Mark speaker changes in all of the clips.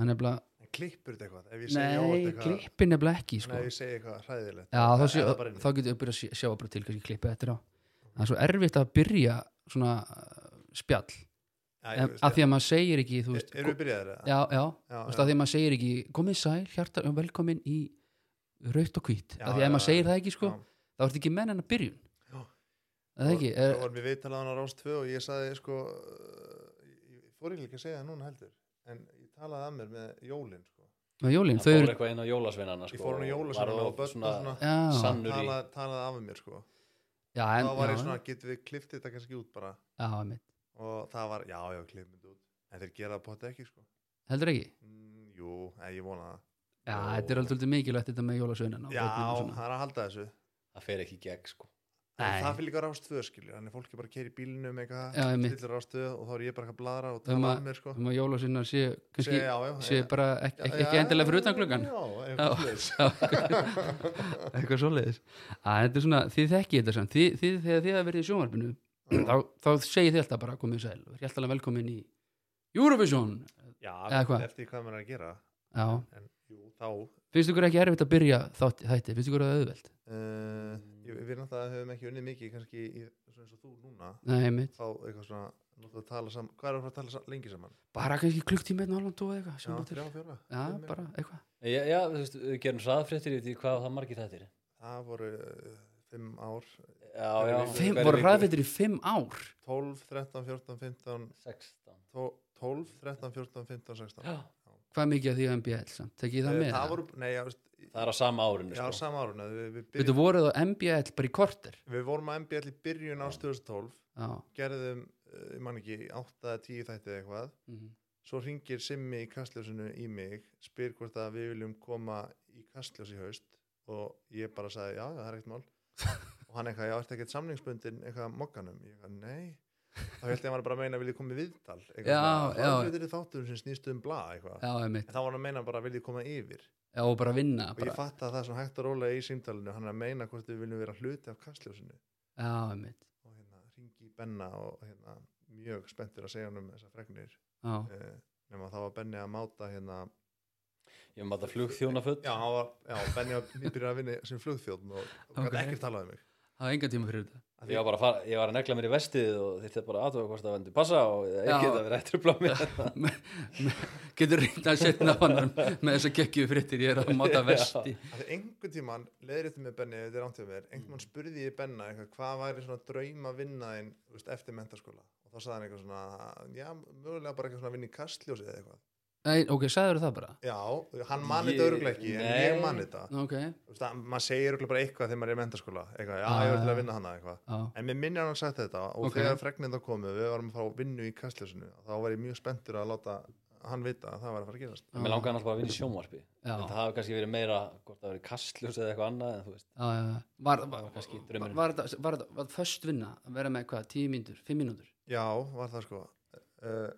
Speaker 1: hann er bara,
Speaker 2: En klippur þetta eitthvað? Ef ég segja
Speaker 1: nei,
Speaker 2: óvart eitthvað,
Speaker 1: klippin er bara ekki
Speaker 2: nei,
Speaker 1: sko.
Speaker 2: ef ég segja eitthvað hræðilegt.
Speaker 1: Já, þá, sé,
Speaker 2: Er það bara inni?
Speaker 1: þá getur við byrjað að sjá- sjá bara til kannski klippa eftir á það er svo erfitt að byrja svona uh, spjall
Speaker 2: Já, ég
Speaker 1: Em,
Speaker 2: veist,
Speaker 1: af því að maður segir ekki þú veist, sko-
Speaker 2: Erum við byrjaðir eða?
Speaker 1: já, já,
Speaker 2: Já,
Speaker 1: þú veist,
Speaker 2: já.
Speaker 1: af því að maður segir ekki komið sæl, hjarta, um velkomin í raut og hvít,
Speaker 2: Já,
Speaker 1: af því að ef
Speaker 2: já,
Speaker 1: maður segir
Speaker 2: já.
Speaker 1: það ekki sko,
Speaker 2: Já.
Speaker 1: þá ertu ekki menn en að byrjun
Speaker 2: Já.
Speaker 1: það ekki,
Speaker 2: er...
Speaker 1: er,
Speaker 2: Þá varum við viðtalaðan á Rás 2 og ég saði sko, uh, ég fór ég líka að segja það núna heldur, en ég talaði að mér með jólin sko.
Speaker 1: með jólin, þau
Speaker 3: Það fór
Speaker 1: eru
Speaker 3: eitthvað inn á jólasveinana sko,
Speaker 2: Ég fór hann á
Speaker 3: og
Speaker 2: jólasveinana
Speaker 3: var
Speaker 2: og börn
Speaker 3: svona
Speaker 2: og svona.
Speaker 1: já,
Speaker 3: Sannur í
Speaker 2: Talaði, talaði af mér sko.
Speaker 1: já, en,
Speaker 2: þá var ég
Speaker 1: já,
Speaker 2: svona, getum við kliftið þetta kannski út bara
Speaker 1: já, einmitt.
Speaker 2: og það var, já, já, klippum þetta út. En þeir gera það potið ekki sko.
Speaker 1: heldur ekki
Speaker 2: Mm, jú, en ég vona það.
Speaker 1: já,
Speaker 3: Jó.
Speaker 1: þetta er aldrei mikilvægt þetta með jólasveinan
Speaker 2: Já, það er að halda þessu.
Speaker 3: það fer ekki í gegn sko
Speaker 2: Nei.
Speaker 1: Nei.
Speaker 2: Það fyrir líka rástföð skilur, þannig fólk er bara að keyra í bílnum eitthvað,
Speaker 1: Já, einmitt.
Speaker 2: stillir rástföð og þá er ég bara eitthvað að bladra og
Speaker 1: Um
Speaker 2: tala
Speaker 1: að-
Speaker 2: um mér sko.
Speaker 1: um að jólasveinar séu kannski,
Speaker 2: Segja, já, já,
Speaker 1: séu
Speaker 2: já.
Speaker 1: bara ekki,
Speaker 2: Já,
Speaker 1: ekki, ekki
Speaker 2: já,
Speaker 1: endilega fyrir utan gluggan
Speaker 2: Já,
Speaker 1: Já.
Speaker 2: eitthvað svoleiðis.
Speaker 1: eitthvað svoleiðis að þetta er svona, þið þekkið þetta samt þið, þið, þegar þið að verið í sjónvarpinu þá, þá segið þið alltaf bara komið sæl verið alltaf velkomin í Eurovision
Speaker 2: Já,
Speaker 1: Eða hvað?
Speaker 2: eftir því hvað maður er að gera
Speaker 1: já,
Speaker 2: en jú, þá uh,
Speaker 1: finnst ykkur ekki erfitt að byrja þátt, þætti, finnst ykkur það auðvelt
Speaker 2: eh, ég, við náttúrulega höfum ekki unnið mikið kannski í, svona eins og þú núna
Speaker 1: nei, mitt,
Speaker 2: þá eitthvað svona, náttúrulega að tala saman hvað er að fara að tala sam, lengi saman?
Speaker 1: bara kannski klukktíma einn og alveg tóð eitthvað,
Speaker 2: Já,
Speaker 1: sjáum það til
Speaker 2: þrjá, fjóra,
Speaker 1: já,
Speaker 2: fimm mínútur.
Speaker 1: bara eitthvað,
Speaker 3: Já, já þú veist, við gerum hraðfréttir í því hvað það margir þetta er
Speaker 2: Það voru uh, 5 ár
Speaker 3: Já,
Speaker 2: Hverju
Speaker 3: já
Speaker 2: viku?
Speaker 1: Fimm,
Speaker 3: hverju
Speaker 1: voru
Speaker 3: viku?
Speaker 1: hraðveitir í fimm ár
Speaker 2: 12, 13, 14, 15
Speaker 3: 16
Speaker 2: tó- 12, 13, 14, 15, 16
Speaker 3: Já,
Speaker 1: hvað mikið af því að MBL samt, tekið það
Speaker 2: Eh,
Speaker 1: með
Speaker 2: það voru, nei, já, veist,
Speaker 3: það er á sama árinu
Speaker 2: já,
Speaker 3: sko
Speaker 2: sama árun við, við,
Speaker 1: Byrju,
Speaker 2: byrjum,
Speaker 1: voruð á MBL bara í korter
Speaker 2: við vorum að MBL í byrjun á 2012
Speaker 1: já,
Speaker 2: gerðum, uh, ég man ekki 8-10 þætti eða eitthvað
Speaker 1: mhm.
Speaker 2: svo ringir Simmi í kastljósinu í mig spyr hvort að við viljum koma í kastljós í haust og ég bara sagði já, já, það er ekkert mál og hann eitthvað, já, ertu ekkert samlingsbundin eitthvað að mokkanum, ég eitthvað, nei þá held ég að hann var bara að meina að vilja koma í viðtal eitthvað
Speaker 1: Já,
Speaker 2: svona,
Speaker 1: já.
Speaker 2: "Hvað er þáttur sem snýst um bla eitthvað
Speaker 1: já, einmitt,
Speaker 2: en þá var hann að meina bara að vilja koma yfir
Speaker 1: já, og bara vinna
Speaker 2: og ég
Speaker 1: bara.
Speaker 2: fatt að það sem hægt að rólega í símtalinu hann er að meina hvort við viljum vera hluti af kastljósinu
Speaker 1: já, einmitt,
Speaker 2: og hérna, ringi í Benna og hérna, mjög spenntur að segja hann um þessar fregnir
Speaker 1: já
Speaker 2: uh, nema það var Benni að máta hérna
Speaker 3: Ég maður það flugþjónaföld
Speaker 2: Já, hann var, já, Benni var nýbyrjað að vinna sem flugþjóðn og okay.
Speaker 1: Ok.
Speaker 2: gæti ekkert talað um mig.
Speaker 1: Það er engan tíma fyrir þetta.
Speaker 2: Af því-
Speaker 3: Ég var, bara að fara, ég var að negla mér í vestið og þetta bara aðtöfa hvort það vendur passa og ég
Speaker 1: Já.
Speaker 3: geta verið eittrufla mér
Speaker 1: Getur reynda að setja náðanar með þess að gekkju frittir, ég er að máta vesti.
Speaker 2: af því einhvern tíman, leiðréttum með Benni, þetta er ántjóð mér, einhvern tíman spurði ég Benna eitthvað, hvað væri svona drauma vinnaðin veist, eftir mentaskóla? Og þá sagði hann eitthvað svona, já, mögulega bara eitthvað svona að vinna í kastljósið eða eitthvað.
Speaker 1: Nei, ok, sagður það bara.
Speaker 2: Já, og hann man
Speaker 3: Ég-
Speaker 2: þetta öruglega ekki, en
Speaker 3: nei.
Speaker 2: ég man þetta.
Speaker 1: Ok,
Speaker 2: Þú veist, að maður segir öruglega bara eitthvað þegar maður er í mentaskóla, eitthvað, já,
Speaker 1: Ah.
Speaker 2: ég var til að vinna hana eitthvað.
Speaker 1: já,
Speaker 2: En mér minnir að hann sagt þetta og
Speaker 1: Ok.
Speaker 2: þegar fregnenda komu, við varum að fara á vinnu í kastljósinu, þá var ég mjög spenntur að láta hann vita að það var að fara að gerast.
Speaker 3: Mér langaði hann alltaf bara að vinna í sjónvarpi
Speaker 1: já,
Speaker 3: Þetta hafi kannski verið meira, hvort það verið kastljós eða eitthvað annað en þú veist,
Speaker 1: já, já. Var, var,
Speaker 3: það var kannski
Speaker 1: var,
Speaker 3: draumurinn
Speaker 1: var þetta, var þetta, var þöst vinna að vera með hvað, tíu mínútur, fimm mínútur?
Speaker 2: Já, var það sko uh,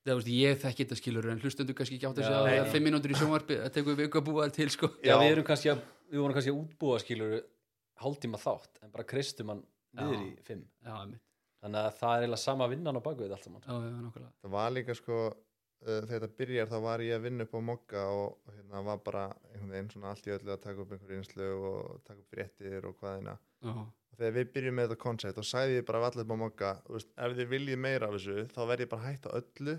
Speaker 1: Það veist, ég þekki þetta skilur, en hlustendur kannski ekki átt að
Speaker 3: Já,
Speaker 1: segja að
Speaker 3: nei.
Speaker 1: það er fimm mínútur í sjónvarpi, það tekur við ykkur að búa það til, sko.
Speaker 3: Já,
Speaker 2: Já.
Speaker 3: við erum kannski að, við vorum kannski að útbúa skilur hálftíma þátt en bara kristum hann niður í
Speaker 1: Já.
Speaker 3: fimm
Speaker 1: Já, einmitt.
Speaker 3: Þannig að það er eiginlega sama vinnan á bakvið allt saman
Speaker 1: já, já, nákvæmlega.
Speaker 2: Það var líka sko uh, þegar þetta byrjar þá var ég að vinna upp á mokka og, og hérna var bara einhvern veginn svona allt í öllu að taka upp einhver einslu og taka upp fréttir og hvaðina
Speaker 1: Já,
Speaker 2: og þegar við byrjum með þetta koncept og sagði ég bara allir upp á mokka þú veist, ef þið viljið meira af þessu þá verð ég bara að hætta öllu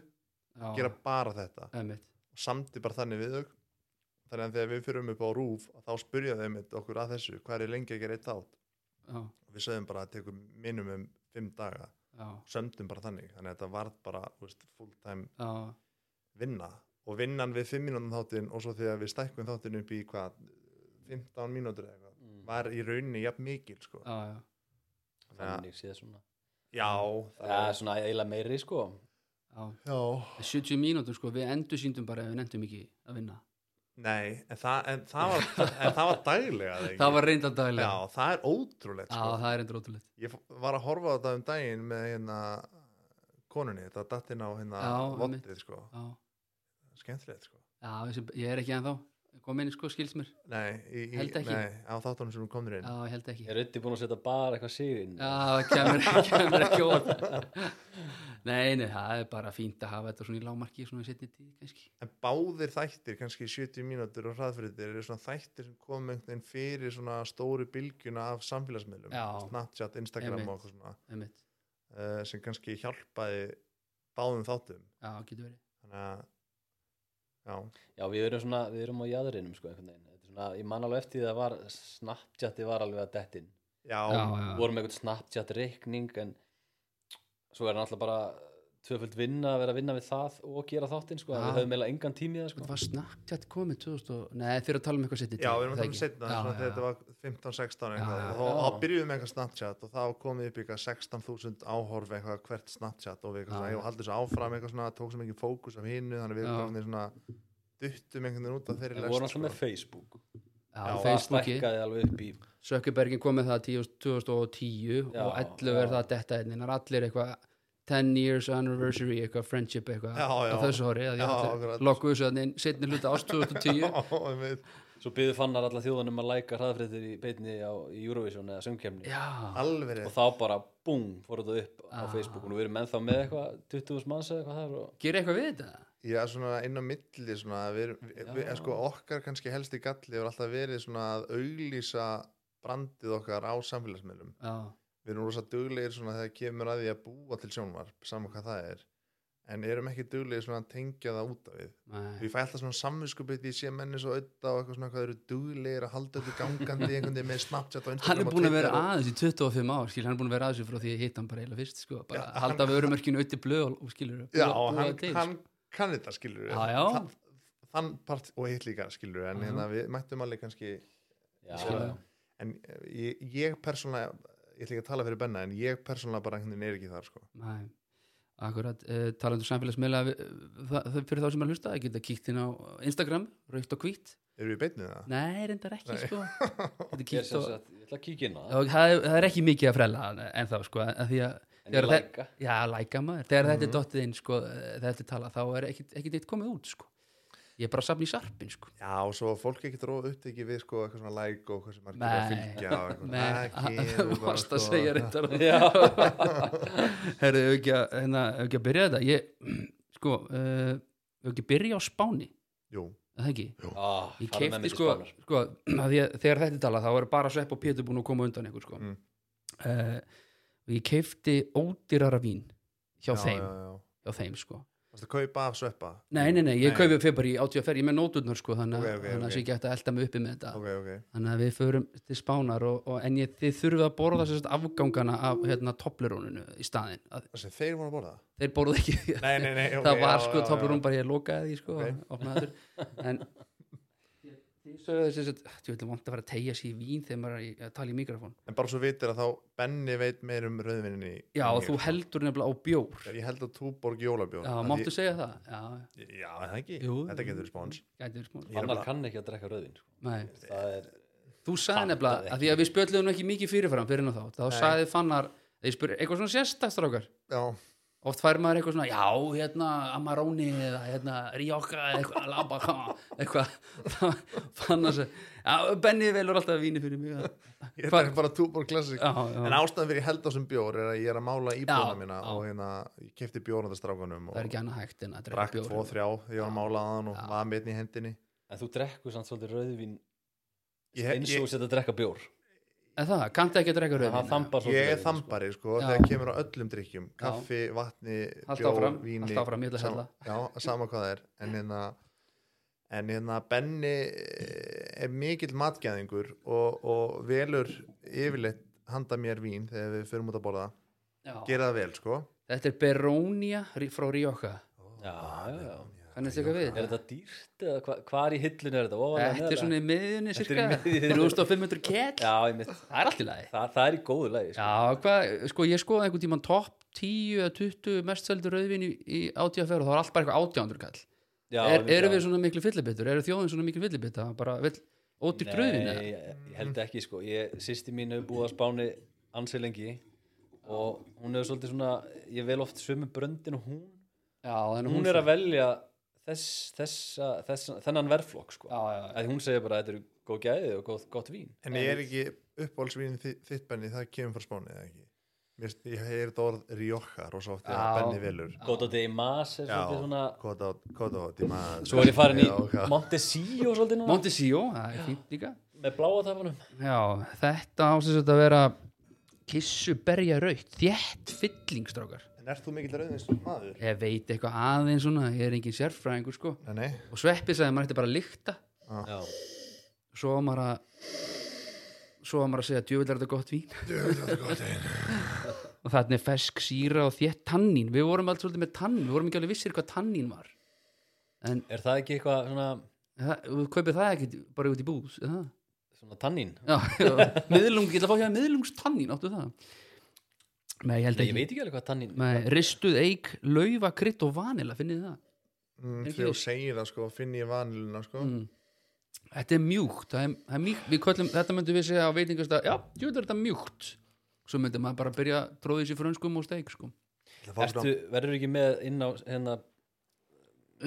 Speaker 1: já,
Speaker 2: gera bara þetta
Speaker 1: einmitt.
Speaker 2: og samti bara þannig við þau þannig að þegar við fyrum upp á rúf þá spurja þau mitt okkur að þessu hvað er lengi að gera eitt átt
Speaker 1: Já,
Speaker 2: og við sögðum bara að tekur minnum um fimm daga
Speaker 1: já,
Speaker 2: sömdum bara þannig þannig að þetta varð bara þú veist, full time
Speaker 1: já,
Speaker 2: vinna og vinnan við 5 mínútum þáttinn og svo þegar við stækkum þáttinn upp í hvað 15 mínútur eða eitthvað
Speaker 3: mm.
Speaker 2: var í rauninni jafn mikil sko
Speaker 1: já, já.
Speaker 3: Þannig séð svona
Speaker 2: já,
Speaker 3: Það er svona eiginlega meiri sko
Speaker 1: já.
Speaker 2: já.
Speaker 1: 70 mínútur, sko, við endur síndum bara ef við nefndum ekki að vinna.
Speaker 2: nei, en það, en það var en það var daglega eða ekki?
Speaker 1: Það var reynda daglega.
Speaker 2: já, það er ótrúlegt
Speaker 1: Já,
Speaker 2: sko.
Speaker 1: það er reynda ótrúlegt.
Speaker 2: ég f- var að horfa á þetta um daginn með hérna konunni, þetta dattinn á hérna
Speaker 1: Já, einmitt.
Speaker 2: vottið sko,
Speaker 1: Já.
Speaker 2: skemmtilegt sko
Speaker 1: Já, þessi, ég er ekki ennþá kom inn sko skils mér
Speaker 2: Nei, í, í,
Speaker 1: Held ekki.
Speaker 2: nei, á þáttunum sem hún komður inn
Speaker 1: já, ég held ekki já,
Speaker 3: Er Röddi búin að setja bara eitthvað sig inn?
Speaker 1: það kemur, kemur ekki óvart nei, nei, það er bara fínt að hafa þetta svona í lámarki svona setni tíð kannski
Speaker 2: En báðir þættir, kannski 70 mínútur og hraðfyrirtir, eru svona þættir sem kom einhvern veginn fyrir svona stóru bylgjuna af samfélagsmiðlum,
Speaker 1: Já.
Speaker 2: Snapchat, Instagram
Speaker 1: Einmitt.
Speaker 2: og eitthvað svona,
Speaker 1: einmitt.
Speaker 2: uh, sem kannski hjálpaði báðum þáttum.
Speaker 1: já, getur verið
Speaker 2: Þannig að, já,
Speaker 3: Já, við erum svona, við erum á jæðurinum sko einhvern veginn. Þetta er Svona, ég man alveg eftir því að það var, Snapchati var alveg að dettin.
Speaker 2: já,
Speaker 1: já, já,
Speaker 3: Vorum með eitthvað Snapchat reikning en svo er náttúrulega bara tvöföld vinna að vera að vinna við það og gera þáttinn sko.
Speaker 1: Já.
Speaker 3: Við höfum eiginlega engan tími í það sko.
Speaker 1: Þetta var Snapchat komið 2000 og... Nei, þeir eru að tala um eitthvað setni
Speaker 2: já, við erum að tala um setna, svona þegar þetta var 15-16 eitthvað,
Speaker 1: Já, já,
Speaker 2: og þá-
Speaker 3: já.
Speaker 2: þá byrjuðum við með eitthvað Snapchat og þá komið upp eitthvað 16.000 áhorf eitthvað hvert Snapchat og við
Speaker 1: Já,
Speaker 2: eitthvað svona,
Speaker 1: já.
Speaker 2: ég haldið þessu áfram eitthvað svona, tók sem ekki fókus af hinnu, þannig að við
Speaker 1: Já.
Speaker 2: einhvern veginn svona duttum einhvern veginn út af þeirri sko.
Speaker 3: Við vorum alltaf með Facebook.
Speaker 1: Já,
Speaker 2: Já,
Speaker 3: Það
Speaker 1: sko. Facebooki,
Speaker 3: stækkaði alveg upp í
Speaker 1: Sökkubergin kom með það 10 2010
Speaker 3: Já,
Speaker 1: og 11 er
Speaker 3: já.
Speaker 1: það detta einnig er allir eitthvað 10 years anniversary, eitthvað friendship eitthvað
Speaker 2: Já, já.
Speaker 1: á þessu hóri, að
Speaker 2: Já,
Speaker 1: ég
Speaker 2: akkurat.
Speaker 1: allir lokkuðu svo þannig setni hluta ást 2010
Speaker 2: Já, einmitt.
Speaker 3: Svo byggðu fannar alla þjóðanum að læka hraðfréttir í beinni á í Eurovision eða söngkemni
Speaker 1: Já,
Speaker 2: alveg
Speaker 3: og
Speaker 2: rétt.
Speaker 3: þá bara búm, fór þetta upp á
Speaker 1: Ah.
Speaker 3: Facebookun og við erum ennþá með eitthvað 20.000 manns eða eitthvað þar og
Speaker 1: gera eitthvað við þetta?
Speaker 2: ég er svona inn á milli svona, að við, erum- við, við,
Speaker 3: Já.
Speaker 2: er sko, okkar kannski helsti galli hefur alltaf verið svona að auglýsa brandið okkar á samfélagsmiðlum
Speaker 1: Já,
Speaker 2: við erum rosa duglegir svona þegar kemur að því að búa til sjónvarp saman hvað það er en erum ekki duglegir svona að tengja það út af við
Speaker 1: nei,
Speaker 2: við fæ alltaf svona samvinskupið því sé menni svo auðvitað og eitthvað svona hvað þeir eru duglegir að halda öllu gangandi einhvern veginn með Snapchat og
Speaker 1: Hann
Speaker 2: Instagram
Speaker 1: er
Speaker 2: og
Speaker 1: búin að vera
Speaker 2: Twitter og-
Speaker 1: aðeins í 25 ár, skil, hann er búin að vera aðeins frá því að hitta hann bara eiginlega fyrst, sko, bara
Speaker 2: Já,
Speaker 1: halda vörumörkinu auðvitað blöð og- og skilur
Speaker 2: Já, hann,
Speaker 1: sko.
Speaker 2: hann kann þetta skilur
Speaker 1: Já, já. Mhm.
Speaker 2: Þann part og hitt líka skilur en
Speaker 1: Já.
Speaker 2: hérna, við mættum alveg kannski
Speaker 3: já,
Speaker 1: Skil það.
Speaker 2: en eh, ég, ég persónlega ég ætla ekki að tala fyrir Benna en ég persónlega bara einhvern veginn er ekki þar sko.
Speaker 1: Nei, akkurat uh, talandu samfélagsmiðla uh, það, það fyrir þá sem að hlusta, ég geta kíkt inn á Instagram, raukt og hvít
Speaker 2: eru við beinnið það?
Speaker 1: Nei, reyndar ekki,
Speaker 2: Nei.
Speaker 1: sko Geta
Speaker 3: ég,
Speaker 1: kíkt
Speaker 3: sem
Speaker 1: og,
Speaker 3: sagt, ég ætla að kíkja inn á það
Speaker 1: og það, er- það er ekki mikið að frella en þá, sko, að því að
Speaker 3: en ég
Speaker 1: þegar það-
Speaker 3: læka
Speaker 1: já, læka maður, þegar þetta
Speaker 2: Mhm.
Speaker 1: er dottið inn sko, eh, þegar þetta er talað, þá er ekkit, ekkit eitt komið út, sko Ég er bara að safna í sarpin, sko
Speaker 2: Já, og svo fólk ekki dróð upptekið við sko, eitthvað svona like og hversu margir eru að
Speaker 1: Nei.
Speaker 2: fylgja og eitthvað.
Speaker 1: Nei,
Speaker 2: Það
Speaker 1: að-
Speaker 2: kemur
Speaker 1: þú
Speaker 2: bara,
Speaker 1: varst að
Speaker 2: sko.
Speaker 1: segja reyndar
Speaker 3: Já.
Speaker 1: Herðu, ef ekki, að- hérna, ef ekki að byrja þetta ég, sko, uh, ef ekki að byrja á Spáni
Speaker 2: Jú,
Speaker 1: er það ekki?
Speaker 3: ah,
Speaker 1: Ég
Speaker 3: farðu með
Speaker 1: keipti
Speaker 3: mig til
Speaker 1: sko,
Speaker 3: Spánar.
Speaker 1: sko að ég, þegar þetta er talað þá er bara svepp og pétur búin að koma undan ykkur sko.
Speaker 2: Mm.
Speaker 1: Eh, og ég keipti ódýrara vín hjá
Speaker 2: já,
Speaker 1: þeim,
Speaker 2: já, já.
Speaker 1: hjá þeim sko.
Speaker 2: Varstu að kaupa af sveppa?
Speaker 1: nei, nei, nei, ég kaupi fyrir bara í átíðaferð ég er með nóturnar sko, þannig
Speaker 2: Ok,
Speaker 1: okay,
Speaker 2: ok,
Speaker 1: okay,
Speaker 2: ok.
Speaker 1: að ég gæti að elda mig uppi með þetta
Speaker 2: Ok, ok.
Speaker 1: þannig að við förum til spánar og, og, en ég, þið þurfið að borða sérst afgangana af hérna, topleróninu í staðin að,
Speaker 2: Þessi, þeir voru að borða það?
Speaker 1: þeir borðu ekki
Speaker 2: Nei, nei, nei. ok,
Speaker 1: það var
Speaker 2: já, já,
Speaker 1: sko
Speaker 2: já.
Speaker 1: toplerón bara ég lokaði því sko,
Speaker 2: Ok.
Speaker 1: og opnaði aftur en því sögðu þess að "Ah, þú ætlum vant að fara að tegja sér í vín þegar maður er í- að tala í mikrofón
Speaker 2: En bara svo vitir að þá Benni veit meir um rauðvinni
Speaker 1: Já, og þú heldur nefnilega á bjór
Speaker 2: Ég held að Túborg jólabjór
Speaker 1: Já,
Speaker 2: Af því-
Speaker 1: máttu segja það? Já,
Speaker 2: Já, er það ekki
Speaker 1: Jú.
Speaker 2: Þetta getur spáns
Speaker 1: gæti verið smá
Speaker 2: Ég er
Speaker 3: annar
Speaker 2: bara-
Speaker 3: kann ekki að drekka rauðin sko.
Speaker 1: Nei,
Speaker 3: það er,
Speaker 1: þú
Speaker 3: Fattaði
Speaker 1: sagði nefnilega, að því að við spjöldum nú ekki mikið fyrirfram fyrir en þá, þá
Speaker 2: Nei.
Speaker 1: sagði fannar þeir spurði, eitthvað svona sérstæðstrákar
Speaker 2: Já,
Speaker 1: oft fær maður eitthvað svona, já, hérna Amarone eða hérna Rioja eða eitthvað, Alaba, koma, eitthvað Þá fannar sér, já, Benni velur alltaf víni fyrir mig Já,
Speaker 2: ég
Speaker 1: Hvar-
Speaker 2: er bara Túborg klassik En
Speaker 1: já,
Speaker 2: ástæðan fyrir ég held á sem bjór er að ég er að mála íbúðuna
Speaker 1: Já, já.
Speaker 2: mína og hérna, ég kefti bjórandastrákanum
Speaker 1: það er
Speaker 2: og
Speaker 1: ekki annað hægt en að drekka
Speaker 2: drakk
Speaker 1: bjór
Speaker 2: tvo, þrjá ég var að mála aðan og
Speaker 1: Já.
Speaker 2: var með einn í hendinni
Speaker 3: en þú drekkur samt svolítið rauðvin
Speaker 2: Ég,
Speaker 3: eins og
Speaker 2: ég,
Speaker 3: þú setja að drekka bjór
Speaker 1: En það, kanntu ekki að drekka
Speaker 3: það
Speaker 1: rauðvín eða?
Speaker 3: þambar
Speaker 2: ég er
Speaker 3: rauðvín, sko.
Speaker 2: þambari sko,
Speaker 1: Já.
Speaker 2: þegar kemur á öllum drykkjum kaffi, vatni,
Speaker 1: Haltu
Speaker 2: bjór,
Speaker 1: áfram,
Speaker 2: víni
Speaker 1: haltu áfram, ég ætla að
Speaker 2: sama, já, sama hvað það er en hérna, en hérna Benni eh, er mikill matgæðingur og, og velur yfirleitt handa mér vín þegar við förum út að borða
Speaker 1: Já.
Speaker 2: gera það vel sko
Speaker 1: Þetta er Berónia frá Rioja
Speaker 3: já, sko. já, já.
Speaker 1: Kannast eitthvað við
Speaker 3: er þetta dýrt eða hvað hva er í hillinu er þetta ofalega
Speaker 1: Þetta er svona í miðjunni
Speaker 3: Þetta er
Speaker 1: cirka
Speaker 3: í miðjunni.
Speaker 1: 3500 kell
Speaker 3: já, ég mitt
Speaker 1: Það er allt í lagi
Speaker 3: Þa, það er í góðu lagi sko.
Speaker 1: Já, hvað, sko ég skoði einhvern tímann topp 10 eða 20 mest seldu rauðvin í, í átíðaferð og það var allt bara eitthvað átjándur kall
Speaker 3: Já,
Speaker 1: er,
Speaker 3: einmitt,
Speaker 1: Eru
Speaker 3: já.
Speaker 1: við svona miklu fyllibittur? Eru þjóðin svona miklu fyllibittur? Það bara vill ódýrt rauðvin
Speaker 3: Nei,
Speaker 1: eða?
Speaker 3: ég, ég held ekki sko ég, Sýsti mín hefur búið að spáni ansi lengi og hún hefur svolítið svona ég vel oft sömu bröndin og hún
Speaker 1: Já, þannig
Speaker 3: hún er að velja þess, þessa, þess, þennan verflokk sko.
Speaker 1: já, já,
Speaker 3: að hún segir bara að þetta eru góð gæði og góð, gott vín
Speaker 2: En ég er ekki uppáhaldsvín þi- þitt benni, það kemur frá Spáni eða ekki. Mér, finnst- ég heyri þetta orð Rioja, rosa oft þegar
Speaker 1: Já.
Speaker 2: benni velur.
Speaker 3: Góta de Mas er
Speaker 2: Já,
Speaker 3: svolítið svona
Speaker 2: Kota Kota át í maður.
Speaker 1: Sko,
Speaker 3: svo er ég farin í
Speaker 2: Já, ok.
Speaker 3: Montesíu svolítið núna
Speaker 1: Montesíu, það er fínt líka
Speaker 3: með bláa tafanum
Speaker 1: Já, þetta ásins að vera kissuberja raut, þétt fyllingstrákar
Speaker 2: En ert þú mikill rauðins maður?
Speaker 1: Ég veit eitthvað aðeins svona, ég er engin sérfræðingur sko
Speaker 2: Nei, nei.
Speaker 1: Og sveppi sagði að maður ætti bara að lykta
Speaker 3: já.
Speaker 1: Svo var maður að Svo var maður að segja djöfull er þetta gott vín Og þarna er fesk síra og þétt tannín Við vorum allt svolítið með tannín, við vorum ekki alveg vissir hvað tannín var En
Speaker 3: er það ekki eitthvað svona,
Speaker 1: það, þú kaupir það ekki bara út í bús er það?
Speaker 3: svona tannín
Speaker 1: Já, já, miðlung, ég ætla að fá hérna miðlungstannín, áttu það Nei, ég held
Speaker 3: Nei,
Speaker 1: ekki
Speaker 3: ég veit ekki alveg hvað tannín
Speaker 1: Nei, ristuð eik, laufa, krydd og vanila finnið þið það?
Speaker 2: Mm,
Speaker 1: Ekki
Speaker 2: Þegar þú
Speaker 1: viss.
Speaker 2: segir það sko, finn ég vaniluna sko.
Speaker 1: Mm. Þetta er mjúkt, það er, það er mjúkt við köllum, þetta myndum við segja á veitingast að já, jú, þetta er þetta mjúkt svo myndum maður bara að byrja að tróða þessi frönskum og steik sko.
Speaker 2: Það fór
Speaker 3: Ertu, verður ekki með inn á hérna,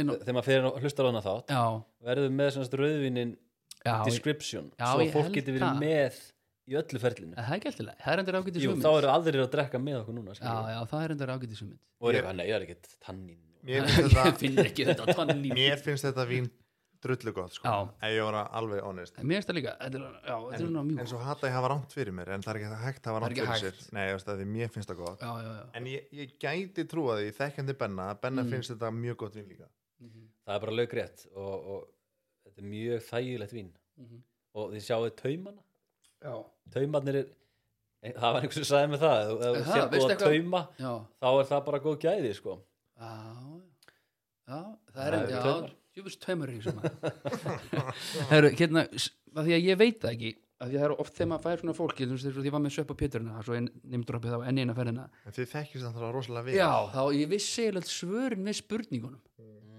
Speaker 1: Inn á-
Speaker 3: þegar maður fyrir að hlusta á hana þátt
Speaker 1: Já,
Speaker 3: verður með svona rauðvinin
Speaker 1: já ég-
Speaker 3: description
Speaker 1: Já,
Speaker 3: svo
Speaker 1: ég
Speaker 3: að fólk
Speaker 1: held
Speaker 3: getur
Speaker 1: það.
Speaker 3: verið með í öllu ferlinu
Speaker 1: það er ekki alltaf, það er endur ágætið
Speaker 3: Jú, þá eru aðrir að drekka með okkur núna
Speaker 1: Já,
Speaker 3: skilurðu.
Speaker 1: já, það er endur ágætið summit
Speaker 3: og er eitthvað, nei, það er ekkert tannín
Speaker 2: Mér finnst
Speaker 1: Ég
Speaker 2: þetta,
Speaker 1: finn ekki þetta tannín í-
Speaker 2: mér finnst þetta vín drullu gott sko.
Speaker 1: Já.
Speaker 2: Ef ég var alveg honest.
Speaker 1: En Mér finnst það líka, þetta er, já, þetta er
Speaker 2: En,
Speaker 1: svona
Speaker 2: en
Speaker 1: mjúkt
Speaker 2: svo hata ég hafa rámt fyrir mér, en það er ekki hægt að hafa
Speaker 1: Það er
Speaker 2: rámt
Speaker 1: ekki
Speaker 2: fyrir
Speaker 1: hægt.
Speaker 2: sér. Nei, þú veist það, því mér finnst það gott.
Speaker 1: Já, já, já
Speaker 2: En ég, ég gæti trúa því, þekkjandi Benna, að
Speaker 1: Mm.
Speaker 2: Benna finnst þetta mjög gott vín líka.
Speaker 3: það er bara lögrétt og, og þetta er mjög þægilegt vín
Speaker 1: Mhm.
Speaker 3: og þið sjáu taumana
Speaker 1: Já,
Speaker 3: taumarnir er eh, það var einhvers sem sagði með það ef- ef
Speaker 1: Er
Speaker 3: þú
Speaker 1: það?
Speaker 3: sér
Speaker 1: Veistu
Speaker 3: búið að
Speaker 1: eitthvað?
Speaker 3: tauma
Speaker 1: já,
Speaker 3: þá er það bara góð gæði sko
Speaker 1: já Já, það er
Speaker 3: Það
Speaker 1: endur,
Speaker 3: eru
Speaker 1: já,
Speaker 3: taumar.
Speaker 1: djúfus taumur í þessu maður Heru, hérna, s- að því að ég veit það ekki að því að það eru oft þegar maður fær svona fólki þú veist þess að ég var með Sveppa Péturina það er svo neymdroppið þá enn eina ferðina
Speaker 2: En þið þekkjast þannig að rosalega við.
Speaker 1: já, þá ég vissi eiginlega öll svörin við spurningunum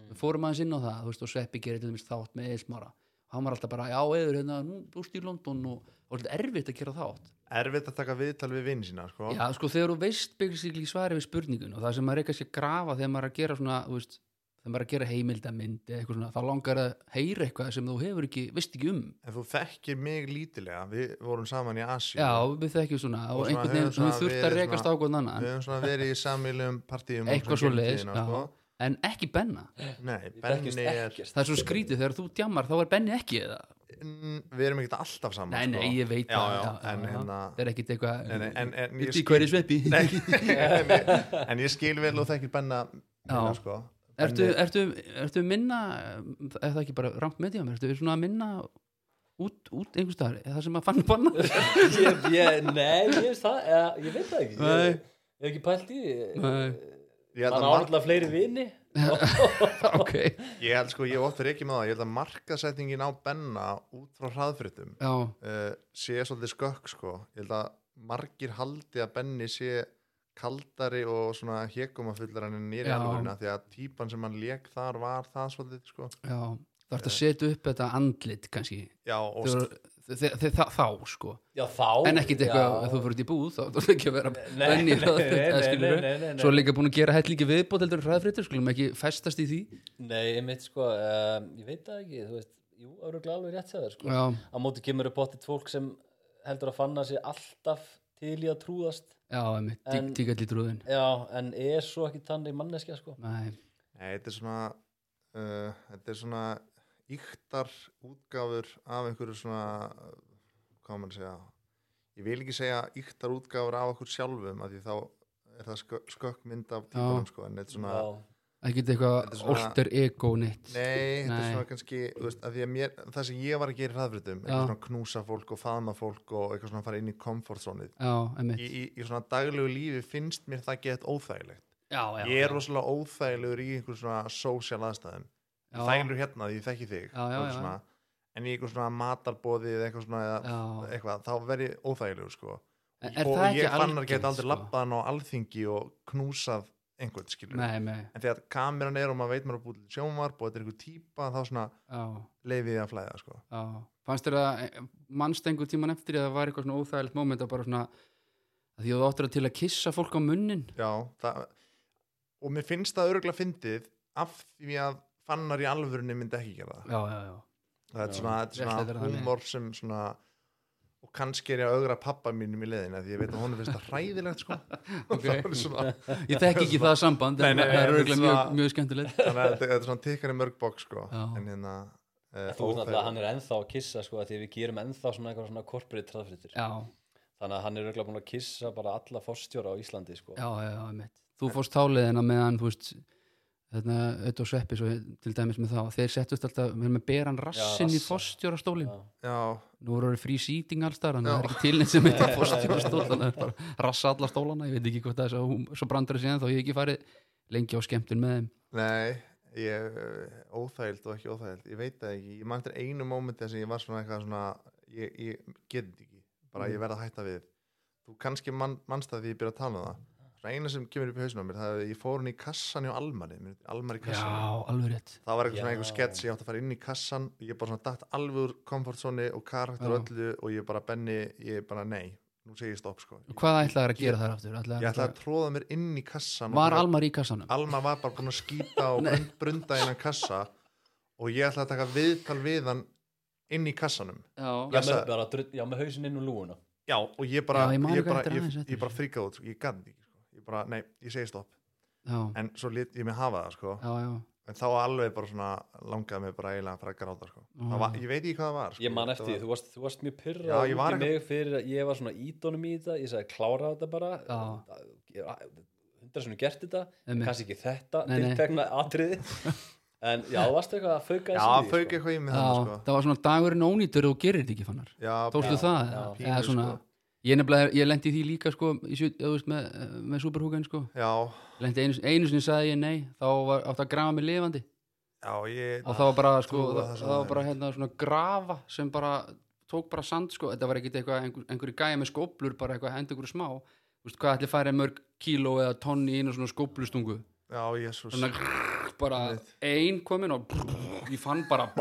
Speaker 1: við fórum aðeins inn á það þú veist og Sveppi gerir til dæmis þátt með eilsmára hann var alltaf bara, já, eður hérna nú búst í London og og svolítið erfitt að gera þátt
Speaker 2: Erfitt að taka viðtal við vinn sína, sko.
Speaker 1: já, sko, þegar þú veist basically svarið við spurningun og það sem maður er kannski að grafa þegar maður er að gera svona, þú veist þegar maður er að gera heimildamind eða eitthvað svona þá langar að heyra eitthvað sem þú hefur ekki, veist ekki um
Speaker 2: En þú þekkir mig lítilega, við vorum saman í Asíu.
Speaker 1: Já, við þekkjum svona og,
Speaker 2: Og svona
Speaker 1: einhvern veginn
Speaker 2: hefur
Speaker 1: þú
Speaker 2: svona
Speaker 1: þurft að
Speaker 2: verið
Speaker 1: rekast á
Speaker 2: svona-
Speaker 1: hvern annan
Speaker 2: Við höfum svona verið í samvílum partíum.
Speaker 1: eitthvað svo leiðis
Speaker 2: Sko.
Speaker 1: en ekki Benna
Speaker 2: Nei,
Speaker 3: Við þekkjumst
Speaker 2: Benni er...
Speaker 3: ekkert.
Speaker 1: það er svo skrítið þegar þú djammar þá er Benni ekki eða
Speaker 2: Mm, Við erum ekkert alltaf saman,
Speaker 1: nei,
Speaker 2: sko.
Speaker 1: nei, ég veit
Speaker 2: já,
Speaker 1: það
Speaker 2: já,
Speaker 1: já, já,
Speaker 2: en
Speaker 1: já.
Speaker 2: hérna...
Speaker 1: það er ekkit eitthvað
Speaker 2: Nei, nei, en, en, ég
Speaker 1: veit
Speaker 2: skil,
Speaker 1: ég hverju sveppi
Speaker 2: en, ég, en ég skil vel og þekkir Benna minna, sko.
Speaker 1: ertu, ertu, ertu minna er það ekki bara rangt með djám ertu svona minna út, út einhvers staðar eða það sem að fann banna
Speaker 3: ég, ég, nei, ég veist það eða, ég veit það ekki
Speaker 1: Nei.
Speaker 3: ég, ég hef ekki pælt í því.
Speaker 1: Nei.
Speaker 2: Ég held
Speaker 3: hann
Speaker 2: að mark-
Speaker 3: áhaldlega fleiri vini
Speaker 1: ok,
Speaker 2: Ég held sko, ég hef oft verið ekki með það, ég held að markasetningin á Benna út frá hraðfrittum
Speaker 1: já,
Speaker 2: uh, sé svolítið skökk sko, ég held að margir haldi að Benni sé kaldari og svona hekumafullar en nýri
Speaker 1: Já.
Speaker 2: alvegurina því að típan sem hann lék þar var það svolítið sko.
Speaker 1: já það ert að setja upp þetta andlit kannski
Speaker 2: Já, og
Speaker 1: þegar, þegar, þegar, þá sko
Speaker 3: já, þá
Speaker 1: en ekkit eitthvað að þú fyrir út í búð þá þú er ekki að vera
Speaker 3: Nei,
Speaker 1: venni
Speaker 3: nei, nei, nei, nei, nei, nei.
Speaker 1: svo er líka búin að gera hætt líka viðbót heldur en hraðfréttur, skulum ekki festast í því
Speaker 3: nei, ég veit sko um, ég veit það ekki, þú veist jú, það eru alveg rétt sæður sko
Speaker 1: já,
Speaker 3: á móti kemur upp pottit fólk sem heldur að fanna sér alltaf til í að trúðast
Speaker 1: já,
Speaker 3: En-
Speaker 1: tík allir trúðin
Speaker 3: já, en er svo ekki tannig manneskja sko
Speaker 1: nei,
Speaker 2: Nei, þetta er svona uh, þetta er svona yktar útgáfur af einhverju svona uh, hvað á maður að segja ég vil ekki segja yktar útgáfur af okkur sjálfum af því þá er það skö skökkmynd af típanum sko en þetta er svona
Speaker 3: já,
Speaker 1: ekkit eitthvað
Speaker 2: Þetta er svona-
Speaker 1: alter ego neitt
Speaker 2: Nei, þetta er
Speaker 1: Nei.
Speaker 2: svona kannski þú veist, að að mér, það sem ég var að gera í
Speaker 1: Já.
Speaker 2: hraðfritum eitthvað svona knúsa fólk og faðma fólk og eitthvað svona fara inn í komfortzónið
Speaker 1: já,
Speaker 2: í,
Speaker 1: einmitt
Speaker 2: í, í svona daglegu lífi finnst mér það gett óþægilegt
Speaker 1: já, já,
Speaker 2: ég er rosalega óþægilegur í einhver svona social aðstæðum
Speaker 1: Já.
Speaker 2: þægilegur hérna því ég þekki þig
Speaker 1: Já, já,
Speaker 2: og
Speaker 1: já.
Speaker 2: svona, en í einhver svona matarbóði eða eitthvað svona eða,
Speaker 1: já.
Speaker 2: eitthvað, þá verð ég óþægilegur sko.
Speaker 1: En er
Speaker 2: og
Speaker 1: það ekki
Speaker 2: ég fannar
Speaker 1: algengt,
Speaker 2: geta
Speaker 1: sko?
Speaker 2: aldrei sko? labbaðan á alþingi og knúsað einhvern skilur
Speaker 1: nei, nei,
Speaker 2: en þegar kameran er og maður veit maður að búið til sjónvarp og þetta er einhver típa þá svona
Speaker 1: já,
Speaker 2: leiði ég að flæða sko.
Speaker 1: já fannst þér að eh, mannst einhver tíman eftir að það var eitthvað svona óþægilegt moment að bara svona að því að þú áttur að til að kissa fólk á munnin
Speaker 2: Já, það, og mér finnst það örgulega fyndið af því að fannar í alvörunni myndi ekki gera það
Speaker 1: já, já, já,
Speaker 2: það er
Speaker 3: Já.
Speaker 2: svona,
Speaker 1: Réttlætir
Speaker 2: þetta er
Speaker 1: það
Speaker 2: svona
Speaker 1: þannig.
Speaker 2: humor sem svona og kannski er ég að ögra pappa mínum í leðina því ég veit að honum finnst það hræðilegt sko
Speaker 1: ok
Speaker 2: það er svona,
Speaker 1: ég þekki ekki það samband
Speaker 2: Nei,
Speaker 1: en
Speaker 2: nei,
Speaker 1: það er
Speaker 2: nei,
Speaker 1: örgulega
Speaker 2: þetta er
Speaker 1: mjög,
Speaker 2: svona-
Speaker 1: mjög skemmtilegt
Speaker 2: þannig að þetta þetta er svona tikkar í mörg bók sko
Speaker 1: Já.
Speaker 2: en hérna eh,
Speaker 3: Þú veist náttúrulega
Speaker 2: óþægilegt.
Speaker 3: að hann er ennþá að kissa sko af því að við gerum ennþá svona eitthvað svona corporate traðfrittir
Speaker 1: já,
Speaker 3: þannig að hann er auðvitað búin að kissa bara alla forstjóra á Íslandi sko
Speaker 1: já, já, já einmitt. þú fórst táliðina meðan þú veist þarna Ödd og Sveppi svo, til dæmis með þá þeir settust alltaf, við erum að bera hann rassin í
Speaker 3: rassa.
Speaker 1: forstjóra stólin
Speaker 3: Já.
Speaker 2: já,
Speaker 1: nú voru orðið frí sýting alls þar þannig að
Speaker 2: Já.
Speaker 1: það er ekki tilnið sem heit að forstjóra stól þannig að það er bara að rassa alla stólana ég veit ekki hvort það er svo, svo brandur síðan þá ég hef ekki farið lengi á skemmtun með þeim
Speaker 2: Nei, ég, óþægild og ekki óþægild, ég veit það ekki, ég man eftir einu mómenti sem ég var svona eitthvað svona, ég, ég get þetta ekki, bara
Speaker 1: Mm.
Speaker 2: ég verð að hætta við, þú kannski man, manst það því ég byrja að tala um það, það eina sem kemur upp í hausinu á mér, það er að ég fór hún í kassan hjá Almari, mér- Almari
Speaker 1: já,
Speaker 2: kassan,
Speaker 1: alveg rétt
Speaker 2: það var eitthvað svona
Speaker 3: Já.
Speaker 2: einhver skets, ég átti að fara inn í kassan, ég bara svona datt alveg úr komfortzóni og karakter
Speaker 1: Já.
Speaker 2: og öllu og ég bara benni, ég bara nei, nú segi ég stopp sko, ég,
Speaker 1: hvað ætlaði að gera
Speaker 2: Ég-
Speaker 1: þar aftur?
Speaker 2: ég ætlaði
Speaker 1: Ætlaðir
Speaker 2: að tróða mér inn í kassan og
Speaker 1: að- var
Speaker 2: bara-
Speaker 1: Almar í kassanum?
Speaker 2: Alma var bara búin að skýta og brun- brunda innan kassa og ég ætla að taka viðtal við hann inn í kassanum
Speaker 1: já,
Speaker 3: Já,
Speaker 2: Blessa.
Speaker 3: með, bara, drull- já, með hausinn inn úr lúuna
Speaker 2: já, og ég bara,
Speaker 1: Já, ég man
Speaker 2: ég
Speaker 1: ekki
Speaker 2: bara,
Speaker 1: eftir
Speaker 2: ég,
Speaker 1: aðeins eftir
Speaker 2: ég bara
Speaker 1: þessu.
Speaker 2: fríkaði út sko. ég gæti ekki, sko. ég bara, nei, ég segi stopp
Speaker 1: já,
Speaker 2: en svo lit ég mig hafa það, sko
Speaker 1: já, já.
Speaker 2: en þá alveg bara svona langaði mig bara eiginlega að fara að gráta, sko
Speaker 1: Já.
Speaker 2: Það var, ég veit ekki hvað það var, sko
Speaker 3: Ég man
Speaker 2: Þetta
Speaker 3: eftir, því,
Speaker 2: var,
Speaker 3: þú varst, þú varst mjög pyrra
Speaker 2: Já, ég var
Speaker 3: í mig fyrir að ég var svona ídónum í þetta ég sagði klára þetta bara
Speaker 1: Já.
Speaker 3: Ég- hundra sem gert þetta
Speaker 1: Einmitt.
Speaker 3: kannski ekki þetta,
Speaker 1: Nei, nei.
Speaker 3: tiltekna atriði en já, þú varst eitthvað að fauka
Speaker 2: já,
Speaker 3: þessu í,
Speaker 2: fauk eitthvað í mig
Speaker 1: Já,
Speaker 2: þannig, sko
Speaker 1: það var svona dagurinn ónýtur og þú gerir þetta ekki fannar
Speaker 2: já,
Speaker 1: Tóstu
Speaker 2: pínu,
Speaker 1: það?
Speaker 3: já,
Speaker 1: Já,
Speaker 2: pínu,
Speaker 1: eða svona,
Speaker 2: sko.
Speaker 1: Ég nefnilega, ég lendi í því líka sko, í sjö, eða, þú veist, með, með superhúkan sko.
Speaker 2: já,
Speaker 1: lendi einu, einu sinni sagði ég nei þá var, átti að grafa mig lifandi
Speaker 2: já, ég
Speaker 1: og það var bara, sko,
Speaker 2: trúa
Speaker 1: það,
Speaker 2: Ah, það svo
Speaker 1: það var
Speaker 2: vel.
Speaker 1: bara hérna, svona grafa sem bara tók bara sand sko. þetta var ekkit eitthvað, einhver, einhverju gæja með skóplur bara eitthvað hendur einhverju smá Þú veist, hvað ætli færi mörg kíló eða tonni í einu svona skóplustungu
Speaker 2: já, jésús
Speaker 1: þannig að bara ein komin og ég fann bara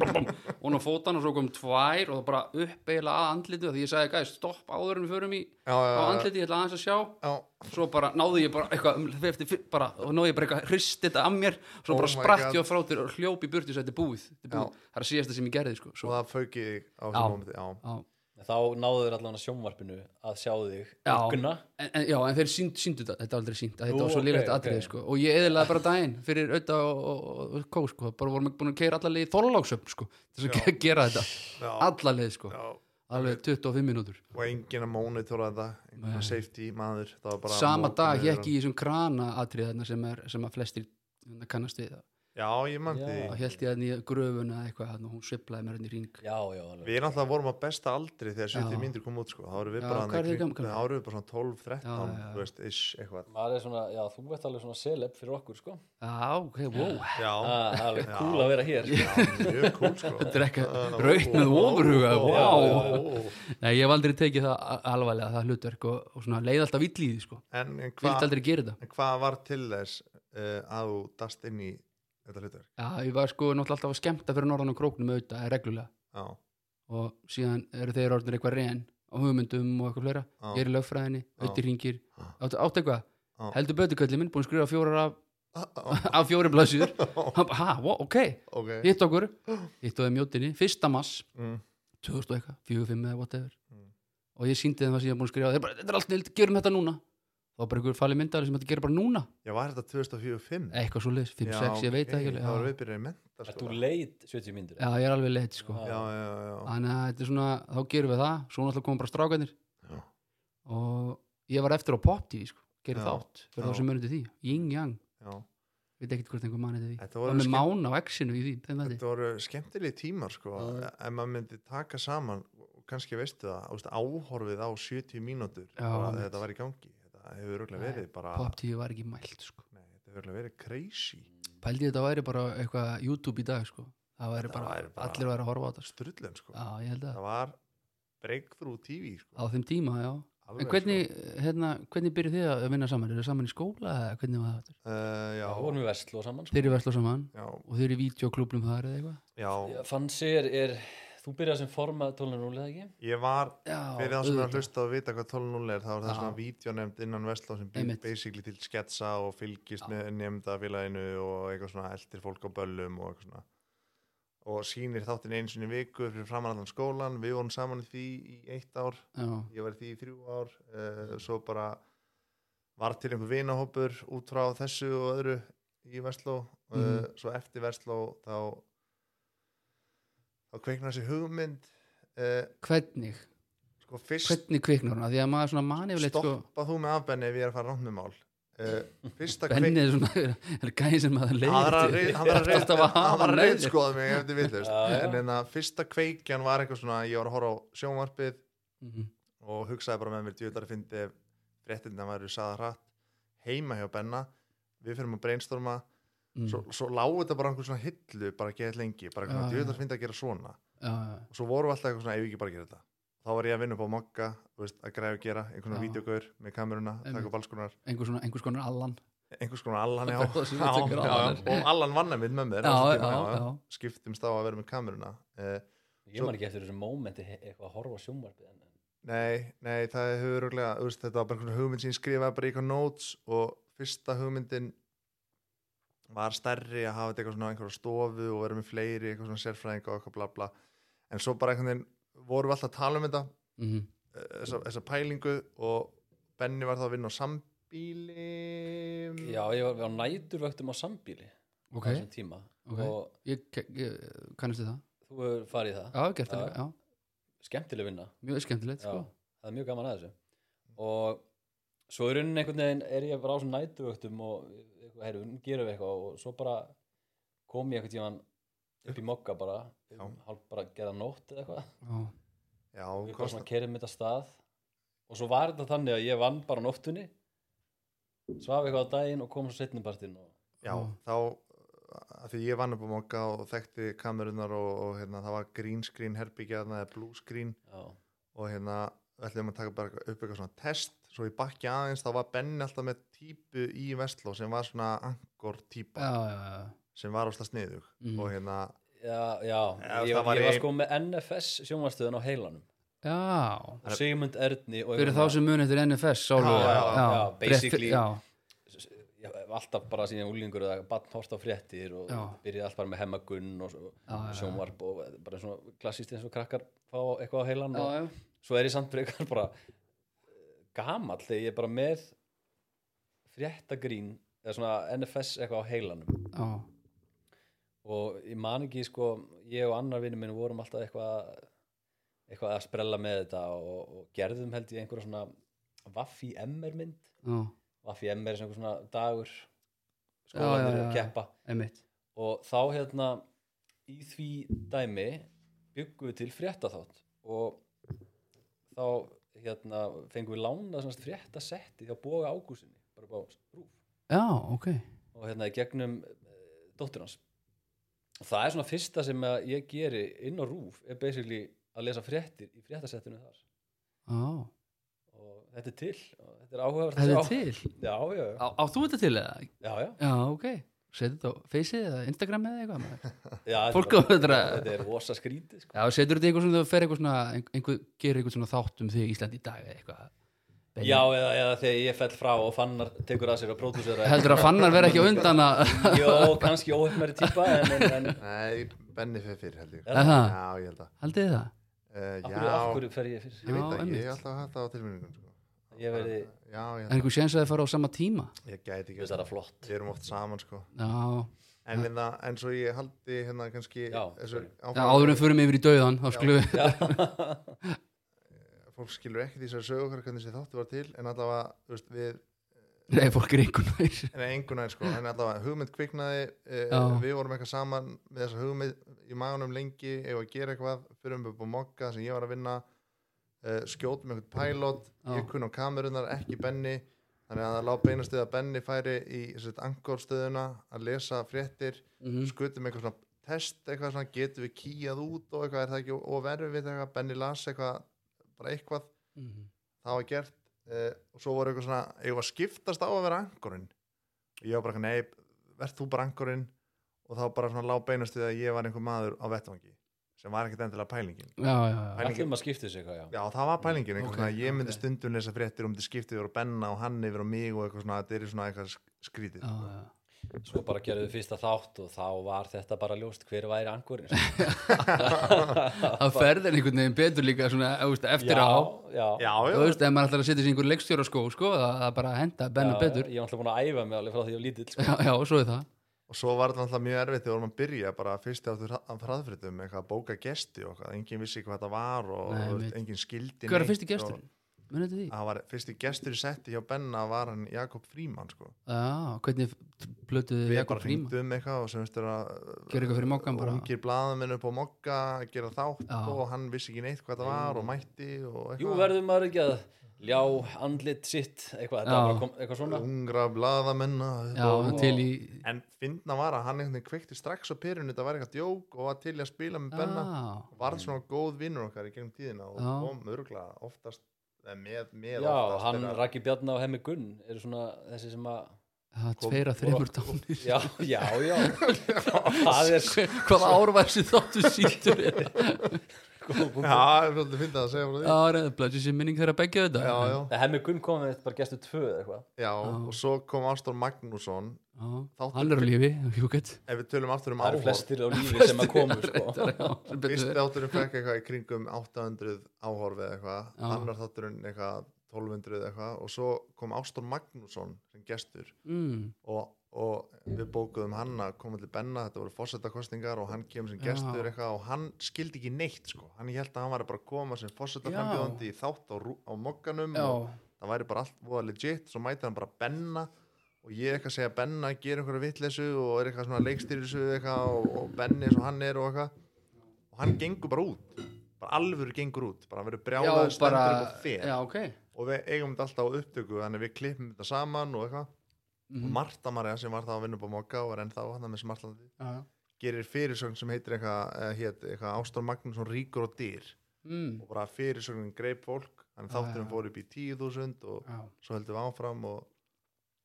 Speaker 1: og nú fótan og svo kom tvær og það bara upp eiginlega að andlitið og því ég sagði gæði stopp áður en við förum í
Speaker 2: já, já,
Speaker 1: á
Speaker 2: já,
Speaker 1: andlitið, ég ætla aðeins að sjá
Speaker 2: já,
Speaker 1: svo bara náði ég bara eitthvað um- eftir, fi- bara, og náði ég bara eitthvað hrist þetta af mér svo
Speaker 2: Oh
Speaker 1: bara
Speaker 2: my
Speaker 1: spratt
Speaker 2: God.
Speaker 1: ég á frá þér og hljóp í burti svo þetta er búið, þetta er búið.
Speaker 2: Já.
Speaker 1: það er síðasta sem ég gerði sko.
Speaker 2: og
Speaker 1: svo,
Speaker 2: það fauk í þig á
Speaker 1: Já.
Speaker 2: þessum mómenti, já
Speaker 1: á,
Speaker 3: sko. þá náðu þér allan að sjónvarpinu að sjá þig
Speaker 1: Já.
Speaker 3: ugna
Speaker 1: en, en, já, en þeir sínd, síndu þetta, þetta er aldrei sínd þetta
Speaker 3: Nú,
Speaker 1: var svo
Speaker 3: ok,
Speaker 1: lýrætt okay,
Speaker 3: ok.
Speaker 1: sko. og ég eðilaði bara daginn fyrir auðvitað og, og, og, og kó sko. bara vorum ekki búin að keira alla leið þorláksöfn sko, til þess að gera þetta
Speaker 2: Já.
Speaker 1: alla leið sko,
Speaker 2: já,
Speaker 1: alveg 25 mínútur
Speaker 2: og enginn að mónitora þetta enginn safety maður það var bara
Speaker 1: sama
Speaker 2: mótor
Speaker 1: dag
Speaker 2: yfir
Speaker 1: ég ekki í þessum krana atriðarna sem, er, sem að flestir hérna, kannast við það
Speaker 2: hann. já ég mann
Speaker 3: Já.
Speaker 2: því
Speaker 1: þá held ég að nýja gröfuna eitthvað þarna og hún sveiflaði mér henni í ring
Speaker 3: já, já, alveg
Speaker 2: við náttúrulega vorum á besta aldri þegar 70
Speaker 1: Já.
Speaker 2: myndir kom út sko þá vorum við
Speaker 1: Já,
Speaker 2: bara
Speaker 1: hvað
Speaker 2: hann
Speaker 1: eru þið gamlir?
Speaker 2: þá vorum við bara svona 12, 13
Speaker 1: Já, já, já.
Speaker 2: þú veist ish eitthvað
Speaker 3: maður er svona, já, þú veit alveg svona celeb fyrir okkur sko
Speaker 1: Já, ok, wow
Speaker 3: Ah,
Speaker 2: já
Speaker 3: það er alveg
Speaker 2: Já.
Speaker 3: cool að vera hér sko.
Speaker 2: já mjög cool sko
Speaker 1: Þetta er eitthvað raun með ofurhuga
Speaker 3: Já,
Speaker 1: wow. Nei, ég hef aldrei tekið það a- alvarlega það hlutverk og, og svona leið alltaf vill í því sko.
Speaker 2: en, en
Speaker 1: Vildi
Speaker 2: hvað
Speaker 1: aldrei gera þetta
Speaker 2: hva var til þess uh, að þú dast inn í þetta hlutur
Speaker 1: Já, ég var sko náttúrulega alltaf að skemmta fyrir norðan og króknum auðvitað, reglulega
Speaker 2: já
Speaker 1: og síðan eru þeir orðinir eitthvað reyn á hugmyndum og eitthvað fleira
Speaker 2: Já.
Speaker 1: Ég er í lögfræðinni, auðvitað hringir
Speaker 2: Já.
Speaker 1: Áttu átt eitthvað?
Speaker 2: Já.
Speaker 1: Heldur bötukallið minn, búin að skrifa fjórar af,
Speaker 2: Ah, ah,
Speaker 1: af fjóri blaðsýður
Speaker 2: ah,
Speaker 1: Ha, wow, ok,
Speaker 2: ok
Speaker 1: hitt okkur hitt á þeim mjótinni, fyrsta mass
Speaker 2: Mm.
Speaker 1: 2000 og eitthvað, 45 eða whatever
Speaker 2: Mm.
Speaker 1: og ég síndi þeim það sem ég var búin að skrifa þeir bara, þetta er allt neild, gerum þetta núna þá var bara einhver falið myndar sem þetta gerir bara núna
Speaker 2: já var þetta 2045
Speaker 1: eitthvað svo leis, 5-6, ég veit það ekki
Speaker 2: þá vorum
Speaker 1: alveg.
Speaker 2: við byrjaði í menta
Speaker 3: Ert þú leit 70 myndir?
Speaker 1: já, já, ég er alveg leitt sko
Speaker 2: já já já
Speaker 1: þannig að þetta er svona, þá gerum við það svo náttúrulega komum bara strákanir
Speaker 2: Já.
Speaker 1: og ég var eftir á pop-tv sko, gerir
Speaker 2: Já.
Speaker 1: þátt, fyrir
Speaker 2: Já.
Speaker 1: þá sem munið því yin-yang,
Speaker 2: já
Speaker 1: veit ekki hvort einhver manið því
Speaker 2: Þetta
Speaker 1: og
Speaker 2: voru,
Speaker 1: með
Speaker 2: skemmt,
Speaker 1: mána á exinu í því, þeim þetta
Speaker 2: þetta voru skemmtilegi tímar sko, ef maður myndi taka saman og kannski veistu það, þú veist, áhorfið á 70 mínútur
Speaker 1: Já,
Speaker 2: bara
Speaker 1: einmitt.
Speaker 2: þegar þetta var í gangi þetta hefur örgulega verið bara
Speaker 1: pop-tv var ekki mælt sko
Speaker 2: nei, þetta hefur örgulega verið crazy
Speaker 1: pældi þetta væri bara eitthvað YouTube í dag sko. það væri
Speaker 2: Þetta
Speaker 1: bara,
Speaker 2: væri bara-
Speaker 1: allir væri að horfa á þetta sko.
Speaker 2: strullun sko,
Speaker 1: já, ég held að,
Speaker 2: það var breakthrough TV
Speaker 1: á
Speaker 2: sko,
Speaker 1: þeim tíma já.
Speaker 2: alveg, sko.
Speaker 1: en hvernig, hérna, hvernig byrjuð þið að vinna saman, eru þið saman í skóla eða hvernig var það,
Speaker 2: sko. Uh, já,
Speaker 3: Já, vorum við verslu og saman sko.
Speaker 1: þeir eru versla saman
Speaker 2: já,
Speaker 1: og þeir eru í videoklubnum þar eða eitthvað
Speaker 2: já,
Speaker 3: Já, Fancy er, er Þú byrjar sem formað tólunarúlið ekki?
Speaker 2: Ég var,
Speaker 1: Já,
Speaker 2: fyrir það sem er að
Speaker 1: auðvitað.
Speaker 2: hlusta og vita hvað 12.0 er, þá er það
Speaker 1: Já.
Speaker 2: svona vídeonemnd innan Vestlá sem býr
Speaker 1: Einmitt.
Speaker 2: basically til sketsa og fylgist með nefndafélaginu og eitthvað svona eldir fólk á böllum og eitthvað svona og sýnir þáttinn einu sinni í viku fyrir framanallan skólan, við vorum saman í því í eitt ár,
Speaker 1: Já,
Speaker 2: ég var í því í þrjú ár uh, svo bara var til einhver vinahópur út frá þessu og öðru í Vestló uh,
Speaker 1: Mhm.
Speaker 2: svo eftir Vestló þá þá kveikna þessi hugmynd uh,
Speaker 1: hvernig,
Speaker 2: sko fyrst
Speaker 1: hvernig kviknar hún Af því að maður svona mani yfirleitt sko,
Speaker 2: stoppa þú með afbenni ef ég er að fara rátt með mál uh, fyrsta kveik
Speaker 1: bennið sko, er svona er gæði sem maður leiðir
Speaker 2: hann var að reyð- hann var að reyð- hann var að
Speaker 1: reyð
Speaker 2: reyðskoða mig sko, ef þið vitlaust.
Speaker 3: Já, já.
Speaker 2: en en að fyrsta kveikjan var eitthvað svona ég var að horfa á sjónvarpið
Speaker 1: Mhm,
Speaker 2: og hugsaði bara með mér djúðlar að fyndi ef fréttindan væri saða hratt heima hjá Benna við fyrir að brainstorma
Speaker 1: mhm.
Speaker 2: svo, svo lágu þetta bara á einhver svona hillu bara að gera lengi, bara
Speaker 1: Mm. Já,
Speaker 2: að
Speaker 1: já.
Speaker 2: djúðlar að fyndi að gera svona
Speaker 1: já,
Speaker 2: og svo vorum við alltaf eitthvað svona, ef við ekki bara að gera þetta þá var ég að vinna upp á mokka, þú veist, að græða að gera einhvern
Speaker 1: Já.
Speaker 2: veginn vídeogaur með kameruna, taka
Speaker 1: Einmitt.
Speaker 2: upp alls konar
Speaker 1: einhver svona, einhvers konar allan
Speaker 2: einhvers konar Allan já,
Speaker 1: Það er
Speaker 2: já,
Speaker 1: svona
Speaker 2: já,
Speaker 1: einhver Allan.
Speaker 2: já. og Allan vann að minn með
Speaker 1: Já,
Speaker 2: mér á þessum
Speaker 1: já,
Speaker 2: tíma,
Speaker 1: já.
Speaker 2: skiptumst á að vera með kameruna eh,
Speaker 3: Ég man ekki eftir þessu mómenti he- eitthvað að horfa á sjónvarpið en en-
Speaker 2: Nei, nei, það hefur rúglega, veist, þetta var bara einhvern hugmynd sem ég skrifaði bara í eitthvað notes og fyrsta hugmyndin var stærri að hafa þetta eitthvað svona á einhverja stofu og vera með fleiri, eitthvað svona sérfræðing og eitthvað bla bla, en svo bara einhvern veginn vorum við alltaf að tala um þetta
Speaker 1: Mhm.
Speaker 2: eh, þessa, þessa pælingu og Benni var þá að vinna á sambíli
Speaker 3: Já, ég var, var á næturvöktum á sambíli
Speaker 1: Mm. ok,
Speaker 3: á þessum tíma
Speaker 1: ok
Speaker 3: og
Speaker 1: ég, ke- ég kannastu það
Speaker 3: þú hefur farið í það
Speaker 1: já, ég hef gert það
Speaker 3: Já.
Speaker 1: líka, já,
Speaker 3: skemmtileg vinna
Speaker 1: mjög skemmtilegt
Speaker 3: Já,
Speaker 1: sko.
Speaker 3: það er mjög gaman að þessu og svo í rauninni einhvern veginn er ég bara á svona nætuvöktum og eitthvað, heyrðu, nú gerum við eitthvað og svo bara kom ég einhvern tíman upp í mokka bara um, hálf bara að gera nótt eða eitthvað
Speaker 1: já,
Speaker 2: Já,
Speaker 3: og ég bara
Speaker 2: kosta,
Speaker 3: svona kerið mitt að stað og svo var þetta þannig að ég vann bara á nóttunni svaf eitthvað á daginn og kom svo setnipartinn og
Speaker 2: já
Speaker 3: Mm.
Speaker 2: þá að því ég vann upp á mokka og þekkti kamerunar og, og hérna, það var green screen herbyggja þarna eða blue screen
Speaker 3: já,
Speaker 2: og hérna við ætlum að taka bara upp eitthvað svona test svo ég bakki aðeins, þá var Benni alltaf með típu í Vestló sem var svona angor típa
Speaker 1: já, já, já.
Speaker 2: sem var ósla sniðug
Speaker 3: Mm.
Speaker 1: Mhm.
Speaker 2: og hérna,
Speaker 3: já, já
Speaker 2: Já,
Speaker 3: ég,
Speaker 2: það var
Speaker 3: ég var
Speaker 2: ein-
Speaker 3: sko með NFS sjónvarstöðun á heilanum
Speaker 1: já.
Speaker 3: og Sigmund Erni og hérna,
Speaker 1: fyrir þá sem mun eftir NFS sálu,
Speaker 2: Já, já,
Speaker 3: já, basically.
Speaker 1: já,
Speaker 3: ég hef alltaf bara síðan úlingur eða bann hort á fréttir og
Speaker 1: Já.
Speaker 3: byrjaði allt bara með hemmagunn og svo-
Speaker 1: Já, já, já.
Speaker 3: sjónvarp og eh, bara svona klassist eins og krakkar fá eitthvað á heilan
Speaker 1: já,
Speaker 3: og
Speaker 1: já.
Speaker 3: svo er ég samt frekar bara eh, gamall þegar ég er bara með fréttagrín eða svona NFS eitthvað á heilanum
Speaker 1: já.
Speaker 3: og ég man ekki sko ég og annar vinnu minn vorum alltaf eitthvað eitthvað að sprella með þetta og, og gerðum held ég einhverja svona Vaffi MR mynd
Speaker 1: já.
Speaker 3: Vaffi MR er svona einhver svona dagur
Speaker 1: Já, já,
Speaker 3: skólanir
Speaker 1: já,
Speaker 3: og
Speaker 1: já.
Speaker 3: keppa
Speaker 1: einmitt
Speaker 3: og þá hérna í því dæmi byggum við til fréttaþátt og þá hérna fengum við lánað svona fréttasetti hjá Boga Ágúsinni bara bá rúf
Speaker 1: já, ok,
Speaker 3: og hérna í gegnum uh, dóttur hans og það er svona fyrsta sem að ég geri inn á rúf er basically að lesa fréttir í fréttasettinu þar
Speaker 1: já,
Speaker 3: og þetta er til og þetta er áhugavert að
Speaker 1: þetta er
Speaker 3: sjá.
Speaker 1: til
Speaker 3: já, já, já,
Speaker 1: á, á þú þetta til eða?
Speaker 3: já, já,
Speaker 1: já, ok, setur þetta á Faceit eða Instagram eða eitthvað maður.
Speaker 3: já þetta er
Speaker 1: Fólk
Speaker 3: bara-
Speaker 1: á þetta-
Speaker 3: þetta er rosa skrítið sko.
Speaker 1: Já, setur þetta eitthvað svona, þú fer eitthvað svona einhver, einhver, gerir eitthvað svona þátt um þig í Íslandi í dag eða eitthvað Benni.
Speaker 3: já, eða, eða þegar ég fell frá og fannar tekur að sér að pródúsera
Speaker 1: Heldur að fannar vera ekki á undan að
Speaker 3: Jó, kannski óhefnari típa en, en, en
Speaker 2: nei, Benni fyrir fyrir held ég
Speaker 3: Er
Speaker 1: Eða það?
Speaker 2: já, ég held að
Speaker 1: Haldið þið það?
Speaker 2: uh,
Speaker 3: af
Speaker 2: já,
Speaker 3: hverju, af hverju fer ég
Speaker 2: ég
Speaker 3: fyrst?
Speaker 2: veit
Speaker 1: Já,
Speaker 2: að ég
Speaker 1: einmitt.
Speaker 2: er alltaf að hafa það á tilmyndingum sko.
Speaker 3: Ég verði,
Speaker 2: já, ég,
Speaker 1: Er
Speaker 2: held
Speaker 1: einhver séns að þið fara á sama tíma?
Speaker 2: að- ég gæti
Speaker 3: ég
Speaker 2: ekki
Speaker 3: veist það er flott
Speaker 2: við erum oft saman sko
Speaker 1: Já, já
Speaker 2: en, hérna, en svo ég haldi hérna kannski
Speaker 3: Já,
Speaker 2: þessu,
Speaker 1: áður en förum yfir í dauðan þá skulum við
Speaker 2: fólk skilur ekki því sem sögur okkar hvernig þessi þáttu var til en allavega, þú veist, við
Speaker 1: Nei, fólk er einhvern veginn
Speaker 2: En engunar sko, en allavega hugmynd kviknaði, uh,
Speaker 1: Já.
Speaker 2: við vorum eitthvað saman með þessa hugmynd í maganum lengi ef að gera eitthvað, fyrir um upp á mokka sem ég var að vinna, uh, skjót með eitthvað pælót,
Speaker 1: Já.
Speaker 2: ég kunn á kamerunar, ekki Benni, þannig að það lá beinastuð að Benni færi í angorstöðuna að lesa fréttir,
Speaker 1: Mhm.
Speaker 2: skutum eitthvað svona test, eitthvað svona getum við kýjað út og eitthvað, er það ekki overfið eitthvað, Benni las eitthvað, bara eitthvað,
Speaker 1: Mhm.
Speaker 2: það var gert uh, og svo voru eitthvað svona, ég var skiptast á að vera angurinn og ég var bara, nei, verð þú bara angurinn og þá bara svona lá beinast við að ég var einhver maður á vettvangi sem var ekkert endilega pælingin
Speaker 1: já, já, já,
Speaker 2: Pælingi-
Speaker 3: Ætlum að skipta þessu eitthvað, já.
Speaker 2: já, það var pælingin, einhvern
Speaker 1: Ok,
Speaker 2: veginn að ég
Speaker 1: ok.
Speaker 2: myndi stundum lesa fréttir um þetta skiptið yfir og benna og hann yfir og mig og eitthvað svona, þetta er svona eitthvað sk- skrítið
Speaker 1: já,
Speaker 2: sko.
Speaker 1: já.
Speaker 3: Svo bara gerðum við fyrsta þátt og þá var þetta bara ljóst hver væri angurinn. sko.
Speaker 1: það ferðin einhvern veginn betur líka svona, þú veist, eftir á
Speaker 3: Já, já.
Speaker 2: já,
Speaker 1: þú
Speaker 2: já,
Speaker 1: veist, ef maður ætlar að setja sér einhver leikstjóra skó sko, það, það bara henda bennu
Speaker 3: Já,
Speaker 1: betur
Speaker 3: Ég var alltaf búin að æfa mig alveg frá því ég var lítill, sko.
Speaker 1: já, já, svo er það
Speaker 2: og svo var þetta alltaf mjög erfitt þegar maður byrja bara fyrst áttur hraðfréttum eitthvað að bóka gesti og eitthvað, enginn vissi hvað þetta var og
Speaker 1: Nei,
Speaker 2: þú
Speaker 1: mitt.
Speaker 2: veist, enginn skildi
Speaker 1: hver er
Speaker 2: neitt
Speaker 1: fyrsti gestur?
Speaker 2: og,
Speaker 1: munið þetta því?
Speaker 2: að var, fyrsti gestur í setti hjá Benna var hann Jakob Fríman sko.
Speaker 1: já, hvernig plötuðu
Speaker 2: við
Speaker 1: Jakob
Speaker 2: bara
Speaker 1: Fríma?
Speaker 2: hringdum eitthvað og sem veist er að
Speaker 1: Gera eitthvað fyrir Moggann bara.
Speaker 2: ungir blaðamenn upp á mokka gera þátt
Speaker 1: Já.
Speaker 2: og hann vissi ekki neitt hvað það var og mætti og
Speaker 3: Jú,
Speaker 2: eitthvað
Speaker 3: verðum maður ekki að ljá andlit sitt, eitthvað,
Speaker 1: Já.
Speaker 3: þetta var bara kom, eitthvað svona.
Speaker 2: ungra blaðamenn og-
Speaker 1: já,
Speaker 2: og-
Speaker 1: til í
Speaker 2: en finna var að hann einhvern veginn kveikti strax á pyrun þetta var eitthvað djók og var til í að spila með Benna
Speaker 1: já,
Speaker 2: varð svona góð vinnur okkar í gegnum tíðina og
Speaker 1: Mm. Já.
Speaker 2: kom örgulega oftast eða með, með
Speaker 3: Já,
Speaker 2: oftast
Speaker 3: hann
Speaker 2: þegar-
Speaker 3: Raki Bjarnar og Hemmi Gunn eru svona þessi sem að
Speaker 1: það
Speaker 2: Kom-
Speaker 1: tveira þreymur dánir
Speaker 3: Já, já, já Það er
Speaker 1: Hver- hvaða árvæðsir þáttu sýttur
Speaker 3: sko
Speaker 2: Já, það er svolítið fyndið að segja frá því
Speaker 1: það er blöðsins í minning þeirra begja þetta
Speaker 2: Já, já,
Speaker 3: Hemmi Gunn kom með þetta bara gestu tvö eða eitthvað
Speaker 2: já, og svo kom Ástór Magnússon
Speaker 1: Já,
Speaker 2: Þáttur-
Speaker 1: hann er á lífi, Hjúkett
Speaker 2: ef við tölum aftur um
Speaker 3: Það eru
Speaker 2: áhorf
Speaker 3: flestir á lífi sem að komu sko.
Speaker 2: fyrsti
Speaker 1: já,
Speaker 2: þátturinn fekk eitthvað í kringum 800 áhorfið eitthvað
Speaker 1: Já.
Speaker 2: annar þátturinn eitthvað 1200 eitthvað og svo kom Ástór Magnússon sem gestur
Speaker 1: mm,
Speaker 2: og, og við bókuðum hann að koma til Benna, þetta voru fórsetakostningar og hann kemur sem
Speaker 1: Já.
Speaker 2: gestur eitthvað og hann skildi ekki neitt sko, hann held að hann var að bara koma sem fórsetaframbjóðandi í þátt á, rú- á mokkanum
Speaker 1: já,
Speaker 2: og það væri bara allt voða legit, svo mæti hann bara Benna og ég eitthvað segja Benna gera einhverja vitleysu og er eitthvað svona leikstýrisu eitthvað og, og Benni eins og hann er og eitthvað og hann gengur bara út bara alvöru gengur út, bara hann verður
Speaker 1: já
Speaker 2: brjálaður stendur
Speaker 1: bara
Speaker 2: upp og fer
Speaker 1: já, ok
Speaker 2: og við eigum þetta alltaf á upptöku þannig við klippum þetta saman og eitthvað og
Speaker 1: Mhm.
Speaker 2: Marta Marja sem var þá að vinna upp á Mokka og er ennþá hann með smartlandi
Speaker 1: Já, já.
Speaker 2: gerir fyrirsögn sem heitir eitthvað, eh, hét, eitthvað Ástór Magnússon ríkur og dýr
Speaker 1: Mm,
Speaker 2: og bara fyrirsögnin greip fólk
Speaker 1: Já,
Speaker 2: þannig
Speaker 1: já, Ah,
Speaker 2: þátturum
Speaker 1: já.
Speaker 2: fór upp í 10.000 og
Speaker 1: já.
Speaker 2: svo heldum við áfram og,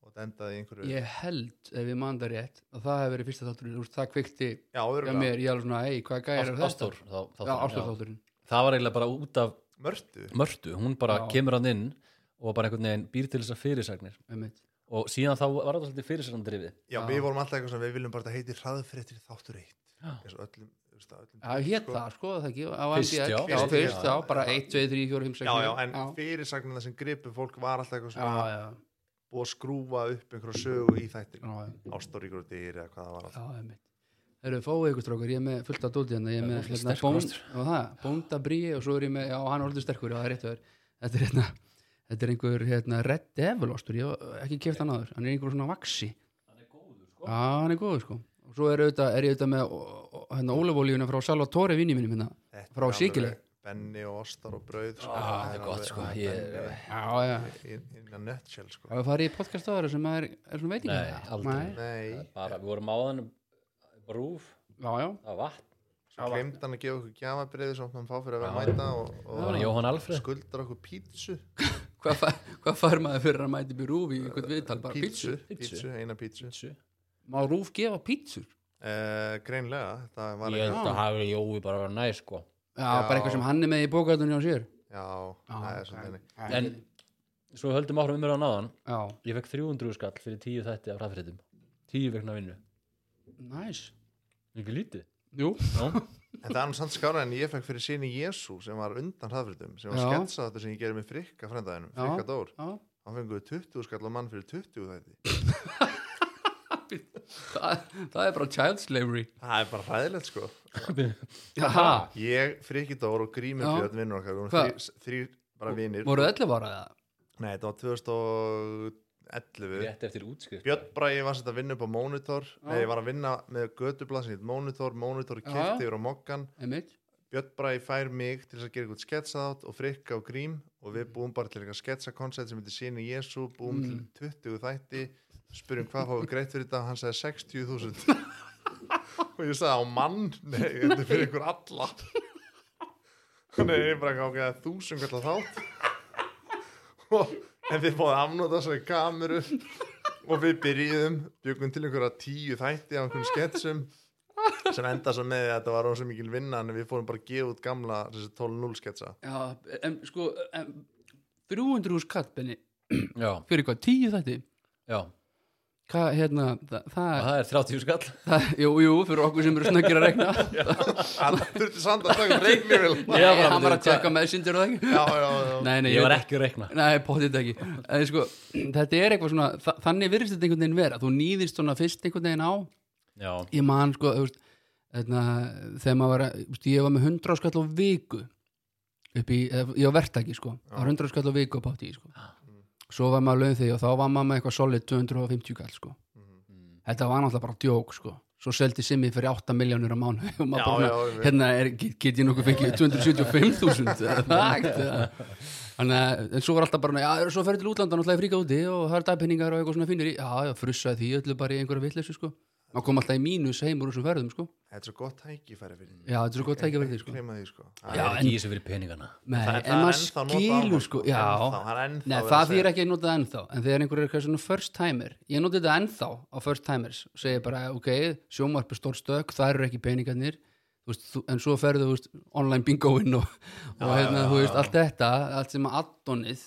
Speaker 2: og þetta endaði í einhverju
Speaker 1: ég held ef ég man það rétt að það hefur verið fyrsta þátturinn úr það kveikti
Speaker 2: já,
Speaker 1: hjá
Speaker 2: örugglega,
Speaker 1: mér, ég alveg svona, ei, hvað gæri er þetta?
Speaker 3: Ástór þá- þá-
Speaker 1: já, ástór
Speaker 3: já.
Speaker 1: þátturinn
Speaker 3: Það var eiginlega bara út af
Speaker 2: mörtu
Speaker 3: mörtu Hún bara
Speaker 1: Já.
Speaker 3: kemur hann inn og bara einhvern veginn býr til þessar fyrirsagnir
Speaker 1: einmitt.
Speaker 3: og síðan þá var þetta svolítið fyrirsagnandrifið
Speaker 2: já,
Speaker 1: Já.
Speaker 2: við vorum alltaf eitthvað sem við viljum bara að þetta heiti hraðfréttir þáttur eitt
Speaker 3: Já.
Speaker 2: eins og öllum, þú veist, að öllum
Speaker 1: Já, hétt það, sko, það ekki á
Speaker 3: Fyrst,
Speaker 1: MDL.
Speaker 3: já.
Speaker 1: já,
Speaker 2: Fyrst,
Speaker 1: fyrst,
Speaker 2: já.
Speaker 1: já, bara 1, 2, 3, 4, 5, 6
Speaker 2: já, já, en fyrirsögnina sem gripu fólk var alltaf
Speaker 1: já,
Speaker 2: eitthvað svona
Speaker 1: já,
Speaker 2: búið að skrúfa upp einhverju sögu í þættir
Speaker 1: já, já.
Speaker 2: Ástór ríkur og dýr eða hvað það var alltaf
Speaker 1: Já, einmitt. Herru, fáið ykkur strókar, ég er með fullt af dóti hérna, ég er
Speaker 3: Já,
Speaker 1: með
Speaker 3: fólk er
Speaker 1: hérna,
Speaker 3: sterkur
Speaker 1: bónd,
Speaker 3: kostur.
Speaker 1: og það, bóndabríi og svo er ég með, já, hann er orðið sterkur, já, það er rétt verið. Þetta er hérna, þetta er einhver hérna Red Devil ostur, ég hef ekki keft hann aður, hann er einhver svona vaksi. Já, hann er góður, sko. Og svo er, auðvitað, er ég auðvitað með ó- ó- hérna ólefólíuna frá Salvatore vinni mínum hérna.
Speaker 2: Þetta
Speaker 1: Frá
Speaker 2: er alveg
Speaker 1: Sikiley.
Speaker 2: Benni og Ostar og Brauð sko.
Speaker 3: Ah, þetta er gott, sko. Ég-
Speaker 1: Já, já.
Speaker 2: In a nutshell sko.
Speaker 1: Það er farið í podcast aðra sem er, er svona veitingar.
Speaker 3: Nei, aldrei.
Speaker 1: Nei.
Speaker 2: Nei,
Speaker 3: bara, Við vorum á þann rúf,
Speaker 1: Já, já.
Speaker 3: það var vatn
Speaker 2: svo glemd hann að gefa okkur gjafabriði sem hann fá fyrir að vera að mæta og,
Speaker 3: Það var
Speaker 2: og
Speaker 3: Jóhann Alfred
Speaker 2: skuldar okkur pítsu
Speaker 1: Hvað, fær- hvað fær maður fyrir að mæti byrju rúfi í einhvern viðtal, bara pítsu?
Speaker 3: Pítsu.
Speaker 2: pítsu, eina pítsu
Speaker 3: Pítsu.
Speaker 1: Má rúf gefa pítsur?
Speaker 2: uh, Greinlega, þetta var
Speaker 3: Ég
Speaker 2: ekki
Speaker 3: held að hafi Jói bara verið næ sko.
Speaker 1: Já,
Speaker 2: Já.
Speaker 1: bara eitthvað sem hann er með í bókaldunni á sér
Speaker 2: Já, það er svolítið þannig.
Speaker 1: Já,
Speaker 3: En svo höldum áfram umræðan áðan
Speaker 1: já,
Speaker 3: Ég fekk 300 skall fyrir 10 þætti af hraðfréttum 10 vegna vinnu
Speaker 1: næs
Speaker 3: Ekki lítið
Speaker 1: Jú,
Speaker 3: Já,
Speaker 2: En það er nú samt skára en ég fekk fyrir síni Jésu sem var undan hraðfyrirtum sem var
Speaker 1: Já.
Speaker 2: sketsað þetta sem ég gerði með frikka frændaðinum,
Speaker 1: Já.
Speaker 2: frikka dór
Speaker 1: já,
Speaker 2: hann fengur 20 skall á mann fyrir 20 þætti
Speaker 1: það, það er bara child slavery
Speaker 2: Það er bara hræðilegt sko
Speaker 1: Jaha,
Speaker 2: Ég, Friki Dór og Grímur
Speaker 1: Já.
Speaker 2: Björn vinnur okkar, við
Speaker 1: Hva?
Speaker 2: vorum þrý- þrýr bara vinnir
Speaker 1: voru 11 ára eða?
Speaker 2: Nei, þetta var 2011
Speaker 3: rétt eftir útskrift
Speaker 2: Björn Bragi var sett að vinna upp á Monitor Nei, ég var að vinna með Götublað sem heit Monitor Monitor
Speaker 1: Já.
Speaker 2: kipti yfir á Mokkan
Speaker 1: Einmitt,
Speaker 2: Björn Bragi fær mig til þess að gera eitthvað sketsaðátt og Frikka og Grím og við búum bara til eitthvað sketsakoncept sem heitir Sýni Jésu búum til 20 þætti spurjum hvað fáum við greitt fyrir þetta og hann sagði 60.000 og ég sagði á mann nei, þetta er fyrir ykkur alla nei, ég bara gáði að þúsund kalla þátt og, en við fóðum afnóta þessari kameru og við byrjuðum bjögum til einhverja tíu þætti af einhverjum sketsum sem enda svo með því að þetta var rosa mikil vinna en við fórum bara að gefa út gamla þessi 12-0 sketsa
Speaker 1: já, en sko en, 300 hús kattbenni
Speaker 3: já,
Speaker 1: fyrir hvað, 10 þætti
Speaker 3: já,
Speaker 1: hvað, hérna, það,
Speaker 3: og
Speaker 1: það,
Speaker 3: það er 30 skall
Speaker 1: það jú, jú, fyrir okkur sem eru snöggir að regna
Speaker 2: Allt þurfti samt að taka reiknivél
Speaker 3: Já.
Speaker 2: já,
Speaker 1: Nei,
Speaker 3: bara,
Speaker 1: hann var að
Speaker 3: hvað-
Speaker 1: tjekka með sindir og það ekki
Speaker 2: já, já,
Speaker 1: nei, nei,
Speaker 3: ég var ekki að reikna
Speaker 1: Nei, potið ekki en, sko, Þetta er eitthvað svona, þa þannig virðist þetta einhvern veginn vera þú nýðist svona fyrst einhvern veginn á
Speaker 3: já,
Speaker 1: ég man sko þú veist, þeirna, Hérna, þegar maður var að- þú veist, ég var með 100 skall á viku upp í, eða, ég var verktaki sko það var 100 skall á viku upp á tíu sko svo var maður laun því og þá var maður með eitthvað solid 250 kall sko
Speaker 2: Mhm.
Speaker 1: þetta var náttúrulega bara djók sko svo seldi Simmi fyrir 8 miljónir á mánu og maður
Speaker 2: Já,
Speaker 1: bara,
Speaker 2: já,
Speaker 1: svona,
Speaker 2: já.
Speaker 1: hérna er, get, get ég nokkuð fengið 275.000 eða það hægt, eða? þannig að, en svo var alltaf bara, já, svo ferði til útlanda náttúrulega í fríka úti og það er dagpenningar og eitthvað svona finnir í já, já, frussaði því öllu bara í einhverja vitleysu sko maður kom alltaf í mínus heim úr þessum ferðum sko
Speaker 2: Þetta er svo gott tækifæri fyrir
Speaker 1: já, þetta er svo gott tækifæri því sko
Speaker 2: Gleyma því sko
Speaker 3: það er
Speaker 1: en-
Speaker 3: ekki í þessu fyrir peningana
Speaker 1: Nei,
Speaker 2: Það er-
Speaker 1: en
Speaker 2: það er
Speaker 1: maður
Speaker 2: ennþá notað annað,
Speaker 1: skilur sko,
Speaker 2: sko.
Speaker 1: já
Speaker 2: Ennþá, það er ennþá
Speaker 1: Nei,
Speaker 2: verið að
Speaker 1: það þýr
Speaker 2: segja.
Speaker 1: ekki að nota það ennþá en þegar einhver er eitthvað svona first timer ég nota þetta ennþá á first timers segir bara, ok, sjómarp er stórt stök það eru ekki peningarnir þú veist, þú, en svo ferðu, þú veist, online bingoinn og, og hérna, þú veist, allt þetta allt sem að addonið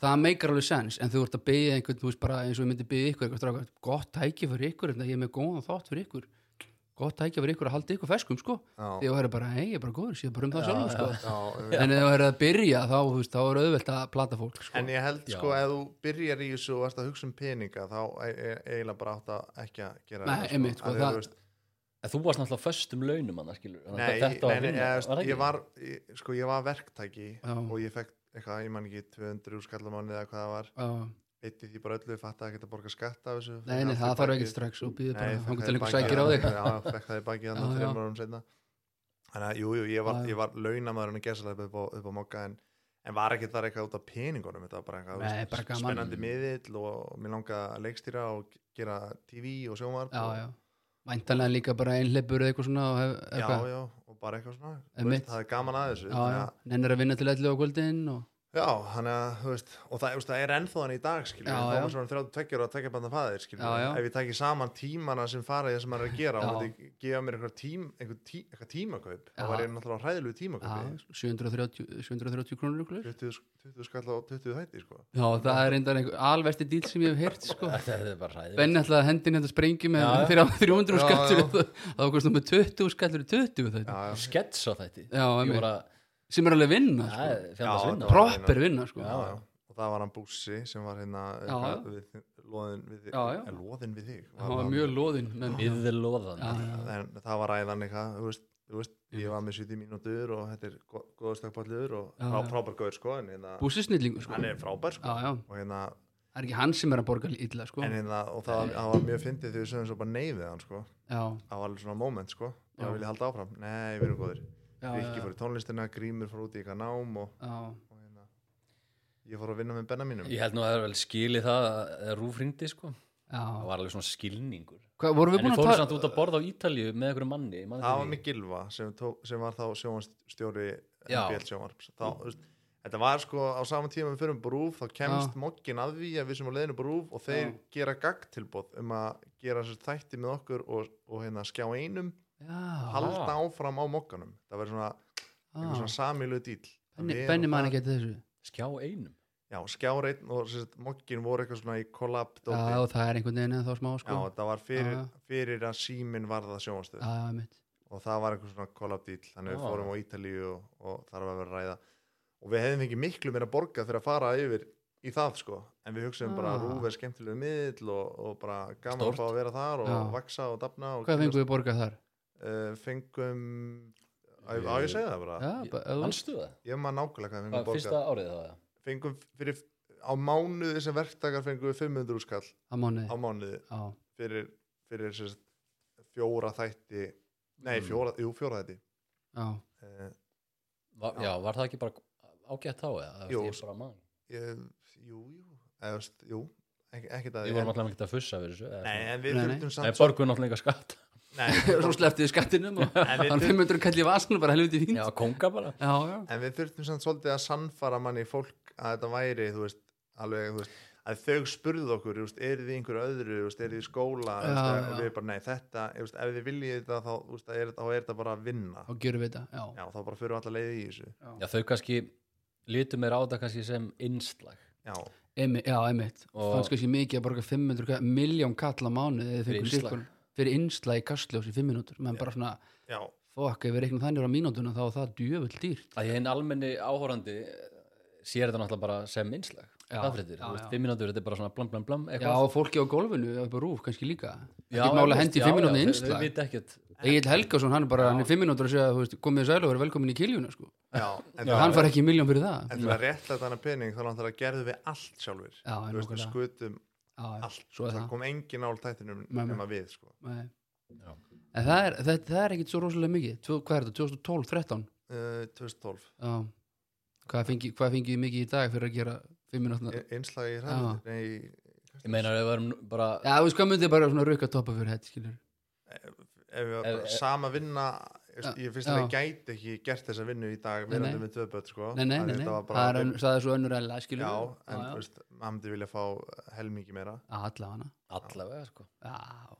Speaker 1: það meikar alveg sens, en þú ert að byggja einhvern, þú veist, bara eins og ég myndi byggja ykkur eitthvað strákar, gott tæki fyrir ykkur, hérna, ég er með góðan þátt fyrir ykkur gott tæki fyrir ykkur að halda ykkur ferskum, sko
Speaker 2: Já.
Speaker 1: því að það er bara, hei, ég er bara góður, séð bara um það sjálfum, sko
Speaker 2: Já,
Speaker 1: en ef það er að byrja þá, þú veist, þá er auðvelt að plata fólk sko.
Speaker 2: En ég held sko ef þú byrjar í þessu og ert að hugsa um peninga þá er er eiginlega bara átt að ekki að gera
Speaker 1: Nei,
Speaker 2: það,
Speaker 1: einmitt, sko,
Speaker 2: Af því að
Speaker 1: það-
Speaker 2: þú veist,
Speaker 3: en þú varst náttúrulega föstum launum annars, skilur, þannig
Speaker 2: Nei,
Speaker 3: að þetta var
Speaker 2: nei, nei,
Speaker 3: vinna,
Speaker 2: eða,
Speaker 3: það
Speaker 2: var
Speaker 3: ekki?
Speaker 2: ég var ég, sko ég var verktæki
Speaker 1: Já.
Speaker 2: og ég fekk eitthvað, ég man ekki 200 skallamáni eða hvað það var,
Speaker 1: Já.
Speaker 2: eitthi því bara öllu fatt að geta borga skatt af þessu
Speaker 1: nei, nei,
Speaker 2: Allt í
Speaker 1: það þarf
Speaker 2: bakið.
Speaker 1: ekki strax og býður
Speaker 2: Nei,
Speaker 1: bara
Speaker 2: ég fékk
Speaker 1: þangur til
Speaker 2: það í
Speaker 1: einhver
Speaker 2: bakið
Speaker 1: sækir á
Speaker 2: þarna-
Speaker 1: þig
Speaker 2: Já, fekk það í bakið
Speaker 1: Já,
Speaker 2: þannig að
Speaker 1: já.
Speaker 2: þreymur árum setna Þannig að, jú, jú, ég var,
Speaker 1: Já, já.
Speaker 2: ég var launamaðurinn að gesa upp á, upp á mokka en, en var ekki þar eitthvað út af peningunum þetta var bara eitthvað
Speaker 1: Nei,
Speaker 2: þú veist,
Speaker 1: bara gaman.
Speaker 2: spennandi miðill og mér langaði að leikstýra og gera TV og sjómar
Speaker 1: já,
Speaker 2: og,
Speaker 1: já, væntanlega líka bara einhleipur eða eitthvað svona og hef,
Speaker 2: já,
Speaker 1: eitthvað, já,
Speaker 2: já, og bara eitthvað svona þú
Speaker 1: Einmitt.
Speaker 2: veist, það er gaman að þessu
Speaker 1: já,
Speaker 2: þannig að-
Speaker 1: nennir að vinna til ætlu á kvöldin og
Speaker 2: Já, hann að, þú veist, og það, þú veist, það er ennþá hann í dag, skiljum,
Speaker 1: Já,
Speaker 2: þá er
Speaker 1: já.
Speaker 2: maður svona 32 og tvekja bandan fæðir, skiljum,
Speaker 1: Já, já.
Speaker 2: ef ég taki saman tímana sem fara í það sem maður er að gera
Speaker 1: Já.
Speaker 2: og myndi gefa mér eitthvað, tím, eitthvað, tí, eitthvað tímakaup, þá
Speaker 1: Já.
Speaker 2: var ég náttúrulega á hræðilegu
Speaker 1: já,
Speaker 2: tímakaupi,
Speaker 1: 730, 730 krónur ykkur.
Speaker 2: 20, 20 skall á 20 þætti, sko.
Speaker 1: já, það er reyndar einhver alversti díl sem ég hef heyrt sko.
Speaker 3: þetta er bara hræðið
Speaker 1: Benni ætlaði að hendin hérna sprengi með
Speaker 3: Já, já.
Speaker 1: fyrir á 300
Speaker 2: Já,
Speaker 1: skallur
Speaker 2: já.
Speaker 1: þá kostum við 20 skallur í 20 þetta.
Speaker 2: Já, já,
Speaker 3: skets á þetta
Speaker 1: Já,
Speaker 3: ég
Speaker 1: einmitt.
Speaker 3: var að,
Speaker 1: sem er alveg vinna
Speaker 3: það
Speaker 1: sko.
Speaker 3: er fjandast
Speaker 2: Já,
Speaker 3: vinna
Speaker 2: þetta var-
Speaker 1: proper vinna sko.
Speaker 3: Já,
Speaker 2: já, já, og það var hann Bússi sem var hérna,
Speaker 1: Já,
Speaker 2: eitthvað, við, loðin við þig,
Speaker 1: Já, já.
Speaker 2: eh, loðin við þig,
Speaker 1: hann var mjög loðinn menn. Já,
Speaker 3: Viðloðan
Speaker 1: já.
Speaker 2: en það var ræðan eitthvað, þú veist, þú veist, ég var með 70 mínútur og þetta er góðstakpallur og
Speaker 1: Já,
Speaker 2: frá,
Speaker 1: já.
Speaker 2: frábær gauður sko, en hérna,
Speaker 1: Bússi snillingu sko.
Speaker 2: hann er frábær sko,
Speaker 1: já, já.
Speaker 2: og hérna,
Speaker 1: það er ekki hann sem er að borga illa sko.
Speaker 2: en hérna, og það, var- það var mjög fyndið þegar við sögum svo bara nei við hann sko
Speaker 1: já,
Speaker 2: það var alveg svona moment sko
Speaker 1: Já.
Speaker 2: bara vil ég halda áfram, nei við erum góðir
Speaker 1: já,
Speaker 2: Rikki
Speaker 1: já,
Speaker 2: fór í tónlistina, Grímur fór út í eitthvað nám og,
Speaker 1: já.
Speaker 2: og hérna, ég fór að vinna með benna mínum
Speaker 3: ég held nú að það er vel skilið það að rúf hringdi sko það
Speaker 1: já.
Speaker 3: var alveg svona skilningur
Speaker 1: Hvað, vorum
Speaker 3: en
Speaker 1: við búin
Speaker 3: við
Speaker 1: að
Speaker 3: fórum
Speaker 1: tala
Speaker 3: samt út að borða á Ítalíu með einhverjum manni ég man
Speaker 2: það var
Speaker 3: eftir því.
Speaker 2: mig Gilva sem, tók, sem var þá sjónstjóri
Speaker 3: Já.
Speaker 2: NBL sjónvarps þá, þú veist, þetta var sko á saman tíma við fyrir brúf þá kemst
Speaker 1: Já.
Speaker 2: mokkin að því að við sem á leiðinu brúf og þeir
Speaker 1: Já.
Speaker 2: gera gaggtilbóð um að gera sér þætti með okkur og, og hérna skjá einum
Speaker 1: já,
Speaker 2: halda áfram á mokkanum það verður svona eitthvað svona
Speaker 1: já.
Speaker 2: samilu dýl
Speaker 1: Ah. Benni, Benni man ekki eftir þessu
Speaker 3: skjá einum
Speaker 2: já, skjáreitn og sérst, mokkin voru eitthvað svona í kollab
Speaker 1: já,
Speaker 2: já,
Speaker 1: og það er einhvern veginn eða þá smá
Speaker 2: já,
Speaker 1: sko. Ah.
Speaker 2: það var fyrir,
Speaker 1: Já, já.
Speaker 2: fyrir að síminn varða sjónastöð
Speaker 1: já, mitt
Speaker 2: og það var eitthvað svona kollab dýl þannig
Speaker 1: Ah.
Speaker 2: við
Speaker 3: Já.
Speaker 2: fórum á Ítalíu og, og þar var að vera að ræða og við hefðum fengið miklu meira borgað fyrir að fara yfir í það sko en við hugsaðum bara
Speaker 1: Ah.
Speaker 2: að rúf er skemmtilegu miðl og, og bara gaman
Speaker 3: Stórt.
Speaker 2: að fá að vera þar og
Speaker 1: Já.
Speaker 2: vaksa og dafna og
Speaker 1: hvað fengum við borgað þar?
Speaker 2: uh, fengum á, á ég að segja það bara
Speaker 1: Já, ba- ef þú-
Speaker 3: mannstu það?
Speaker 2: ég maður nákvæmlega hvað við fengum
Speaker 3: Hvað,
Speaker 2: borgað
Speaker 3: fyrsta árið það var?
Speaker 2: fengum fyrir á mánuði sem verktakar fengum við 500 skall
Speaker 1: á mánuði
Speaker 2: á mánuði
Speaker 1: já,
Speaker 2: fyrir, fyrir sérst, fjóra þætti nei,
Speaker 3: Mm.
Speaker 2: fjóra, jú, fjóra þætti
Speaker 1: já,
Speaker 2: uh,
Speaker 3: Var, já, var það ekki bara ágætt þá eða?
Speaker 2: Jú.
Speaker 3: Ég er bara mann.
Speaker 2: ég, jú, jú eða, veist, jú, ekki, ekki það
Speaker 3: Við vorum alltaf ekki að fussa fyrir þessu.
Speaker 2: nei, en við
Speaker 1: Nei, nei.
Speaker 2: þurftum
Speaker 3: Nei,
Speaker 2: samt svo,
Speaker 3: borguðu náttúrulega enga skatt.
Speaker 2: nei,
Speaker 1: svo slepptið skattinum og
Speaker 2: En við
Speaker 1: hann
Speaker 2: þurfum-
Speaker 1: 500 kall í vasan og bara helviti fínt
Speaker 3: Já,
Speaker 1: já,
Speaker 3: konga bara.
Speaker 1: já,
Speaker 2: en við þurftum samt svolítið að sannfara manni fólk að þetta væri, þú veist alveg, þú veist að þau spurðu okkur, you know, er þið í einhverju öðru you know, er þið í skóla
Speaker 1: Já,
Speaker 2: you know, og
Speaker 1: já.
Speaker 2: við bara, nei, þetta, you know, ef þið viljið þetta þá, you know, er, þá er þetta bara að vinna
Speaker 1: þá gjörum við þetta já,
Speaker 2: já, þá bara fyrir alla leiði í þessu
Speaker 3: Já, þau kannski lítum meira á þetta kannski sem innslag
Speaker 2: já,
Speaker 1: Emi, já einmitt
Speaker 3: Og-
Speaker 1: fannst kannski mikið að borga 500 miljón kall á mánuði
Speaker 3: Fyrir
Speaker 1: fyrir,
Speaker 3: innslag.
Speaker 1: fyrir, fyrir innslag í kastljós í 5 minútur menn bara svona,
Speaker 2: já,
Speaker 1: fokk, ef við reiknum þannig á mínútuna þá er það djöfull dýrt
Speaker 3: að hinn almenni áhorandi eh, sér þetta náttúrulega bara sem innslag
Speaker 1: Já,
Speaker 3: hraðfréttir,
Speaker 1: já,
Speaker 3: þú veist,
Speaker 1: já.
Speaker 3: fimm mínútur þetta er bara svona blam blam blam
Speaker 1: Já,
Speaker 3: eitthvað
Speaker 1: og fólki á gólfinu, upp á rúf kannski líka
Speaker 3: Já,
Speaker 1: ekki mála
Speaker 3: já,
Speaker 1: hendi í
Speaker 3: já,
Speaker 1: 5 minútur
Speaker 3: já, þau-
Speaker 1: innslag
Speaker 3: þau vita ekkert
Speaker 1: Egil Helgason, hann er bara, hann er 5 minútur að segja þú veist, komið sælu og verið velkomin í kiljuna sko.
Speaker 2: já en
Speaker 1: hann far ekki miljón fyrir það
Speaker 2: en til að réttlega þannig pening þá náttúrulega gerðum við allt sjálfur
Speaker 1: Já,
Speaker 2: Þú veist, við
Speaker 1: nokkulega.
Speaker 2: skutum
Speaker 1: Já, já,
Speaker 2: allt
Speaker 1: svo er
Speaker 2: það
Speaker 1: það.
Speaker 2: kom engin ál tættinum
Speaker 1: Nei, nei.
Speaker 2: nema við sko.
Speaker 1: Nei.
Speaker 3: Já.
Speaker 1: En það er, það, það er ekkit svo rosalega mikið Tvö, Hvað er þetta, 2012, 13?
Speaker 2: uh, 2012
Speaker 1: Já Hvað fengi, hvað fengi ég mikið í dag fyrir að gera 5 minútna Já,
Speaker 2: I- einslagi í hræðið nei,
Speaker 3: ég meina ef við erum bara
Speaker 1: þú veist hvað myndið bara svona rauka toppa fyrir hætt, skilur
Speaker 2: ef við
Speaker 3: Ef-
Speaker 2: bara
Speaker 3: ef-
Speaker 2: sama vinna ég finnst að
Speaker 1: Já.
Speaker 2: ég gæti ekki gert þessa vinnu í dag
Speaker 1: Nei, nei.
Speaker 2: verðandi með tvö börn sko.
Speaker 1: Nei, nei,
Speaker 2: Af
Speaker 1: nei,
Speaker 2: því
Speaker 1: nei,
Speaker 2: þetta var
Speaker 1: það er
Speaker 2: bara-
Speaker 1: ön, það er svo önnur ella, skilur
Speaker 2: já, en
Speaker 1: já,
Speaker 2: þú
Speaker 1: já.
Speaker 2: veist, maður myndi vilja fá helmingi meira
Speaker 1: Alla hana
Speaker 3: allavega sko
Speaker 1: Já,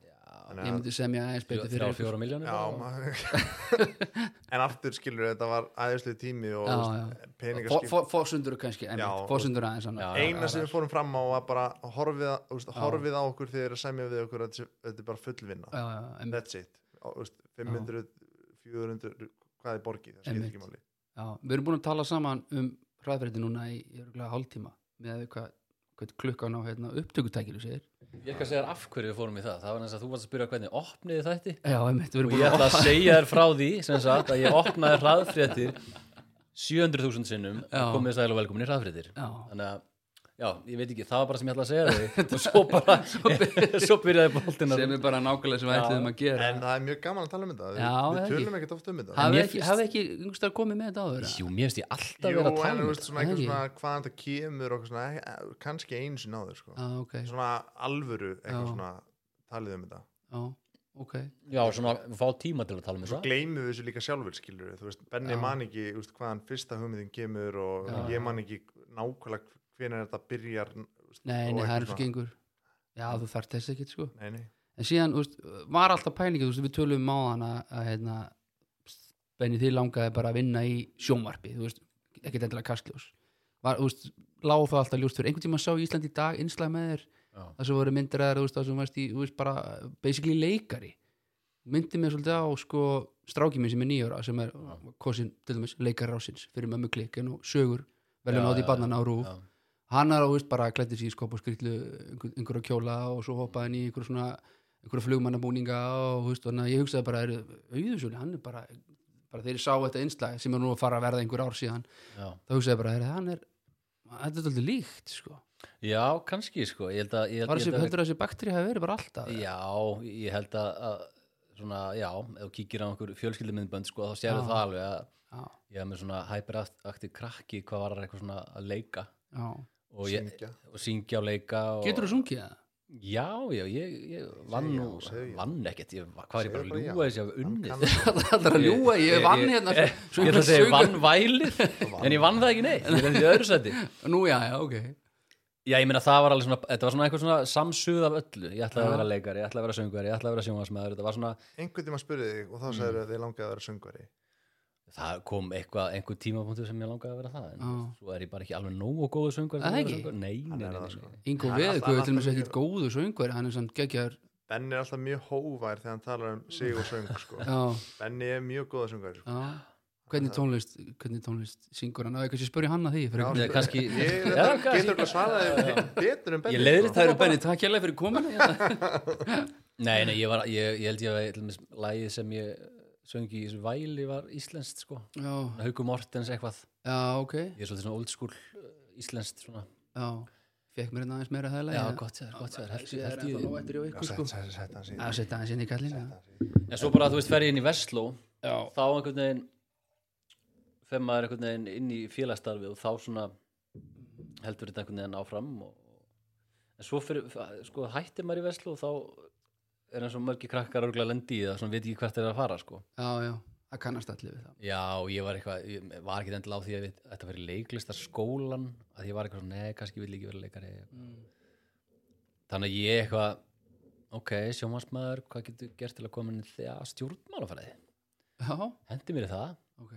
Speaker 3: já,
Speaker 2: Þannig
Speaker 1: ég
Speaker 2: að-
Speaker 1: myndi semja eins betur fyrir
Speaker 3: þrjá
Speaker 1: ykkur.
Speaker 3: fjóra miljónir
Speaker 2: Já, maður en aftur skilur þetta var aðeinslega tími og
Speaker 1: Já,
Speaker 2: peningar
Speaker 1: Fo- fo- Fósundur kannski, en
Speaker 2: Já,
Speaker 1: fósundur aðeins annað.
Speaker 3: Já, já.
Speaker 2: eina sem við fórum fram á var bara horfið, á- þú veist, horfið á okkur þegar þeir að semja við okkur að þessi- þetta er bara fullvinna
Speaker 1: Já, já, einmitt,
Speaker 2: that's it, Á, þú veist, 500 400, hvað er borgið, það skilur
Speaker 1: Einmitt.
Speaker 2: ekki máli
Speaker 1: já. Við erum búin að tala saman um hraðfyrirti núna í örgulega hálftíma með að við hvað, hvað klukkan á hérna, upptökutækilu segir.
Speaker 3: ég kann segja þér af hverju við fórum í það það var eins að þú varst að spyrja hvernig opniði þætti
Speaker 1: Já, einmitt, við erum
Speaker 3: og
Speaker 1: búin
Speaker 3: ég
Speaker 1: að
Speaker 3: ætla að segja þér frá því sem sagt að ég opnaði hraðfréttir 700.000 sinnum
Speaker 1: Já.
Speaker 3: og komið sæl og velkomin í hraðfréttir
Speaker 1: Já,
Speaker 3: þannig að já, ég veit ekki, það var bara sem ég ætla að segja þau og svo bara, svo byrjaði boltin að
Speaker 1: sem er bara nákvæmlega sem við ætliðum að gera.
Speaker 2: en það er mjög gaman að tala um þetta Við-
Speaker 1: Já,
Speaker 2: við
Speaker 1: það
Speaker 2: tölum ekkert oft um þetta
Speaker 1: Hafið
Speaker 3: mér
Speaker 1: ekki,
Speaker 3: finnst-
Speaker 1: hafið ekki yngstar komið með þetta áður? eða?
Speaker 3: Jú, mér finnst ég alltaf
Speaker 2: jú,
Speaker 3: vera að
Speaker 2: en
Speaker 3: tala
Speaker 2: þú
Speaker 3: um
Speaker 2: veist
Speaker 3: þetta
Speaker 2: svona eitthvað
Speaker 1: ekki?
Speaker 2: svona hvaðan þetta kemur og svona, eh, eh, kannski einu sinni áður sko.
Speaker 1: Já, Ah, ok,
Speaker 2: svona alvöru eitthvað
Speaker 1: Já.
Speaker 2: svona talið um þetta
Speaker 1: já, ok.
Speaker 3: Já, svona fá tíma til að tala um
Speaker 2: svo
Speaker 3: þetta
Speaker 2: gleymum við þessu líka sjálfur skilur þú veist, Benni
Speaker 1: Já.
Speaker 2: man ekki þú veist, hvaðan fyrsta hugmyndin kemur og
Speaker 1: Já.
Speaker 2: ég man ekki nákvæmlega hvenær þetta byrjar þú veist,
Speaker 1: Nei, nei, það
Speaker 2: og eitthvað
Speaker 1: er svo
Speaker 2: svona.
Speaker 1: gengur. Já, þú þarft þess ekkert, sko.
Speaker 2: nei, nei.
Speaker 1: en síðan þú veist, var alltaf pælingið þú veist, við tölum á hann að, að hérna, Benni þið langaði bara að vinna í sjónvarpi þú veist, ekkert endilega kastljós var, þú veist, lág það alltaf ljóst fyrir einhvern tímann sá í Íslandi í dag innslag með þér
Speaker 3: Já.
Speaker 1: það sem voru myndir að þér þú veist, það sem varst í þú veist, bara basically leikari myndi mér svolítið á sko strákið minn sem er nýjóra sem er kosin til dæmis leikar rásins fyrir mömmu klik en nú sögur velum
Speaker 3: Já,
Speaker 1: átt í
Speaker 3: já,
Speaker 1: barnan á rúf
Speaker 3: já.
Speaker 1: hann er á veist bara klætti sig í skop og skrýtlu einhver, einhverja kjóla og svo hoppaði hann í einhverja svona einhverja flugmannabúninga og þú veist þannig að ég hugsaði bara auðvitað hann er bara, bara þegar ég sá þetta innslag sem er nú að fara að verða einhver ár síðan
Speaker 3: Já.
Speaker 1: þá hugsaði ég bara heyrðu, hann er þetta er alltaf líkt sko
Speaker 3: Já, kannski sko Ég held að, ég,
Speaker 1: var
Speaker 3: ég
Speaker 1: þessi,
Speaker 3: held að
Speaker 1: heldur að þessi bakteri hafi verið bara alltaf eða?
Speaker 3: Já, ég held að, að svona, já, ef þú kíkir á einhver fjölskyldumyndbönd sko, þá sérðu
Speaker 1: Já.
Speaker 3: það alveg að
Speaker 1: já,
Speaker 3: ég hef með svona hyperaktið krakki hvað var eitthvað svona að leika
Speaker 1: já.
Speaker 3: og, ég,
Speaker 2: Syngja.
Speaker 3: og syngja og leika og,
Speaker 1: getur þú sungið það?
Speaker 3: Já, já, ég, ég vann
Speaker 2: Segja
Speaker 3: nú,
Speaker 2: og segja.
Speaker 3: vann ekkert ég, hvað er
Speaker 2: Segðu
Speaker 3: ég bara
Speaker 2: bara
Speaker 3: að
Speaker 2: já.
Speaker 3: ljúga þessi að unnið
Speaker 2: Kann-
Speaker 1: það er að ljúa, ég vann hérna
Speaker 3: Ég,
Speaker 1: svo
Speaker 3: ég, ég ætla að segja ég
Speaker 1: sögur-
Speaker 3: vann vælið En ég vann það ekki neitt, ég reyndi í öðru seti
Speaker 1: nú já, já, ok
Speaker 3: Já, ég meina það var alveg svona, þetta var svona eitthvað svona samsuð af öllu Ég ætlaði að
Speaker 1: Já.
Speaker 3: vera leikari, ég ætlaði að vera söngari, ég ætlaði að vera sjónvarsmaður Þetta var svona,
Speaker 2: einhvern tíma spurði þig og þá sagður að þið langaði að vera söngvari
Speaker 3: það kom eitthvað, einhver tímapunktu sem ég langaði að vera það En
Speaker 1: Já.
Speaker 3: svo er ég bara ekki alveg nógu góðu söngari til
Speaker 1: Það
Speaker 3: að vera
Speaker 1: ekki?
Speaker 3: söngvari. Nei, nei,
Speaker 2: Hann
Speaker 3: nei,
Speaker 2: er
Speaker 3: nei,
Speaker 2: það, sko.
Speaker 3: nei.
Speaker 1: Ingo
Speaker 2: Hann er alltaf-
Speaker 1: Veðguð er til dæmis
Speaker 2: alltaf-
Speaker 1: ekkit góðu söngveri hann er samt geggjar
Speaker 2: Benni er alltaf mjög hóvær þegar hann talar um sig og söng sko.
Speaker 1: já,
Speaker 2: Benni er mjög góða söngvari sko.
Speaker 1: já. hvernig tónlist hvernig tónlist syngur hann, á ég kannski spurði hann að því fyrir
Speaker 3: Já,
Speaker 1: ekki
Speaker 3: Nei, kannski-
Speaker 2: ég
Speaker 3: Já,
Speaker 2: þetta
Speaker 3: kannski.
Speaker 2: getur eitthvað svaraði betur um Benni
Speaker 3: Ég leiðrétti það.
Speaker 1: það eru Benni, takk hérlega fyrir komuna hérna.
Speaker 3: Nei, nei, ég var, ég, ég held ég að til dæmis lagið sem ég söngi í þessu væli var íslenskt, sko
Speaker 1: já,
Speaker 3: Hauku Mortens eitthvað,
Speaker 1: já, ok
Speaker 3: ég er svolítið svona old school uh, íslenskt svona
Speaker 1: já, fekk mér hérna aðeins meira að það
Speaker 3: Já,
Speaker 1: lægja
Speaker 3: gott sér, gott sér, held
Speaker 1: það er
Speaker 3: held
Speaker 1: ennþá
Speaker 3: ég
Speaker 1: nóg eftir hjá ykkur sko
Speaker 2: Sett hann
Speaker 1: að
Speaker 2: síðan
Speaker 1: setja aðeins inn í kallinu
Speaker 3: En svo bara, þú veist, fer ég inn í Vestló
Speaker 1: já,
Speaker 3: þá einhvern veginn fer maður einhvern veginn inn í félagsstarfi og þá svona heldur þetta einhvern veginn áfram og, en svo fyrir, sko, hættir maður í Veslu og þá er eins og mörgi krakkar örgulega lendi í það, svona veit ekki hvert er að fara sko.
Speaker 1: já, já, það kannast allir við það
Speaker 3: já, og ég var eitthvað, ég var ekki endilega á því að við, þetta fyrir leiklistarskólan að ég var eitthvað svona, nei, kannski vil ekki vera leikari
Speaker 1: Mm.
Speaker 3: þannig að ég eitthvað ok, sjómasmaður, hvað getur gert til að koma inn í því að stjórnmálafæði
Speaker 1: já,
Speaker 3: hendi mér í það,
Speaker 1: ok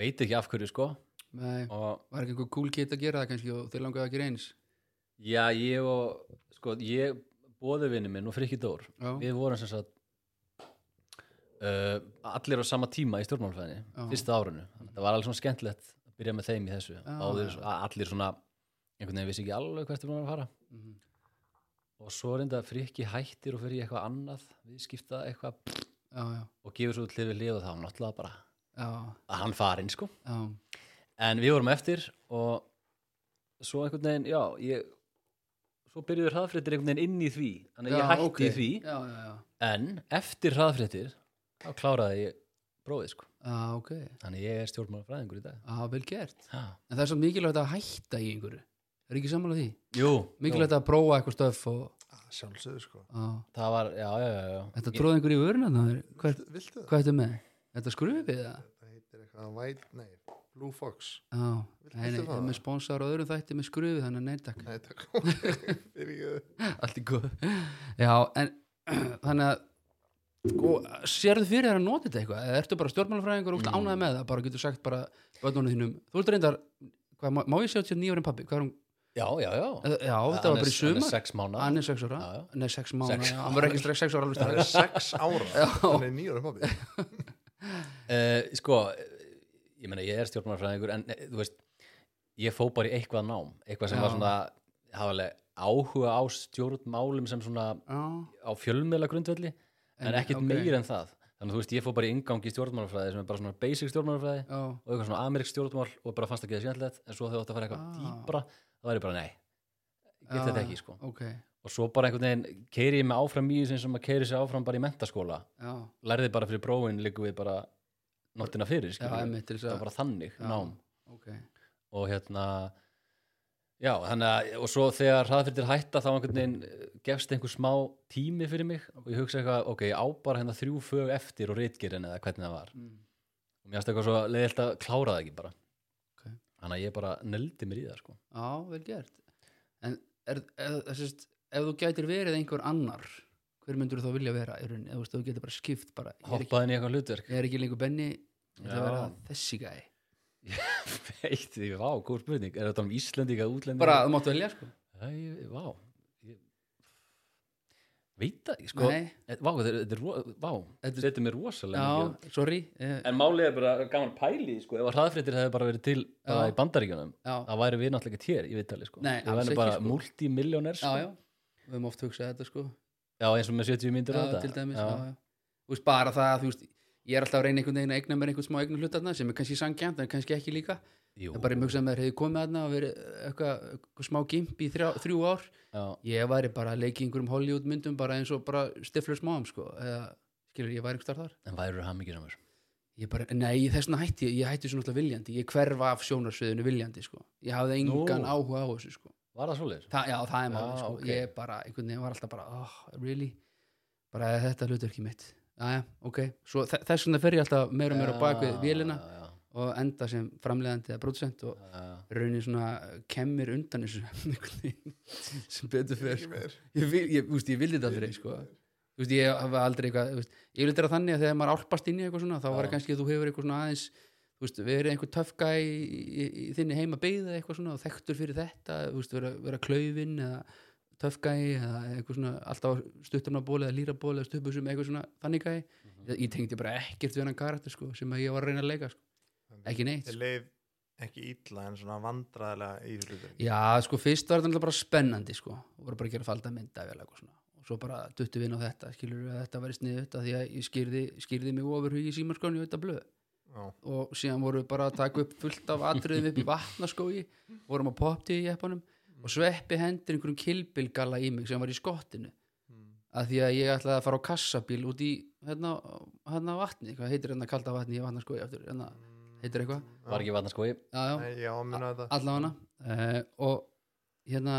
Speaker 3: veit ekki af hverju sko
Speaker 1: Nei,
Speaker 3: og
Speaker 1: var ekki einhver cool kid að gera það kannski og þeir langaði að gera eins
Speaker 3: já, ég og sko, ég bóðu vinnu minn og Frikki Dór
Speaker 1: Já,
Speaker 3: við vorum sem sagt uh, allir á sama tíma í stjórnmálfæðinni
Speaker 1: Já.
Speaker 3: fyrsta árunnu, þannig að það var alveg svona skemmtilegt að byrja með þeim í þessu Báðir,
Speaker 1: já.
Speaker 3: að allir svona, einhvern veginn vissi ekki alveg hvert við vorum að fara
Speaker 1: Mhm.
Speaker 3: og svo reynda að frikki hættir og fyrir í eitthvað annað viðskipta eitthvað
Speaker 1: já, já,
Speaker 3: og gefur svo til við lifa þá náttúrulega bara
Speaker 1: já,
Speaker 3: að hann farinn sko
Speaker 1: já,
Speaker 3: en við vorum eftir og svo einhvern veginn, já ég, svo byrjuður hraðfréttir einhvern veginn inn í því þannig
Speaker 1: Já,
Speaker 3: að ég hætti
Speaker 1: ókei.
Speaker 3: í því
Speaker 1: já, já, já,
Speaker 3: en eftir hraðfréttir þá kláraði ég bróðið sko
Speaker 1: já, ok
Speaker 3: þannig ég er stjórnmálafræðingur í dag
Speaker 1: Já, vel gert
Speaker 3: ha.
Speaker 1: En það er samt mikilvægt að hætta í einhverju Er ekki sammála því?
Speaker 3: Jú,
Speaker 1: Mikilvægt að prófa eitthvað stöf og
Speaker 2: Ah, sjálfsögðu sko
Speaker 1: á,
Speaker 3: það var, já, já, já, já.
Speaker 1: Þetta
Speaker 3: Ég-
Speaker 1: tróði einhverju í vöruna þannig Hvað
Speaker 2: Viltu það?
Speaker 1: hvað ertu með? Þetta skrufið það?
Speaker 2: Það heitir eitthvað White, nei, Blue Fox
Speaker 1: Já,
Speaker 2: Viltu-
Speaker 1: nei, nei,
Speaker 2: viltu
Speaker 1: ég
Speaker 2: fá
Speaker 1: er
Speaker 2: það?
Speaker 1: með sponsor á öðrum þætti með skrufið þannig að neyntak
Speaker 2: Nei, takk Fyrir ekki
Speaker 1: Allt í góð Já, en þannig að og sérðu fyrir þér að nota þetta eitthvað eða ertu bara stjórnmálafræðingur og mm.
Speaker 3: Mm.
Speaker 1: ánæði með það bara getur sagt bara vöðnunum þínum þú ert reyndar, hvað, má, má ég hérna sjá til nýjórinn pappi? Hvað er hún?
Speaker 3: já, já, já
Speaker 1: Eh, Já, þetta var bara í
Speaker 3: hann er
Speaker 1: sumar
Speaker 3: sex mánu
Speaker 1: hann er sex ára,
Speaker 3: Já, já.
Speaker 1: nei sex mánu
Speaker 3: Sex
Speaker 1: hann var ekki strax sex ára alveg
Speaker 2: Það er
Speaker 1: strax
Speaker 2: sex ára Þannig nýjur um pappi
Speaker 3: Uh, sko, eh, ég meina ég er stjórnmálafræðingur en eh, þú veist, ég fó bara í eitthvað nám eitthvað sem
Speaker 1: Já.
Speaker 3: var svona hafaleg áhuga á stjórnmálum sem svona
Speaker 1: Já,
Speaker 3: á fjölmiðla grundvelli en,
Speaker 1: En-
Speaker 3: ekkit
Speaker 1: ok.
Speaker 3: meir en það þannig að þú veist, ég fó bara í inngang í stjórnmálafræði sem er bara svona basic stjórnmálafræði
Speaker 1: já,
Speaker 3: og eitthvað svona amerík stjórnmál og bara fannst að geða skemmtilegt en svo þegar þú átt að fara eitthvað
Speaker 1: Ah.
Speaker 3: dýpra það væri bara nei, ég get
Speaker 1: Já,
Speaker 3: þetta ekki sko
Speaker 1: ok
Speaker 3: og svo bara einhvern veginn keiri ég mig áfram í sem maður keiri sig áfram bara í mentaskóla
Speaker 1: já,
Speaker 3: lærði bara fyrir prófin líku við bara nóttina fyrir
Speaker 1: já,
Speaker 3: skilurðu
Speaker 1: emmitt til þess
Speaker 3: það
Speaker 1: að
Speaker 3: var bara þannig
Speaker 1: Já.
Speaker 3: nám
Speaker 1: ok,
Speaker 3: og hérna já, þannig að, og svo þegar hraðfyrtir hætta þá einhvern veginn eh, gefst einhver smá tími fyrir mig og ég hugsa eitthvað, ok, ég á bara hérna þrjú fög eftir og reitgerinn eða hvernig það var
Speaker 1: mm.
Speaker 3: og mér finnst eitthvað svo leiðilt að klára það ekki bara
Speaker 1: Ok.
Speaker 3: þannig að ég bara nöldi mér í það sko.
Speaker 1: já, vel gert en er, er, er, sérst, ef þú gætir verið einhver annar hver myndur þú þá vilja vera í rauninni, eða þú veist, þú getur bara skipt bara, ég er ekki,
Speaker 3: hoppaði inn í eitthvað hlutverk
Speaker 1: ég er ekki lengur benni ég ætla að
Speaker 3: Já.
Speaker 1: vera þessi gæ
Speaker 3: veit því, vá, góð spurning er þetta um Íslendinga, útlendinga
Speaker 1: bara, þú mátt velja, sko
Speaker 3: Æ, ég- vá ég... veit það, ekki, sko
Speaker 1: nei,
Speaker 3: Eh, Vá, þetta er, þetta er, ro- vá,
Speaker 1: Þetta-
Speaker 3: þetta setur mér rosalega mikið á-
Speaker 1: já, sorry eh,
Speaker 3: En málið er bara gaman pæli sko, ef að hraðfréttir hefði bara verið til bara
Speaker 1: Já.
Speaker 3: í bandaríkjunum,
Speaker 1: já,
Speaker 3: það væri við náttúrulega ekki hér í viðtali sko.
Speaker 1: Nei,
Speaker 3: við
Speaker 1: alls
Speaker 3: væri
Speaker 1: ekki,
Speaker 3: bara
Speaker 1: sko.
Speaker 3: sko. multimilljónir
Speaker 1: já,
Speaker 3: sko.
Speaker 1: já við höfum oft hugsað þetta, sko
Speaker 3: Já, eins og með 70 myndir
Speaker 1: já, til dæmis, já. Já, Þú veist, bara það, að, þú veist, ég er alltaf að reyna einhvern veginn að eigna mér einhvern smá eignu hlutarna sem er kannski sangjant, en kannski ekki líka
Speaker 3: Jú,
Speaker 1: en bara ég mjög sem þeir hefði komið aðna og verið eitthvað, eitthvað smá gimp í þrjá, þrjú ár
Speaker 3: já,
Speaker 1: ég væri bara að leika í einhverjum Hollywood myndum bara eins og bara stiflur smáum sko, eða, skilur, ég væri einhvers þar þar
Speaker 3: en væri það mikið samur
Speaker 1: ég bara, nei, þess vegna hætti ég, ég hætti svo náttúrulega viljandi, ég hverfa af sjónarsviðinu viljandi, sko, ég hafði engan
Speaker 3: Nú.
Speaker 1: áhuga á þessu, sko
Speaker 3: Var það svoleiðis?
Speaker 1: Þa, já, það er máli,
Speaker 3: Já,
Speaker 1: sko,
Speaker 3: ok.
Speaker 1: ég bara einhvern veginn var alltaf bara, oh, really bara "Eh, þetta hlutur ekki mitt Jæja, ok, svo þe- þess vegna fer ég alltaf meira og meira á bak við vélina
Speaker 3: Já, já,
Speaker 1: og enda sem framleiðandi eða producent og
Speaker 3: já, já.
Speaker 1: raunin svona eh, kemmir undan þessu einhvern veginn, sem betur fer
Speaker 2: Ekki
Speaker 1: sko.
Speaker 2: meir
Speaker 1: ég, vil, ég, úst, ég vildi þetta aldrei sko. úst, ég hafa aldrei eitthvað úst, ég vil þetta þannig að þegar maður álpast inn í eitthvað svona þá var
Speaker 3: Já.
Speaker 1: það kannski að þú hefur eitthvað svona aðeins úst, verið einhver töfka í, í, í þinni heima beigða eitthvað svona og þekktur fyrir þetta úst, vera, vera klaufin eða töfgæi eða eitthvað svona alltaf stuttamnabóli eða lýrabóli eða stuppusum eitthvað svona þannig gæi ég, ég tengdi bara ekkert við hennan karakter sko, sem að ég var að reyna að leika sko. ekki neitt
Speaker 2: Ég
Speaker 1: sko.
Speaker 2: leið ekki illa en svona vandræðilega í þessu hlutur
Speaker 1: Já, sko, fyrst var þetta náttúrulega bara spennandi, sko, og voru bara að gera falda mynda vel eitthvað svona, og svo bara duttum við inn á þetta, skilur við að þetta væri sniðut að því að ég skýrði, skýrði mig ofurhugi í símarskóni og þetta blöð,
Speaker 2: Já,
Speaker 1: og síðan vorum við bara að taka upp fullt af atriðum upp í vatnaskói, vorum að popti í eppanum, og sveppi hendur einhverjum kilbilgalla í mig sem var í skottinu,
Speaker 2: Mm.
Speaker 1: að því að ég ætlaði að fara á kassabíl út í, hérna, hérna vatni, hvað heitir hérna kalda vatni í vatnaskói aftur, hérna, heitir eitthvað,
Speaker 3: Var ekki vatna skoði
Speaker 1: já, já,
Speaker 2: Nei, já, minna þetta
Speaker 1: allavega uh, og hérna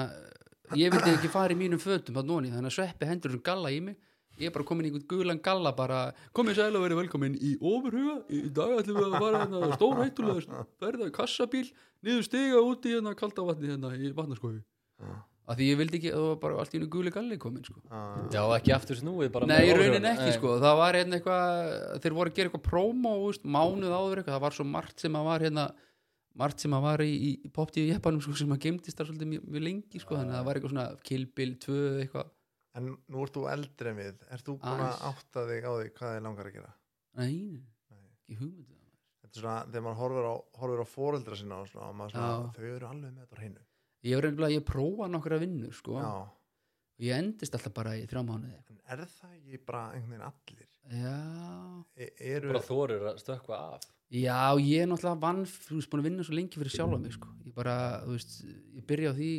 Speaker 1: eh, ég vildi ekki fara í mínum fötum þarna ofan í, þannig að sveppi hendur sem galla í mig ég er bara komin í einhvern gulan galla bara komið sæl og verið velkomin í ofurhuga í í dag ætlum við að fara hérna stór hættulega ferða kassabíl niður stiga út í hérna kalda vatni hérna í vatnaskofu
Speaker 2: Já.
Speaker 1: á að því ég vildi ekki, það var bara allt í einu guli galli komin sko.
Speaker 2: Ah,
Speaker 3: Já, ekki aftur snúið bara
Speaker 1: nei, í
Speaker 3: með
Speaker 1: raunin
Speaker 3: óhrifun.
Speaker 1: ekki
Speaker 3: Nei.
Speaker 1: sko. það var hérna eitthvað, þeir voru að gera eitthvað promo úst, mánuð áður eitthvað, það var svo margt sem að var hérna, margt sem að var í, í- í poptíu jeppanum sko, sem að gemdist það svolítið mjög, mjög lengi sko, þannig að það var eitthvað svona Kill Bill 2 eitthvað,
Speaker 2: En nú ert þú eldri en við Ert þú búin að átta þig á því hvað þið langar að gera?
Speaker 1: nei, ekki hugmynd
Speaker 2: Þetta er svona, þegar maður horfir á, horfir á foreldra sína og svona, og maður svona,
Speaker 1: Já.
Speaker 2: þau eru alveg með þetta á hreinu.
Speaker 1: ég var reynilega, ég prófa nokkra vinnur sko,
Speaker 2: Já.
Speaker 1: og ég endist alltaf bara í þrjá mánuði
Speaker 2: En er það ekki bara einhvern veginn allir?
Speaker 1: já,
Speaker 2: E eru,
Speaker 3: Bara þorur að stökkva af
Speaker 1: Já, ég er náttúrulega vann, þú veist, búin að vinna svo lengi fyrir sjálfa mig, sko. Ég bara, þú veist, ég byrja á því,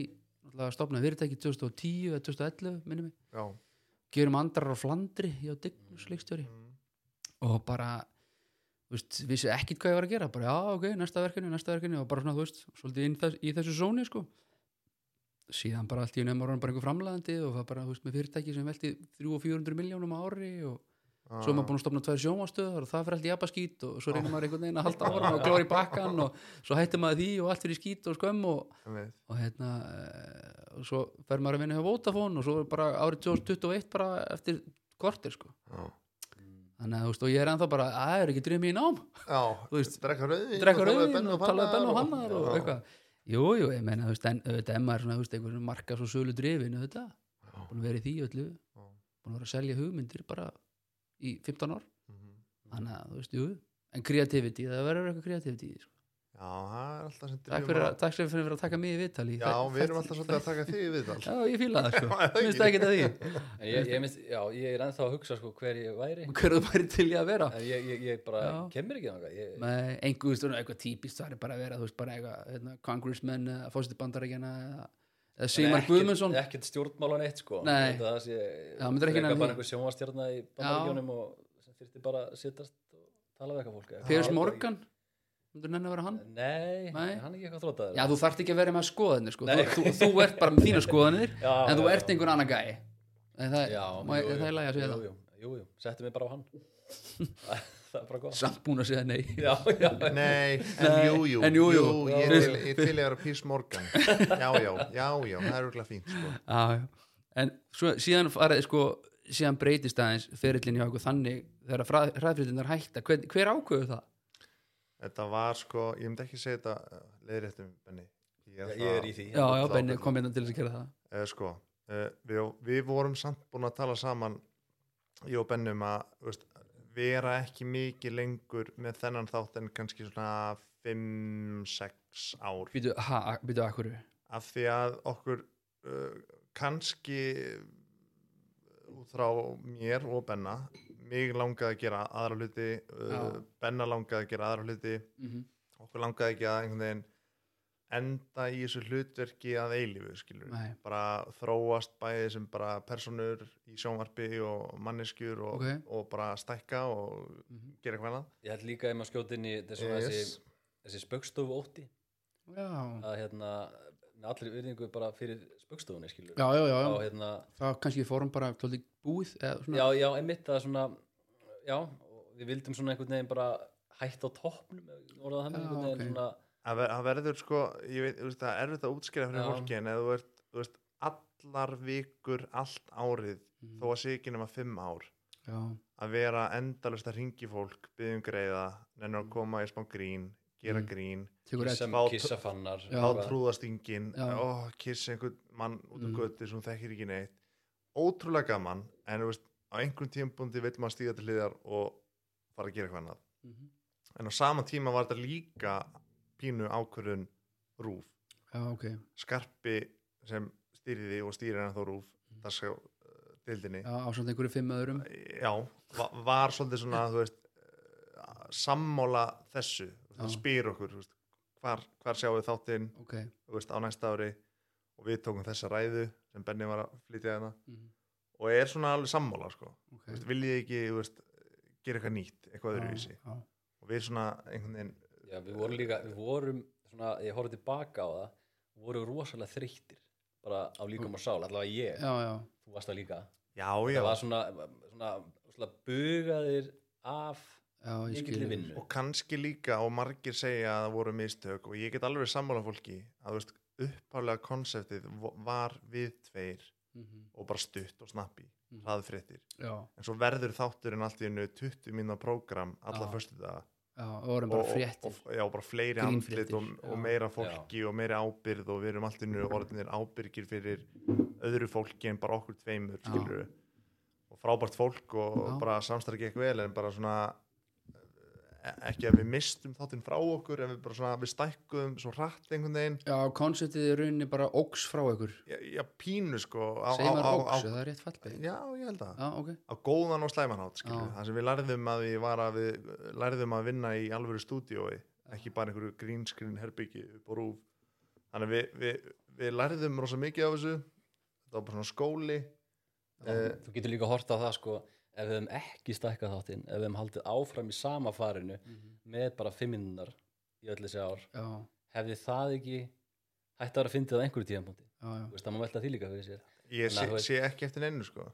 Speaker 1: náttúrulega að stopna fyrirtæki 2010 eða 2011, minni mig.
Speaker 2: já.
Speaker 1: Gerum andrar á Flandri, ég á Dignus leikstjóri.
Speaker 2: Mm.
Speaker 1: Og bara, þú veist, vissi ekkit hvað ég var að gera. Bara, já, ok, næsta verkefni, næsta verkefni og bara svona, þú veist, svolítið inn þess, í þessu zóni, sko. Síðan bara allt í nefnum ára bara einhver framlæðandi og það bara, þú veist, með fyrirtæki sem velti 300-400 miljónum á ári og
Speaker 2: Ah.
Speaker 1: svo er maður búin að stopna tvær sjónvastöðar og það fyrir allt í abaskít og svo reynir maður einhvern veginn að halda áfram og glóri bakkan og svo hættir maður því og allt fyrir skít og skömm og,
Speaker 2: búin að...
Speaker 1: og hérna eh, og svo fer maður að vinna hjá Vodafone og svo er bara árið 2021 bara eftir kortir sko
Speaker 2: Já,
Speaker 1: þannig að þú veist og ég er ennþá bara að það er ekki drifum í nám
Speaker 2: já.
Speaker 1: Þú veist,
Speaker 2: drekka rauðin,
Speaker 1: drekka rauðin og talaði benn og hannar og eitthvað jú, jú, ég meina þú veist en auðvitað er maður svona, þú veist, einhvern veginn marka svo sölu drifin auðvitað, búin að vera í því öllu búin að vera að selja hugmyndir bara í 15 ár þannig að, þú veist, jú, en kreativiti það verður eitthvað kreativiti sko.
Speaker 2: Já, það er alltaf sem
Speaker 1: takk fyrir, að- takk fyrir að vera að taka mig í viðtali
Speaker 2: Já, við erum alltaf svolítið að taka þig í viðtal.
Speaker 1: já, ég fíla það, sko,
Speaker 2: Já, það
Speaker 1: minnst
Speaker 2: ekki.
Speaker 1: ekki að því
Speaker 3: En ég, ég, minnst, já, ég er ennþá að hugsa sko, hver ég væri
Speaker 1: og hverðu bara til ég að vera
Speaker 3: En ég, ég, ég bara
Speaker 1: Já.
Speaker 3: kemur ekki þangað ég,
Speaker 1: með einhver, þú veist, svona eitthvað típist það er bara að vera, þú veist, bara eitthvað hérna, congressman, eða fósiti bandarækjana eða, eða Sigmar
Speaker 3: ekkert-
Speaker 1: Guðmundsson
Speaker 3: Ekkert stjórnmálan eitt sko
Speaker 1: Nei.
Speaker 3: Það sé
Speaker 1: Já, myndir ekki
Speaker 3: frekar
Speaker 1: nefna því.
Speaker 3: bara einhver sjónvastjarna í bandaríkjónum og sem þyrfti bara að sittast og tala við eitthvað fólk Ég veit
Speaker 1: Piers
Speaker 3: það
Speaker 1: Morgan, þú nenni að vera hann
Speaker 3: ekki.
Speaker 1: Nei.
Speaker 3: Nei, hann er ekki eitthvað þrótaður
Speaker 1: já, þú þarft ekki að vera með skoðanir, sko
Speaker 3: Nei.
Speaker 1: þú, þú, þú ert bara með þína skoðanir
Speaker 3: já,
Speaker 1: en þú
Speaker 3: já,
Speaker 1: ert
Speaker 3: já.
Speaker 1: einhver annan gæi En það,
Speaker 3: Já,
Speaker 1: má,
Speaker 3: jú,
Speaker 1: jú, það
Speaker 3: jú,
Speaker 1: er læg að segja
Speaker 3: jú,
Speaker 1: það
Speaker 3: Jú, jú, jú, settu mig bara á hann Það er bara gott
Speaker 1: samt búin að segja nei
Speaker 3: Já, já,
Speaker 2: Nei, en
Speaker 1: Nei,
Speaker 2: jú, jú,
Speaker 1: en jú, jú.
Speaker 2: ég
Speaker 3: Já.
Speaker 2: til- ég til ég er að Pís Morgan Já, já, já, já, það er örgulega fínt sko.
Speaker 1: já, já. en svo, síðan farið sko, síðan breytist aðeins ferillin hjá okkur þannig þegar hraðfritinnar hætta, hver, hver ákveðu það?
Speaker 2: Þetta var sko, ég myndi ekki segja þetta eh, leiðréttum, Benni
Speaker 3: Já, ég er í því
Speaker 1: Já, já,
Speaker 2: það
Speaker 1: Benni
Speaker 2: ákveðið.
Speaker 1: kom hérna til þess að gera það
Speaker 2: eða sko uh, við, við vorum samt búin að tala saman ég og Benni um að þú veist, vera ekki mikið lengur með þennan þátt en kannski svona 5-6 ár
Speaker 1: Býtu, ha, býtu að hverju?
Speaker 2: af því að okkur uh, kannski eh, út frá mér og Benna mig langaði að gera aðra hluti uh,
Speaker 1: Já.
Speaker 2: Benna langaði að gera aðra hluti
Speaker 1: Mm
Speaker 2: okkur langaði ekki að einhvern veginn enda í þessu hlutverki að eilífu skilur við
Speaker 1: Nei,
Speaker 2: bara þróast bæði sem bara personur í sjónvarpi og manneskjur og,
Speaker 1: Ok.
Speaker 2: og bara stækka og
Speaker 1: Mhm.
Speaker 2: gera eitthvað annað
Speaker 3: Ég held líka að maður skjóti inn í þessi, yes.
Speaker 2: Yes.
Speaker 3: þessi spöggstofu ótti
Speaker 1: já
Speaker 3: að hérna, með allir yfirningu bara fyrir spöggstofunni skilur
Speaker 1: Já, já, já,
Speaker 3: og
Speaker 1: já.
Speaker 3: hérna,
Speaker 1: það kannski fórum bara tóldi búið eða svona
Speaker 3: já, já, einmitt það er svona já, og við vildum svona einhvern veginn bara hætt á toppnum orðað hann
Speaker 1: Já,
Speaker 3: einhvern veginn
Speaker 1: ok.
Speaker 3: svona
Speaker 2: Það ver- það verður sko, ég veit, þú veist, það er erfitt að útskýra fyrir
Speaker 3: Já.
Speaker 2: fólki en eða þú ert, þú veist, allar vikur allt árið, þó að sé ekki nema fimm ár,
Speaker 1: Mhm. já,
Speaker 2: að vera endalust að ringi fólk, byggjum greiða nennir að koma í smá grín, gera
Speaker 1: Mhm.
Speaker 2: grín
Speaker 1: tekur
Speaker 3: kissa,
Speaker 1: rétt
Speaker 2: Fá-
Speaker 3: kissa fannar
Speaker 1: Já.
Speaker 2: þá
Speaker 3: eitthvað.
Speaker 2: trúðast enginn
Speaker 1: Já.
Speaker 2: ó, kissa einhvern mann út um
Speaker 1: Mm.
Speaker 2: mm. götti sem hún þekkir ekki neitt ótrúlega gaman en þú veist, á einhverjum tímpúndi vill maður stíða til hliðar og fara að gera eitthvað annað
Speaker 1: Mhm.
Speaker 2: en á sama tíma var þetta líka pínu ákvörðun rúf
Speaker 1: Já, ok,
Speaker 2: skarpi sem stýriði og stýrir hann þó rúf mm. það sá dildinni
Speaker 1: já, á samt einhverju fimm öðrum
Speaker 2: já, va- var svolítið svona þú veist, eh, sammála þessu, það
Speaker 1: Já.
Speaker 2: spyr okkur þú veist, hvar, hvar sjáum við þáttinn
Speaker 1: Ok,
Speaker 2: þú veist, á næsta ári og við tókum þessa ræðu sem Benni var að flytja hérna
Speaker 1: Mhm.
Speaker 2: og er svona alveg sammála sko.
Speaker 1: ok
Speaker 2: Þú veist, viljið þið ekki þú veist, gera eitthvað nýtt, eitthvað öðruvísi
Speaker 1: Mm. Já, já.
Speaker 2: og við svona einhvern veginn
Speaker 3: já, við vorum líka, við vorum svona, ég horfði tilbaka á það voru rosalega þreyttir bara á líkum og sál, allavega ég
Speaker 1: Já, já,
Speaker 3: þú varst það líka,
Speaker 2: já, já,
Speaker 3: það var svona svona, svona bugaðir af
Speaker 1: já, ég skil
Speaker 3: mikill vinnu
Speaker 2: og kannski líka og margir segja að það voru mistök og ég get alveg sammála fólki að þú veist, uppálega konseptið vo- var við tveir
Speaker 1: Mhm.
Speaker 2: og bara stutt og snappi
Speaker 1: Mhm.
Speaker 2: hraðfréttir,
Speaker 1: Já,
Speaker 2: en svo verður þátturinn allt í hennu 20 mínúna prógram alla
Speaker 1: Já.
Speaker 2: föstu dag
Speaker 1: já, og vorum bara
Speaker 2: og,
Speaker 1: fréttir
Speaker 2: og, og, já, bara fleiri andlit
Speaker 1: Grínfréttir,
Speaker 2: og,
Speaker 1: já.
Speaker 2: og meira fólki og meira ábyrð og við erum allt í nú orðinir ábyrgir fyrir öðru fólki en bara okkur tveimur
Speaker 1: Já.
Speaker 2: skilur og frábært fólk og
Speaker 1: Já.
Speaker 2: bara samstarf gekk vel en bara svona eh, ekki að við mistum þáttinn frá okkur en við bara svona við stækkuðum svo hratt einhvern veginn
Speaker 1: Já, konceptið er rauninni bara óks frá ykkur
Speaker 2: já, já pínu sko á,
Speaker 1: Segir
Speaker 2: á, á,
Speaker 1: maður
Speaker 2: á,
Speaker 1: óks, er það er rétt fallið
Speaker 2: já ég held að
Speaker 1: Já, ok,
Speaker 2: á góðan og slæmanhátt skilur
Speaker 1: Já.
Speaker 2: það sem við lærðum að við, var að við lærðum að vinna í alvöru stúdíói ekki bara einhverju green screen herbyggi upp á rúf þannig að við, við, við lærðum rosa mikið af þessu þetta var bara svona skóli eh,
Speaker 3: þú getur líka að horta á það sko ef við hefum ekki stækkað þáttinn ef við hefum haldið áfram í sama farinu
Speaker 2: Mhm.
Speaker 3: með bara fimminnar í öll þessi ár
Speaker 1: já,
Speaker 3: hefði það ekki hægt að vera að fyndið á einhverju tíðanbúndi
Speaker 1: já, já
Speaker 3: þú veist það má velta því líka fyrir sér
Speaker 2: ég
Speaker 3: Þannig að
Speaker 2: sé,
Speaker 3: þú veist-
Speaker 2: sé ekki eftir neinu sko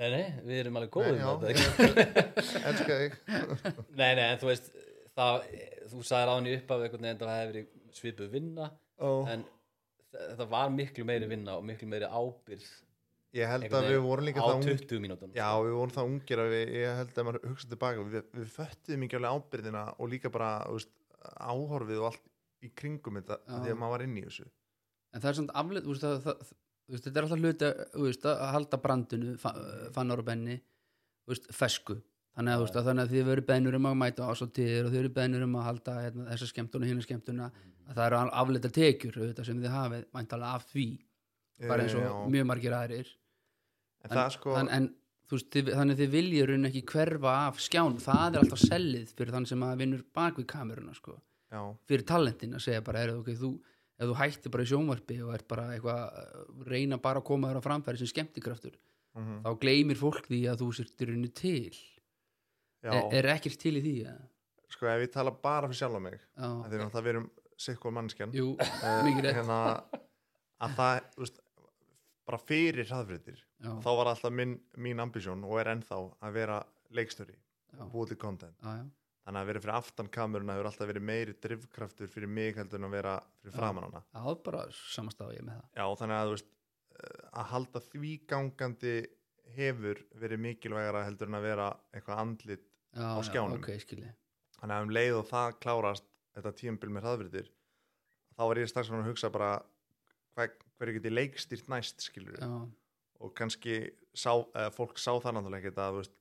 Speaker 3: nei nei, við erum alveg
Speaker 2: Nei,
Speaker 3: góðum nei,
Speaker 2: já,
Speaker 3: þetta,
Speaker 2: ég elska þig
Speaker 3: nei nei, en þú veist það, þú sagðir á hann í uppaf einhvern veginn að það hefði verið svipuð vinna
Speaker 2: og
Speaker 3: en þ- þetta var miklu meiri vinna og miklu meiri ábyrð
Speaker 2: ég held
Speaker 3: einhvern
Speaker 2: að við
Speaker 3: veginn
Speaker 2: vorum líka
Speaker 3: á
Speaker 2: það ung
Speaker 3: 20 mínútur
Speaker 2: já við vorum það ungir að við, ég held að maður hugsa tilbaka við, við föttuðum ekki alveg ábyrðina og líka bara þú veist, áhorfið og allt í kringum þetta
Speaker 1: Já.
Speaker 2: af því að maður var inn í þessu
Speaker 1: en það er svona aflið þú veist, það, það, þú veist, þetta er alltaf hluti þú veist, að halda brandinu fa fannar og benni þú veist, fesku þannig að, þú veist, að, þannig að þið verið bennur um að mæta ásóttir og þið verið bennur um að halda hérna, þessa skemmtuna og hina skemmtuna að það eru al- afleitar tekjur auðvitað, sem þið hafið mæntalega af því bara eins og
Speaker 2: Eh, já.
Speaker 1: mjög margir aðrir
Speaker 2: en það sko
Speaker 1: en, en þú veist, þið, þannig að þið viljið raun ekki hverfa af skján það er alltaf sellið fyrir þann sem að vinnur bak við kameruna sko.
Speaker 2: já,
Speaker 1: fyrir talentin að segja bara er, okay, þú, ef þú hættir bara í sjónvarpi og ert bara eitthvað uh, reyna bara að koma þér á framfæri sem skemmtikraftur
Speaker 2: mm
Speaker 1: þá gleymir fólk því að þú sért í rauninu til
Speaker 2: já.
Speaker 1: er, er ekkert til í því ja?
Speaker 2: sko ef ég tala bara fyrir sjálf á mig af því
Speaker 1: Já,
Speaker 2: að náttúrulega við erum sikkur mannskjan
Speaker 1: jú,
Speaker 2: Eh,
Speaker 1: mikið rétt.
Speaker 2: hérna, að það þú veist, bara fyrir hraðfréttir
Speaker 1: já,
Speaker 2: þá var alltaf minn, mín ambisjón og er ennþá að vera leikstöri
Speaker 1: Já.
Speaker 2: búið til content
Speaker 1: já, já,
Speaker 2: þannig að vera fyrir aftan kameruna hefur alltaf verið meiri drifkraftur fyrir mig heldur en að vera fyrir framan hana
Speaker 1: það er bara samastáð ég með það
Speaker 2: já þannig að þú veist eh, að halda því gangandi hefur verið mikilvægara heldur en að vera eitthvað andlit
Speaker 1: já,
Speaker 2: Á skjánum.
Speaker 1: ok, skilji
Speaker 2: þannig að um leið og það klárast þetta tímabil með hraðvritir þá var ég strax svona að hugsa bara hver, hverju geti leikstýrt næst skilur
Speaker 1: já,
Speaker 2: og kannski sá, uh, fólk sá það náttúrulega ekkert að þú veist,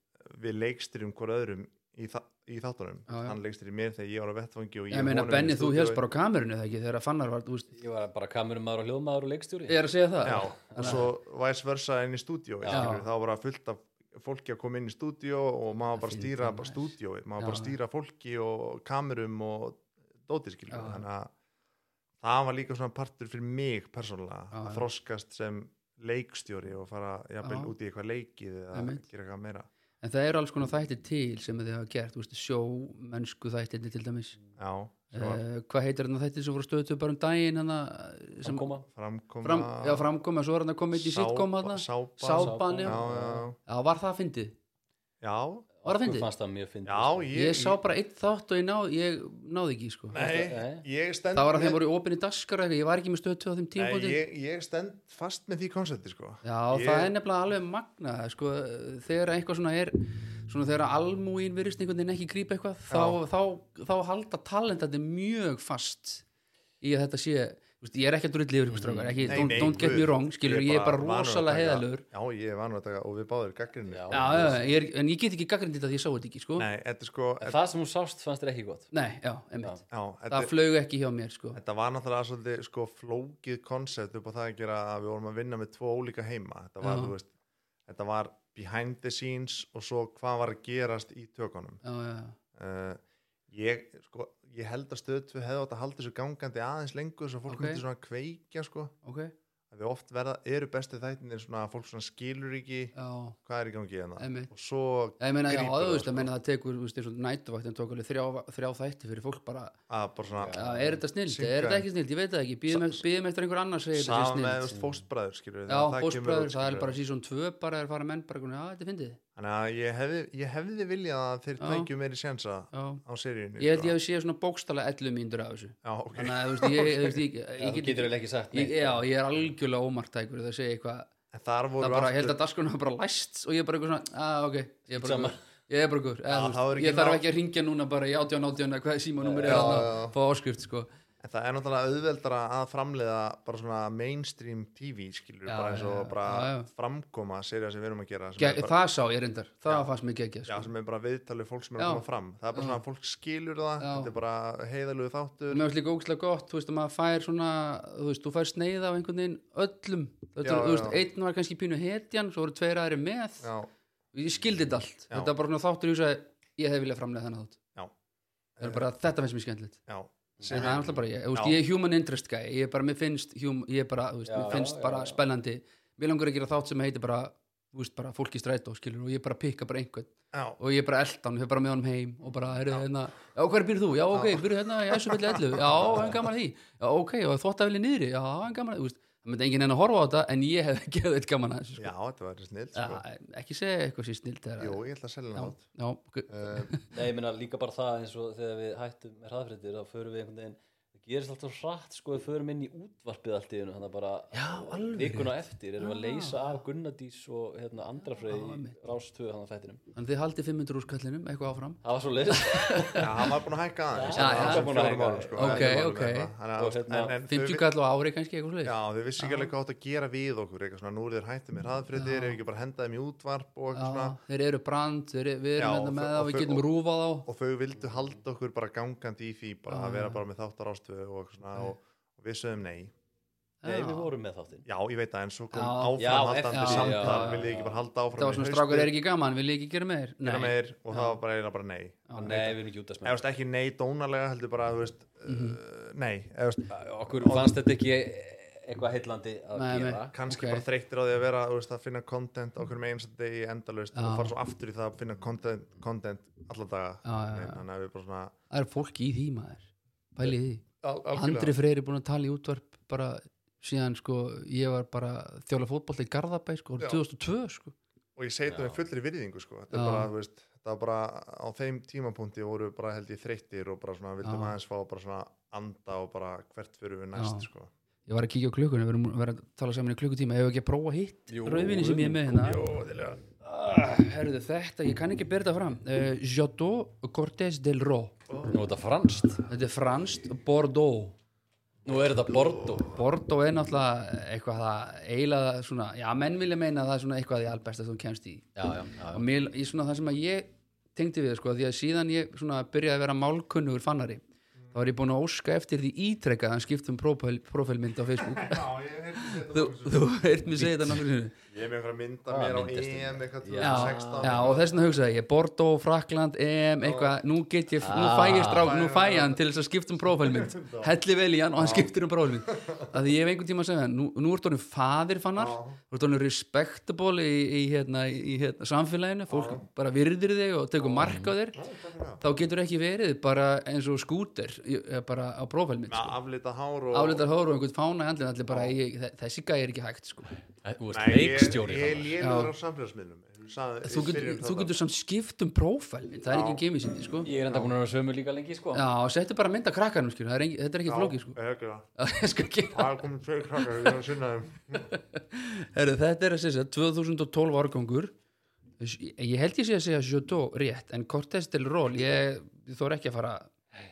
Speaker 2: við leikstýrum hver öðrum í, þa í þáttunum
Speaker 1: Já, já.
Speaker 2: hann leikstýri mér þegar ég var á vettfangi og ég,
Speaker 1: ég meina
Speaker 2: honum
Speaker 1: Benni,
Speaker 2: í
Speaker 1: þú
Speaker 2: stúdíói.
Speaker 1: helst bara á kamerunni þegar ekki þegar að fannar var, þú veist,
Speaker 3: ég var bara kamerumæður og hljóðmaður og leikstjóri
Speaker 1: ég er að segja það
Speaker 2: já, og svo vice versa inn í stúdíó
Speaker 3: Já.
Speaker 2: þá var það fullt af fólki að koma inn í stúdíó og maður
Speaker 1: Það
Speaker 2: bara
Speaker 1: fínt,
Speaker 2: stýra
Speaker 1: það er
Speaker 2: bara
Speaker 1: nice.
Speaker 2: stúdíó maður
Speaker 1: Já.
Speaker 2: bara stýra fólki og kamerum og dóti skilur
Speaker 1: Já.
Speaker 2: þannig að það var líka svona partur fyrir mig persónulega
Speaker 1: Já,
Speaker 2: að
Speaker 1: já.
Speaker 2: þroskast sem leikstjóri og fara jafnvel
Speaker 1: Já.
Speaker 2: út í eitthvað leikið eða
Speaker 1: Einmitt.
Speaker 2: gera eitthvað meira
Speaker 1: en það eru alls konar þættir til sem þið hafa gert, þú veist, sjó, mennsku þættirni til dæmis
Speaker 2: já, sem var
Speaker 1: Uh, hvað heitir hann þættir sem voru stöðtöð bara um daginn hana, sem
Speaker 3: koma
Speaker 2: framkoma
Speaker 1: fram, já, framkoma, svo er hann að koma eitt í sitcom hana,
Speaker 2: sápa,
Speaker 3: Sá-
Speaker 1: sápan já.
Speaker 2: já, já,
Speaker 1: já, var það fyndið
Speaker 2: já,
Speaker 1: Var það
Speaker 3: Okkur
Speaker 1: fyndið?
Speaker 3: fannst það mjög fyndið
Speaker 2: já
Speaker 3: sko.
Speaker 1: ég, sá bara eitt þátt og ég, náð, ég náði ekki sko.
Speaker 2: nei,
Speaker 3: Nei.
Speaker 2: ég stend
Speaker 1: það var að
Speaker 2: með-
Speaker 1: þeim voru opinni daskar og eitthvað, ég var ekki með stöðtöð á þeim
Speaker 2: Nei,
Speaker 1: tímpóti
Speaker 2: ég, ég stend fast með því konsepti sko.
Speaker 1: já,
Speaker 2: ég-
Speaker 1: það er nefnilega alveg magna sko, þegar eitthvað svona er svona þegar almúin virðist einhvern veginn ekki grípa eitthvað þá, þá, þá, halda talentandi mjög fast í að þetta sé þú veist, ég er ekki að drulli yfir ykkur strákar ekki,
Speaker 2: Nei,
Speaker 1: don't,
Speaker 2: nei,
Speaker 1: don't get
Speaker 2: guð,
Speaker 1: me wrong, skilur, ég er bara
Speaker 2: vanur að
Speaker 1: rosalega
Speaker 2: taka-
Speaker 1: heðalur
Speaker 2: Já, ég er vanur að taka og við báðum gaggrinu
Speaker 3: Já.
Speaker 1: já, já, já, ég er, en ég get ekki gaggrind þetta því ég sá þetta ekki sko. nei.
Speaker 2: Nei, þetta er sko
Speaker 3: En
Speaker 2: þetta,
Speaker 3: það sem hún sást fannst þér ekki gott
Speaker 1: já, einmitt
Speaker 2: já, þetta,
Speaker 1: það flög ekki hjá mér sko.
Speaker 2: þetta var náttúrulega svolítið sko, flókið konsept upp á það að gera að við vorum að vinna með tvo ólíka heima þetta var,
Speaker 1: Já.
Speaker 2: þú veist, þetta var behind the scenes og svo hvað var að gerast í tökunum
Speaker 1: já, já, já.
Speaker 2: uh, ég, sko, ég held að stöð við hefði átt að halda þessu gangandi aðeins lengur svo fólk
Speaker 1: Ok.
Speaker 2: myndi svona að kveikja sko.
Speaker 1: ok
Speaker 2: að við oft verða, eru bestu þættinir svona að fólk svona skilur ekki
Speaker 1: já.
Speaker 2: hvað er í gangi hérna
Speaker 1: Einmitt.
Speaker 2: og svo
Speaker 1: Já, Ég meina, já,
Speaker 2: grípur
Speaker 1: þú
Speaker 2: það,
Speaker 1: veist,
Speaker 2: sko.
Speaker 1: ég meina það tekur, þú veist, eins og nætuvættin tók alveg þrjá, þrjá þætti fyrir fólk bara,
Speaker 2: að bara svona
Speaker 1: já, er þetta snild,
Speaker 2: Synka
Speaker 1: er þetta
Speaker 2: þeim.
Speaker 1: ekki snild, ég veit það ekki, býðum býðum eftir einhver annars segir þetta
Speaker 2: saman með
Speaker 1: snild.
Speaker 2: þú veist, fóstbræður skilur
Speaker 1: Já,
Speaker 2: þegar það kemur
Speaker 1: bóstbræður,
Speaker 2: út,
Speaker 1: það er
Speaker 2: skilurðu.
Speaker 1: bara síðan tvö, bara er fara menn bara, já, þetta finnst þið.
Speaker 2: Þannig að ég hefði, ég hefði viljað að þeir
Speaker 1: Já.
Speaker 2: tækju meiri sénsa
Speaker 1: já.
Speaker 2: á seríunni. sko.
Speaker 1: Ég held ég að sé svona bókstala 11 mínútur af þessu
Speaker 2: Já, ok.
Speaker 1: Þannig að þú veist, ég, þú veist, ég, ég,
Speaker 3: þú
Speaker 1: ég
Speaker 3: getur vel ekki sagt
Speaker 1: ég, Já, ég er algjörlega ómartækur það segja eitthvað
Speaker 2: En þar voru
Speaker 1: Það bara, ég held að daskurinn var bara læst og ég er bara eitthvað svona, að ok, ég er bara
Speaker 3: Sama.
Speaker 1: ykkur Ég er bara ykkur,
Speaker 2: Já,
Speaker 1: eða, þú
Speaker 2: það var
Speaker 1: veist,
Speaker 2: ekki
Speaker 1: ég þarf
Speaker 2: ná-
Speaker 1: ekki að ringja núna bara í 18 18 eða hvað síma númer
Speaker 2: Já,
Speaker 1: er
Speaker 2: já, já.
Speaker 1: þarna, fá áskrift sko
Speaker 2: En það er náttúrulega auðveldara að framleiða bara svona mainstream TV skilur
Speaker 1: Já,
Speaker 2: bara eins og
Speaker 1: já, já.
Speaker 2: bara
Speaker 1: Já, já.
Speaker 2: framkoma serið sem við erum að gera sem,
Speaker 1: Ge
Speaker 2: er, bara,
Speaker 1: Það sá ég reyndar, það fannst mér geggja
Speaker 2: já,
Speaker 1: sko.
Speaker 2: sem er bara viðtalið fólk sem er
Speaker 1: Já.
Speaker 2: að koma fram það er bara svona að fólk skilur það
Speaker 1: Já.
Speaker 2: þetta er bara heiðalögu þáttur
Speaker 1: Mér finnst líka ógæslega gott, þú veist, að maður fær svona, þú veist, þú fær sneið af einhvern veginn öllum Þetta,
Speaker 2: Já,
Speaker 1: já, Þú veist,
Speaker 2: já.
Speaker 1: einn var kannski pínu hetjan, svo voru tveir aðri með
Speaker 2: já,
Speaker 1: Ég skildi þetta allt,
Speaker 2: Já.
Speaker 1: þetta var bara svona þáttur í þess að ég hefði viljað framlega þennan þátt
Speaker 2: Já.
Speaker 1: Það er bara, þetta finnst mér skemmtilegt
Speaker 2: já,
Speaker 1: En það er alltaf bara ég, þú veist,
Speaker 2: Já.
Speaker 1: ég er human interest guy ég er bara, mér finnst, hum, ég er bara, þú veist,
Speaker 3: Já,
Speaker 1: mér finnst
Speaker 3: já,
Speaker 1: bara
Speaker 3: já.
Speaker 1: spennandi mér langar að gera þátt sem heitir bara, þú veist, bara fólki strætó, skilur, og ég bara pikka bara einhvern
Speaker 2: já,
Speaker 1: og ég bara elda hann, við bara með honum heim og bara, heyrðu, hérna, já, hver býr þú? Já, ok, býr hérna, já, svo vilja ellu, já, hann gaman að því já, ok, og þótt að vilja niðri, já, hann gaman að því þú veist, það myndi enginn enn að horfa á þetta en ég hef gefið eitt gaman að þessu,
Speaker 2: já, þetta var snill
Speaker 1: sko.
Speaker 2: sko.
Speaker 1: já, ekki segja eitthvað sér snilt
Speaker 2: jú,
Speaker 1: já,
Speaker 2: ég ætla að selja hann átt
Speaker 1: já, ok,
Speaker 2: uh,
Speaker 3: Nei, ég meina líka bara það eins og þegar við hættum með hraðfréttir þá förum við einhvern veginn það gerist alltaf svo hratt sko við förum inn í útvarpið allt í hennu þannig að bara
Speaker 1: Já, alveg
Speaker 3: vikuna eftir erum við
Speaker 1: Já.
Speaker 3: að leysa af Gunnadís og hérna, andrafreið
Speaker 1: Já,
Speaker 3: í
Speaker 1: einmitt.
Speaker 3: rástöðu hann að þættinum
Speaker 1: þannig þið haldið 500 úr skallinum, eitthvað áfram
Speaker 3: það var svo leys
Speaker 2: já, hann var búin að hækka aðeins
Speaker 1: Já,
Speaker 2: hann var
Speaker 1: já.
Speaker 2: þessum
Speaker 3: Búinn að
Speaker 2: fjórum
Speaker 3: hækka.
Speaker 2: árum, sko,
Speaker 1: Ok,
Speaker 2: eða fjórum
Speaker 1: ok.
Speaker 2: eitthvað. Þannig að-
Speaker 3: Og hérna,
Speaker 2: en- en þau
Speaker 1: 50
Speaker 2: vi-
Speaker 1: kall á ári kannski, eitthvað svoleiðis.
Speaker 2: Já, þau vissi ekki alveg hvað átt að gera við okkur eitthvað svona, nú eru þeir hættið með hraðfriðir ef ekki bara henda þeim í útvarp og eitthvað svona
Speaker 1: Já, þeir eru brand, þeir eru, við
Speaker 2: Já,
Speaker 1: erum hérna
Speaker 2: og
Speaker 1: með
Speaker 2: þau-
Speaker 1: það,
Speaker 2: og
Speaker 1: við
Speaker 2: þau-
Speaker 1: getum
Speaker 2: og-
Speaker 1: rúfað á
Speaker 2: og þau vildu halda okkur bara gangandi í því bara að
Speaker 1: Já.
Speaker 2: vera bara með þáttar ástöðu og, svona, og, og við sögum nei
Speaker 3: Nei, við vorum með þáttinn
Speaker 2: já, ég veit það, en svo kom
Speaker 1: Já.
Speaker 2: áframhaldandi
Speaker 1: Já, eftir-
Speaker 2: samtal
Speaker 1: já, já,
Speaker 2: vil ég ekki bara halda áfram
Speaker 1: Það var svona strákur er ekki gaman, vil ég ekki gera meir
Speaker 2: Nei.
Speaker 1: Nei,
Speaker 2: Meir, og það var bara eiginlega bara nei
Speaker 3: Nei, við erum ekki út að
Speaker 2: eða þú veist, ekki nei dónalega heldur bara þú veist,
Speaker 1: Mhm.
Speaker 2: uh, nei eða, þú veist,
Speaker 3: smæða okkur fannst þetta ekki eitthvað heillandi að
Speaker 1: Nei, nei.
Speaker 3: gera
Speaker 2: kannski
Speaker 1: Ok.
Speaker 2: bara þreyttir á því að vera þú veist, að finna content á hverjum einasta degi endalaust
Speaker 1: Já.
Speaker 2: og fara svo aftur í það að finna content, content alla daga
Speaker 1: Já, já, já.
Speaker 2: Nei, þannig að við bara svona
Speaker 1: það er fólk í því maður Pælið í því
Speaker 2: al- algjörlega.
Speaker 1: Andri Freyri er búin að tala í útvarp bara síðan sko, ég var bara þjóla fótbolta í Garðabæ sko, árið
Speaker 2: Já.
Speaker 1: 2002 sko
Speaker 2: og ég segi þetta
Speaker 3: Já.
Speaker 2: með fullri virðingu sko. þetta er
Speaker 1: Já.
Speaker 2: bara, þú veist, það var bara á þeim tímapunkti voru bara held ég þreyttir og bara svona vildum
Speaker 1: Já.
Speaker 2: aðeins fá bara svona anda og bara hvert fyrir við
Speaker 1: Já.
Speaker 2: næst sko.
Speaker 1: Ég var að kíkja á klukkunni, við erum við erum að tala saman í klukkutíma Ef ekki að prófa hitt,
Speaker 3: Jú,
Speaker 1: rauðvinni sem ég er með
Speaker 2: Jó,
Speaker 1: hérna
Speaker 2: þiðlega.
Speaker 1: Ah, Herðu þetta, ég kann ekki bera þetta fram uh, Jotó Cortés del Ró
Speaker 3: Nú er þetta franskt
Speaker 1: Þetta er franst Bordeaux
Speaker 3: Nú er þetta Bordeaux
Speaker 1: Bordeaux er náttúrulega eitthvað það eiginlega svona, já menn vilja meina að það er svona eitthvað því albesta sem þú kemst í
Speaker 3: Já, já, já, já.
Speaker 1: og mér, ég, svona, það sem að ég tengdi við sko, því að síðan ég svona, byrjaði að vera málkunnugur fannari þá var ég búin að óska eftir því ítrekka að skiptum prófælmynd á Facebook
Speaker 2: Já, ég heyrði þetta
Speaker 1: þú, þú heirt mér segja þetta nokkur sinnum
Speaker 2: ég er með einhverja mynda mér á
Speaker 3: myndast í-
Speaker 2: EM eitthvað
Speaker 3: Já.
Speaker 2: 2016
Speaker 1: já, og þess vegna hugsaði ég, Bordeaux, Frakland EM, eitthvað, nú get ég nú fæ ég strák, nú fæ ég hann til þess að skipta um prófælmynd helli vel í hann og hann skiptir um prófælmynd að því ég hef einhvern tíma að segja nú, nú ertu honum faðir fannar þú ert honum respectable í, í, hérna, í hérna, samfélaginu, fólk bara virðir þig og tekur mark á þér þá getur ekki verið bara eins og skúter í- eh, bara á prófælmynd
Speaker 2: með
Speaker 1: sko.
Speaker 2: aflita hár og
Speaker 1: afleitar hóru og einhvern fána í andlinn allir bara, ég, þessi gæði er ekki hægt sko.
Speaker 3: Þú veist,
Speaker 2: Nei, ég,
Speaker 3: leikstjóri
Speaker 2: ég
Speaker 3: þarna.
Speaker 2: lélur á samfélagsmiðlum Sað-
Speaker 1: þú,
Speaker 2: í
Speaker 1: getur,
Speaker 2: byrjun
Speaker 1: þú
Speaker 2: þáttar.
Speaker 1: getur samt skipt um prófælmynd það er ekki gemið sinni sko.
Speaker 3: Ég er enda búin að vera sömu líka lengi sko
Speaker 1: Já, settu bara mynd að krakkanum skilur, það er engi, þetta er ekki flókið sko.
Speaker 2: Já, algjörlega.
Speaker 1: Ég skal gera það. sko
Speaker 2: það er komið tveir krakkar við erum að sinna þeim
Speaker 1: Heyrðu, þetta er að segja 2012 árgangur ég ég held ég sé að segja Jotó rétt, en Cortés del Ról ég þóra ekki að fara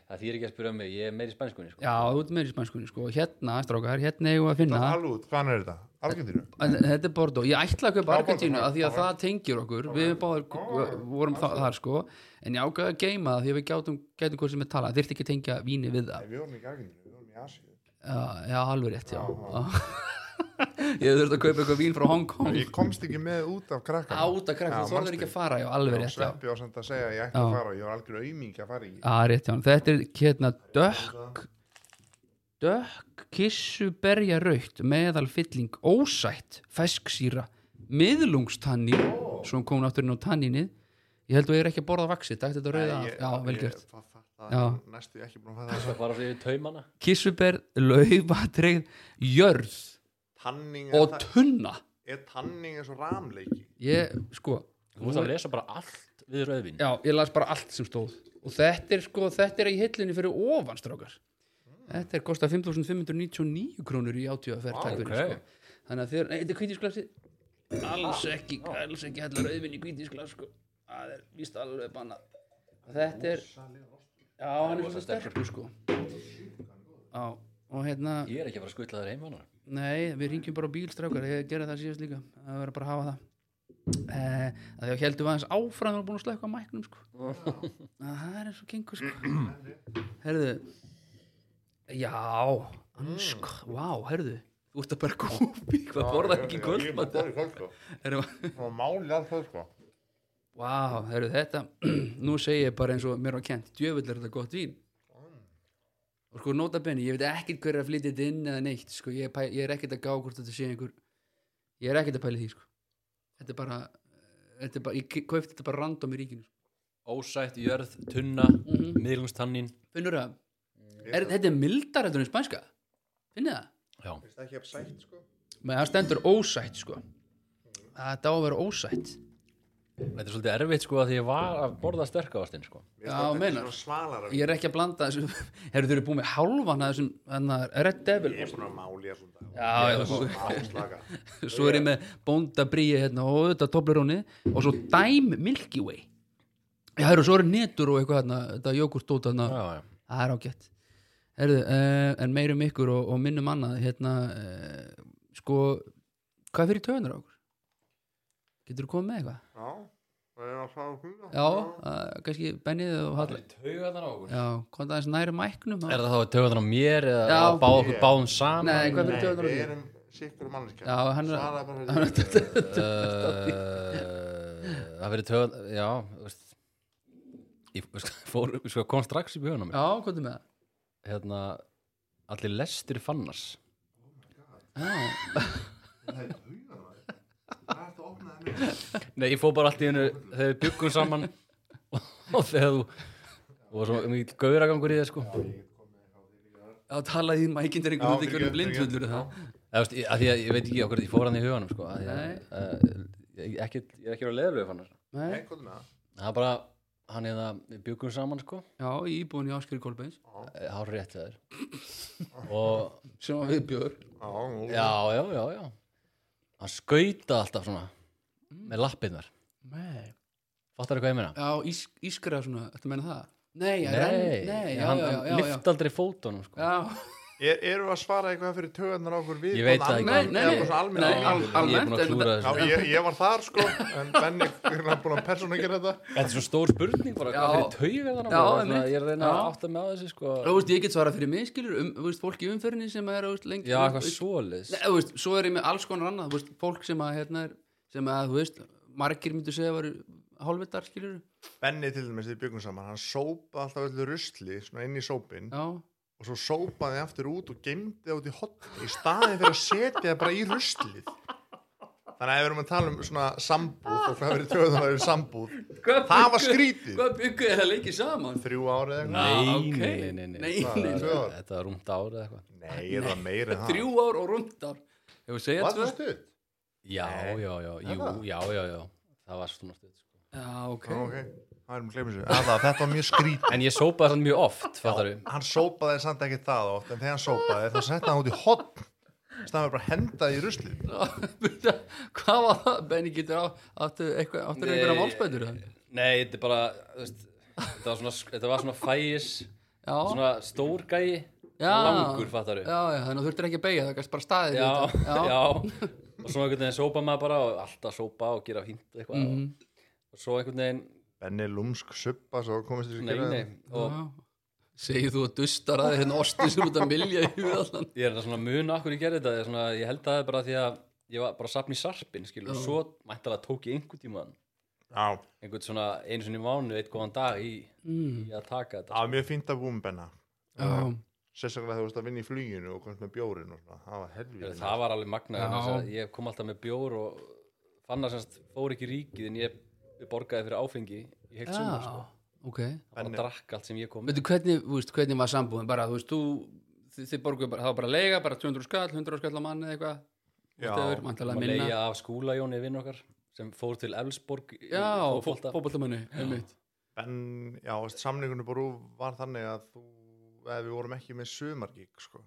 Speaker 3: Það þýr ekki að spyrja um mig, ég er meiri spænskunni sko
Speaker 1: já, út meiri spænskunni sko, hérna strákar, hérna eigum við að finna
Speaker 2: Alút, hvaðan er þetta? Algjörðinu?
Speaker 1: En þetta er Bordeaux, ég ætla að kaupa
Speaker 2: Já,
Speaker 1: Argentínu
Speaker 2: Bordeaux,
Speaker 1: að því að
Speaker 2: já.
Speaker 1: það tengir okkur við báður vorum þa- þar sko en ég ákveða að geima það því að við gætum gætum hvort sem við tala, þyrfti ekki að tengja víni við það
Speaker 2: Við vorum ekki Algjörðinu, við vorum í Asíu
Speaker 1: já, já alveg rétt, já, já. ég þurfti að kaupa eitthvað vín frá Hong Kong
Speaker 2: Ég komst ekki með út af krakkan
Speaker 1: áta krakka, þú þorður ekki að fara já, alveg rétt, já,
Speaker 2: Sveppi var samt að segja að ég ætti að
Speaker 1: Já.
Speaker 2: fara og ég var algjör aumingi að fara í
Speaker 1: já rétt, já þetta er hérna dökk dökk kissuberja raukt meðal fylling ósætt fesksýra, miðlungstanni svo hún kom aftur inn á tanninni ég held að ég er ekki að borða vaxið dætti þetta rauða,
Speaker 2: Nei,
Speaker 1: af.
Speaker 2: ég-
Speaker 1: já, velgjört
Speaker 2: Ég fatt
Speaker 1: Já.
Speaker 2: það, næstu ekki búin að fatta
Speaker 3: Það
Speaker 2: það
Speaker 3: var á því taumana
Speaker 1: kissuber, laufatreyð jörð
Speaker 2: Tanning
Speaker 1: og tunna
Speaker 2: er tanning eins og ramleiki
Speaker 1: ég, sko,
Speaker 3: Þú veist að lesa bara allt við rauðvin
Speaker 1: Já, ég las bara allt sem stóð og þetta er sko, þetta er í hillinni fyrir ofan strákar Þetta er kostað 5.599 krónur í átíðaferð
Speaker 3: Vá,
Speaker 1: wow,
Speaker 3: ok.
Speaker 1: sko. Þannig að þér, nei, þetta er kvítisglasi Alls ekki, alls ekki hætla rauðvinn í kvítisglas sko Það er víst alveg bannað Og Þetta er Já, hann er svo sterkur sko Já, og hérna
Speaker 3: Ég er ekki að fara að skutla þér heim hann
Speaker 1: Nei, við ringjum bara á bíl strákar Ég gerði það síðast líka, það verður bara að hafa það eh, að Þegar heldum við aðeins áfram og búin að slökka á mæknum sko Að Það er eins og gengur sko Herðu Já, ansk, vá, herðu Þú ert að bara kúpi, hvað borðar ekki kvöldmatt
Speaker 2: Ég er bara borðið kvöldmatt
Speaker 1: Herðu,
Speaker 2: Það var málið allt það sko
Speaker 1: vá, herðu þetta Nú segi ég bara eins og mér var kent Djöfull er þetta gott vín Og sko, nota benni, ég veit ekkert hver er að flytja þetta inn eða neitt, sko, ég, er pæ, ég er ekkert að gá hvort þetta sé einhver Ég er ekkert að pæla í því, sko Þetta er bara, þetta er bara ég kaupti þetta bara random í ríkinu sko.
Speaker 3: Ósætt, jörð, tunna, miðlungstannin
Speaker 1: Finnur það,
Speaker 2: Ég
Speaker 1: er, þetta er mildar þetta er spænska, finnir það?
Speaker 3: Já,
Speaker 2: finnst ekki að sætt sko
Speaker 1: Men það stendur ósætt sko Þetta á að vera ósætt
Speaker 3: þetta er svolítið erfitt sko að því ég var að borða sterkavastinn sko
Speaker 2: Mér finnst
Speaker 1: Já,
Speaker 2: þetta ekki
Speaker 1: meinar.
Speaker 2: svona svalara
Speaker 1: Ég er ekki að blanda þessu Herru, þau eru búið með hálfan að þessum Þannig að Red Devil
Speaker 2: Ég er búin að máli allan dag
Speaker 1: Já, sko. já, svo-
Speaker 2: Áslaka
Speaker 1: svo er ég með bónda bríi hérna og auðvitað tobleróni og svo dæm Milky Way Já, herru, svo eru netur og eitthvað hérna Þetta jógurt út hérna
Speaker 3: Já, já
Speaker 1: Það er ágætt Herðu, uh, en meirum ykkur og, og minnum annað hérna, uh, sko hvað fyrir töðunar á okkur? Getur þú komið með eitthvað?
Speaker 2: Já, það er að fara að hluga
Speaker 1: Já, uh, kannski bennið og hallar
Speaker 3: taugarnar á okkur
Speaker 1: Já, komið aðeins næri mæknum
Speaker 3: Er það þá taugarnar á mér eða
Speaker 1: Já.
Speaker 3: að bá okkur báðum saman
Speaker 1: Nei, hvað fyrir
Speaker 2: Nei,
Speaker 1: töðunar á
Speaker 2: við
Speaker 1: okkur?
Speaker 2: erum sikkur manneskja
Speaker 1: Já, hann er
Speaker 2: Svara bara fyrir
Speaker 3: Eh, Það fyrir taugarnar, já þú veist. Ég sko, fór, sko, kom strax í bjöðunum
Speaker 1: Já, komið með það
Speaker 3: Hérna, allir lestir fannars
Speaker 2: Það er huga Það er þetta að opna henni
Speaker 3: Nei, ég fór bara allt í hennu þegar við byggum saman og þegar þú og svo mikið gauragangur í það sko
Speaker 1: Já, talaði í mækindir
Speaker 2: Já,
Speaker 1: einhvern veginn
Speaker 2: fyrirgefðu,
Speaker 1: blindvöldur er það
Speaker 3: eða veist, ég, af því að ég veit ekki okkur ég fór hann í huganum sko að,
Speaker 1: Nei.
Speaker 3: að, að, ég, ekki, ég er ekki verið að leiðlega fann
Speaker 1: Nei,
Speaker 2: Nei, hvað með það?
Speaker 3: það er bara hann eða við byggum saman sko eh,
Speaker 1: já, í íbúin í Áskeri Kolbeins
Speaker 3: hár rétt það er og
Speaker 1: sem að við björ
Speaker 2: Já, nú
Speaker 3: já já já já hann skauta alltaf svona
Speaker 1: Mm.
Speaker 3: með lappirnar
Speaker 1: Nei
Speaker 3: fattar hvað ég meina?
Speaker 1: Já, ís, ískra svona, ertu að meina það? Nei, já, renn- nei, já,
Speaker 3: hann,
Speaker 1: já,
Speaker 3: hann
Speaker 1: já, já,
Speaker 3: lyfti aldrei fótunum sko
Speaker 1: já.
Speaker 2: Er, Erum við að svara eitthvað fyrir töðunar á okkur við
Speaker 3: Ég veit
Speaker 2: Hvað
Speaker 3: það
Speaker 2: annað?
Speaker 1: Nei, nei,
Speaker 2: Eða
Speaker 1: nei,
Speaker 2: bara svona almennt-
Speaker 1: nei, al-
Speaker 3: Ég er búinn að
Speaker 1: almennt, en
Speaker 3: klúðra þessu.
Speaker 1: þetta-
Speaker 2: Já, ég, ég var þar sko En Benni er búin að persónu að gera þetta
Speaker 3: Þetta er svo stór spurning bara,
Speaker 1: Já.
Speaker 3: hvað fyrir taugarnar á
Speaker 1: Já,
Speaker 3: okkur?
Speaker 1: einmitt.
Speaker 3: Ég er að reyna að
Speaker 1: Já.
Speaker 3: átta mig á þessu sko
Speaker 1: Þú veist, ég get svarað fyrir mig, skilur, um, þú veist, fólk í umferðinni sem er, þú veist, lengi
Speaker 3: Já,
Speaker 1: þú
Speaker 3: eitthvað
Speaker 1: veist,
Speaker 3: svolis
Speaker 1: Nei, þú veist, svo er ég með alls konar annað, þú veist, fólk sem að, hérna, er, sem að, þú veist, margir myndu segja að vera hálfvitar, skilur,
Speaker 2: Benni til dæmis þegar við byggum saman Hann sópa alltaf öllu rusli Svona inn í sópin
Speaker 1: já,
Speaker 2: Og svo sópaði aftur út og geymdi það út í hotn Í staðin fyrir að setja það bara í ruslið Þannig að ef við erum að tala um svona sambúð og hvað verið töðunar að sambúð
Speaker 1: Hvað
Speaker 2: Það
Speaker 1: byggu-
Speaker 2: var skrítið
Speaker 1: Hvað bygguð er að leiki saman?
Speaker 2: Þrjú árið eða eitthvað
Speaker 1: Ah,
Speaker 3: Nei,
Speaker 1: ok.
Speaker 3: nei, nei, nei,
Speaker 1: Nei,
Speaker 3: Þetta
Speaker 1: nei,
Speaker 3: var-
Speaker 2: tvö ár.
Speaker 3: Þetta var rúmt ár eða eitthvað
Speaker 2: Nei, það var meira en það
Speaker 1: Þrjú ár og rúndar Ef við segja
Speaker 2: Var
Speaker 1: tvö
Speaker 2: það stutt?
Speaker 3: Já,
Speaker 2: Nei.
Speaker 3: já, já, jú,
Speaker 2: það?
Speaker 3: já, já, já Það var svona stuð sko.
Speaker 1: Já, ok
Speaker 2: Já, ok, það erum að gleyma þessu Alla, Þetta var mjög skrít
Speaker 3: En ég sópaði þannig mjög oft, fattar við
Speaker 2: Hann sópaði samt ekki það oft En þegar hann sópaði þá setti hann út í hotn Stafið bara að henda það í rusli
Speaker 1: Hvað var það? Benny getur á, áttu eitthvað, áttu
Speaker 3: Nei.
Speaker 1: einhverja málspætur það?
Speaker 3: Nei, þetta er bara, þú veist Þetta var svona, þetta var svona fæis
Speaker 1: Já,
Speaker 3: Svona stór gæi
Speaker 1: Já.
Speaker 3: Langur, fattar við
Speaker 1: já, já, þannig að þú þurftir ekki að beigja það, kannski bara staðið
Speaker 3: Já,
Speaker 1: við þetta.
Speaker 3: já Og svo einhvern veginn sópa maður bara og alltaf sópa og gera fínt eitthvað
Speaker 1: Mhm.
Speaker 3: Og svo einhvern veginn,
Speaker 2: Benni Lúmsk suppa Svo komist þessu
Speaker 3: nei, nei Og
Speaker 1: já. Segir þú að dustar að þér hérna osti sem út að milja í hugallan
Speaker 3: ég er þetta svona mun akkur ég gerði þetta ég, svona, ég held að það er bara því að ég var bara sapn í sarpin skilur, og svo mæntalega tók ég einhvern tímann
Speaker 2: Já,
Speaker 3: einhvern svona einu sinni í mánu, eitt góðan dag í,
Speaker 1: Mm.
Speaker 3: í að taka
Speaker 2: það
Speaker 3: þetta
Speaker 2: var mjög fínt að búum Benna
Speaker 1: Já,
Speaker 2: Sérstaklega þegar þú varst að vinna í fluginu og komst með bjórin og svona Það var
Speaker 3: Skilur,
Speaker 2: helvið
Speaker 3: það var alveg magna
Speaker 1: Já.
Speaker 3: vegna þess að ég kom alltaf með bjór og fann að semst fór ekki í ríkið en ég borgaði fyrir áfengi í heilt sumar
Speaker 1: já,
Speaker 3: sko.
Speaker 1: ok
Speaker 3: og drakk allt sem ég kom með
Speaker 1: Veitu hvernig, þú veist, hvernig var sambúðin bara, þú veist, þú þið, þið borguðu bara, það var bara leiga, bara 200 skall 100 skall á manni eða eitthvað
Speaker 2: Já.
Speaker 1: whatever,
Speaker 3: og
Speaker 1: væntanlega
Speaker 3: að
Speaker 1: minna.
Speaker 3: leiða af skúlajóni vinn okkar sem fór til Elfsborg í
Speaker 1: Já,
Speaker 3: fótbolta.
Speaker 1: fótboltamanni, einmitt
Speaker 2: en já, veist, samningunum bara var þannig að þú, ef við vorum ekki með sumargík sko.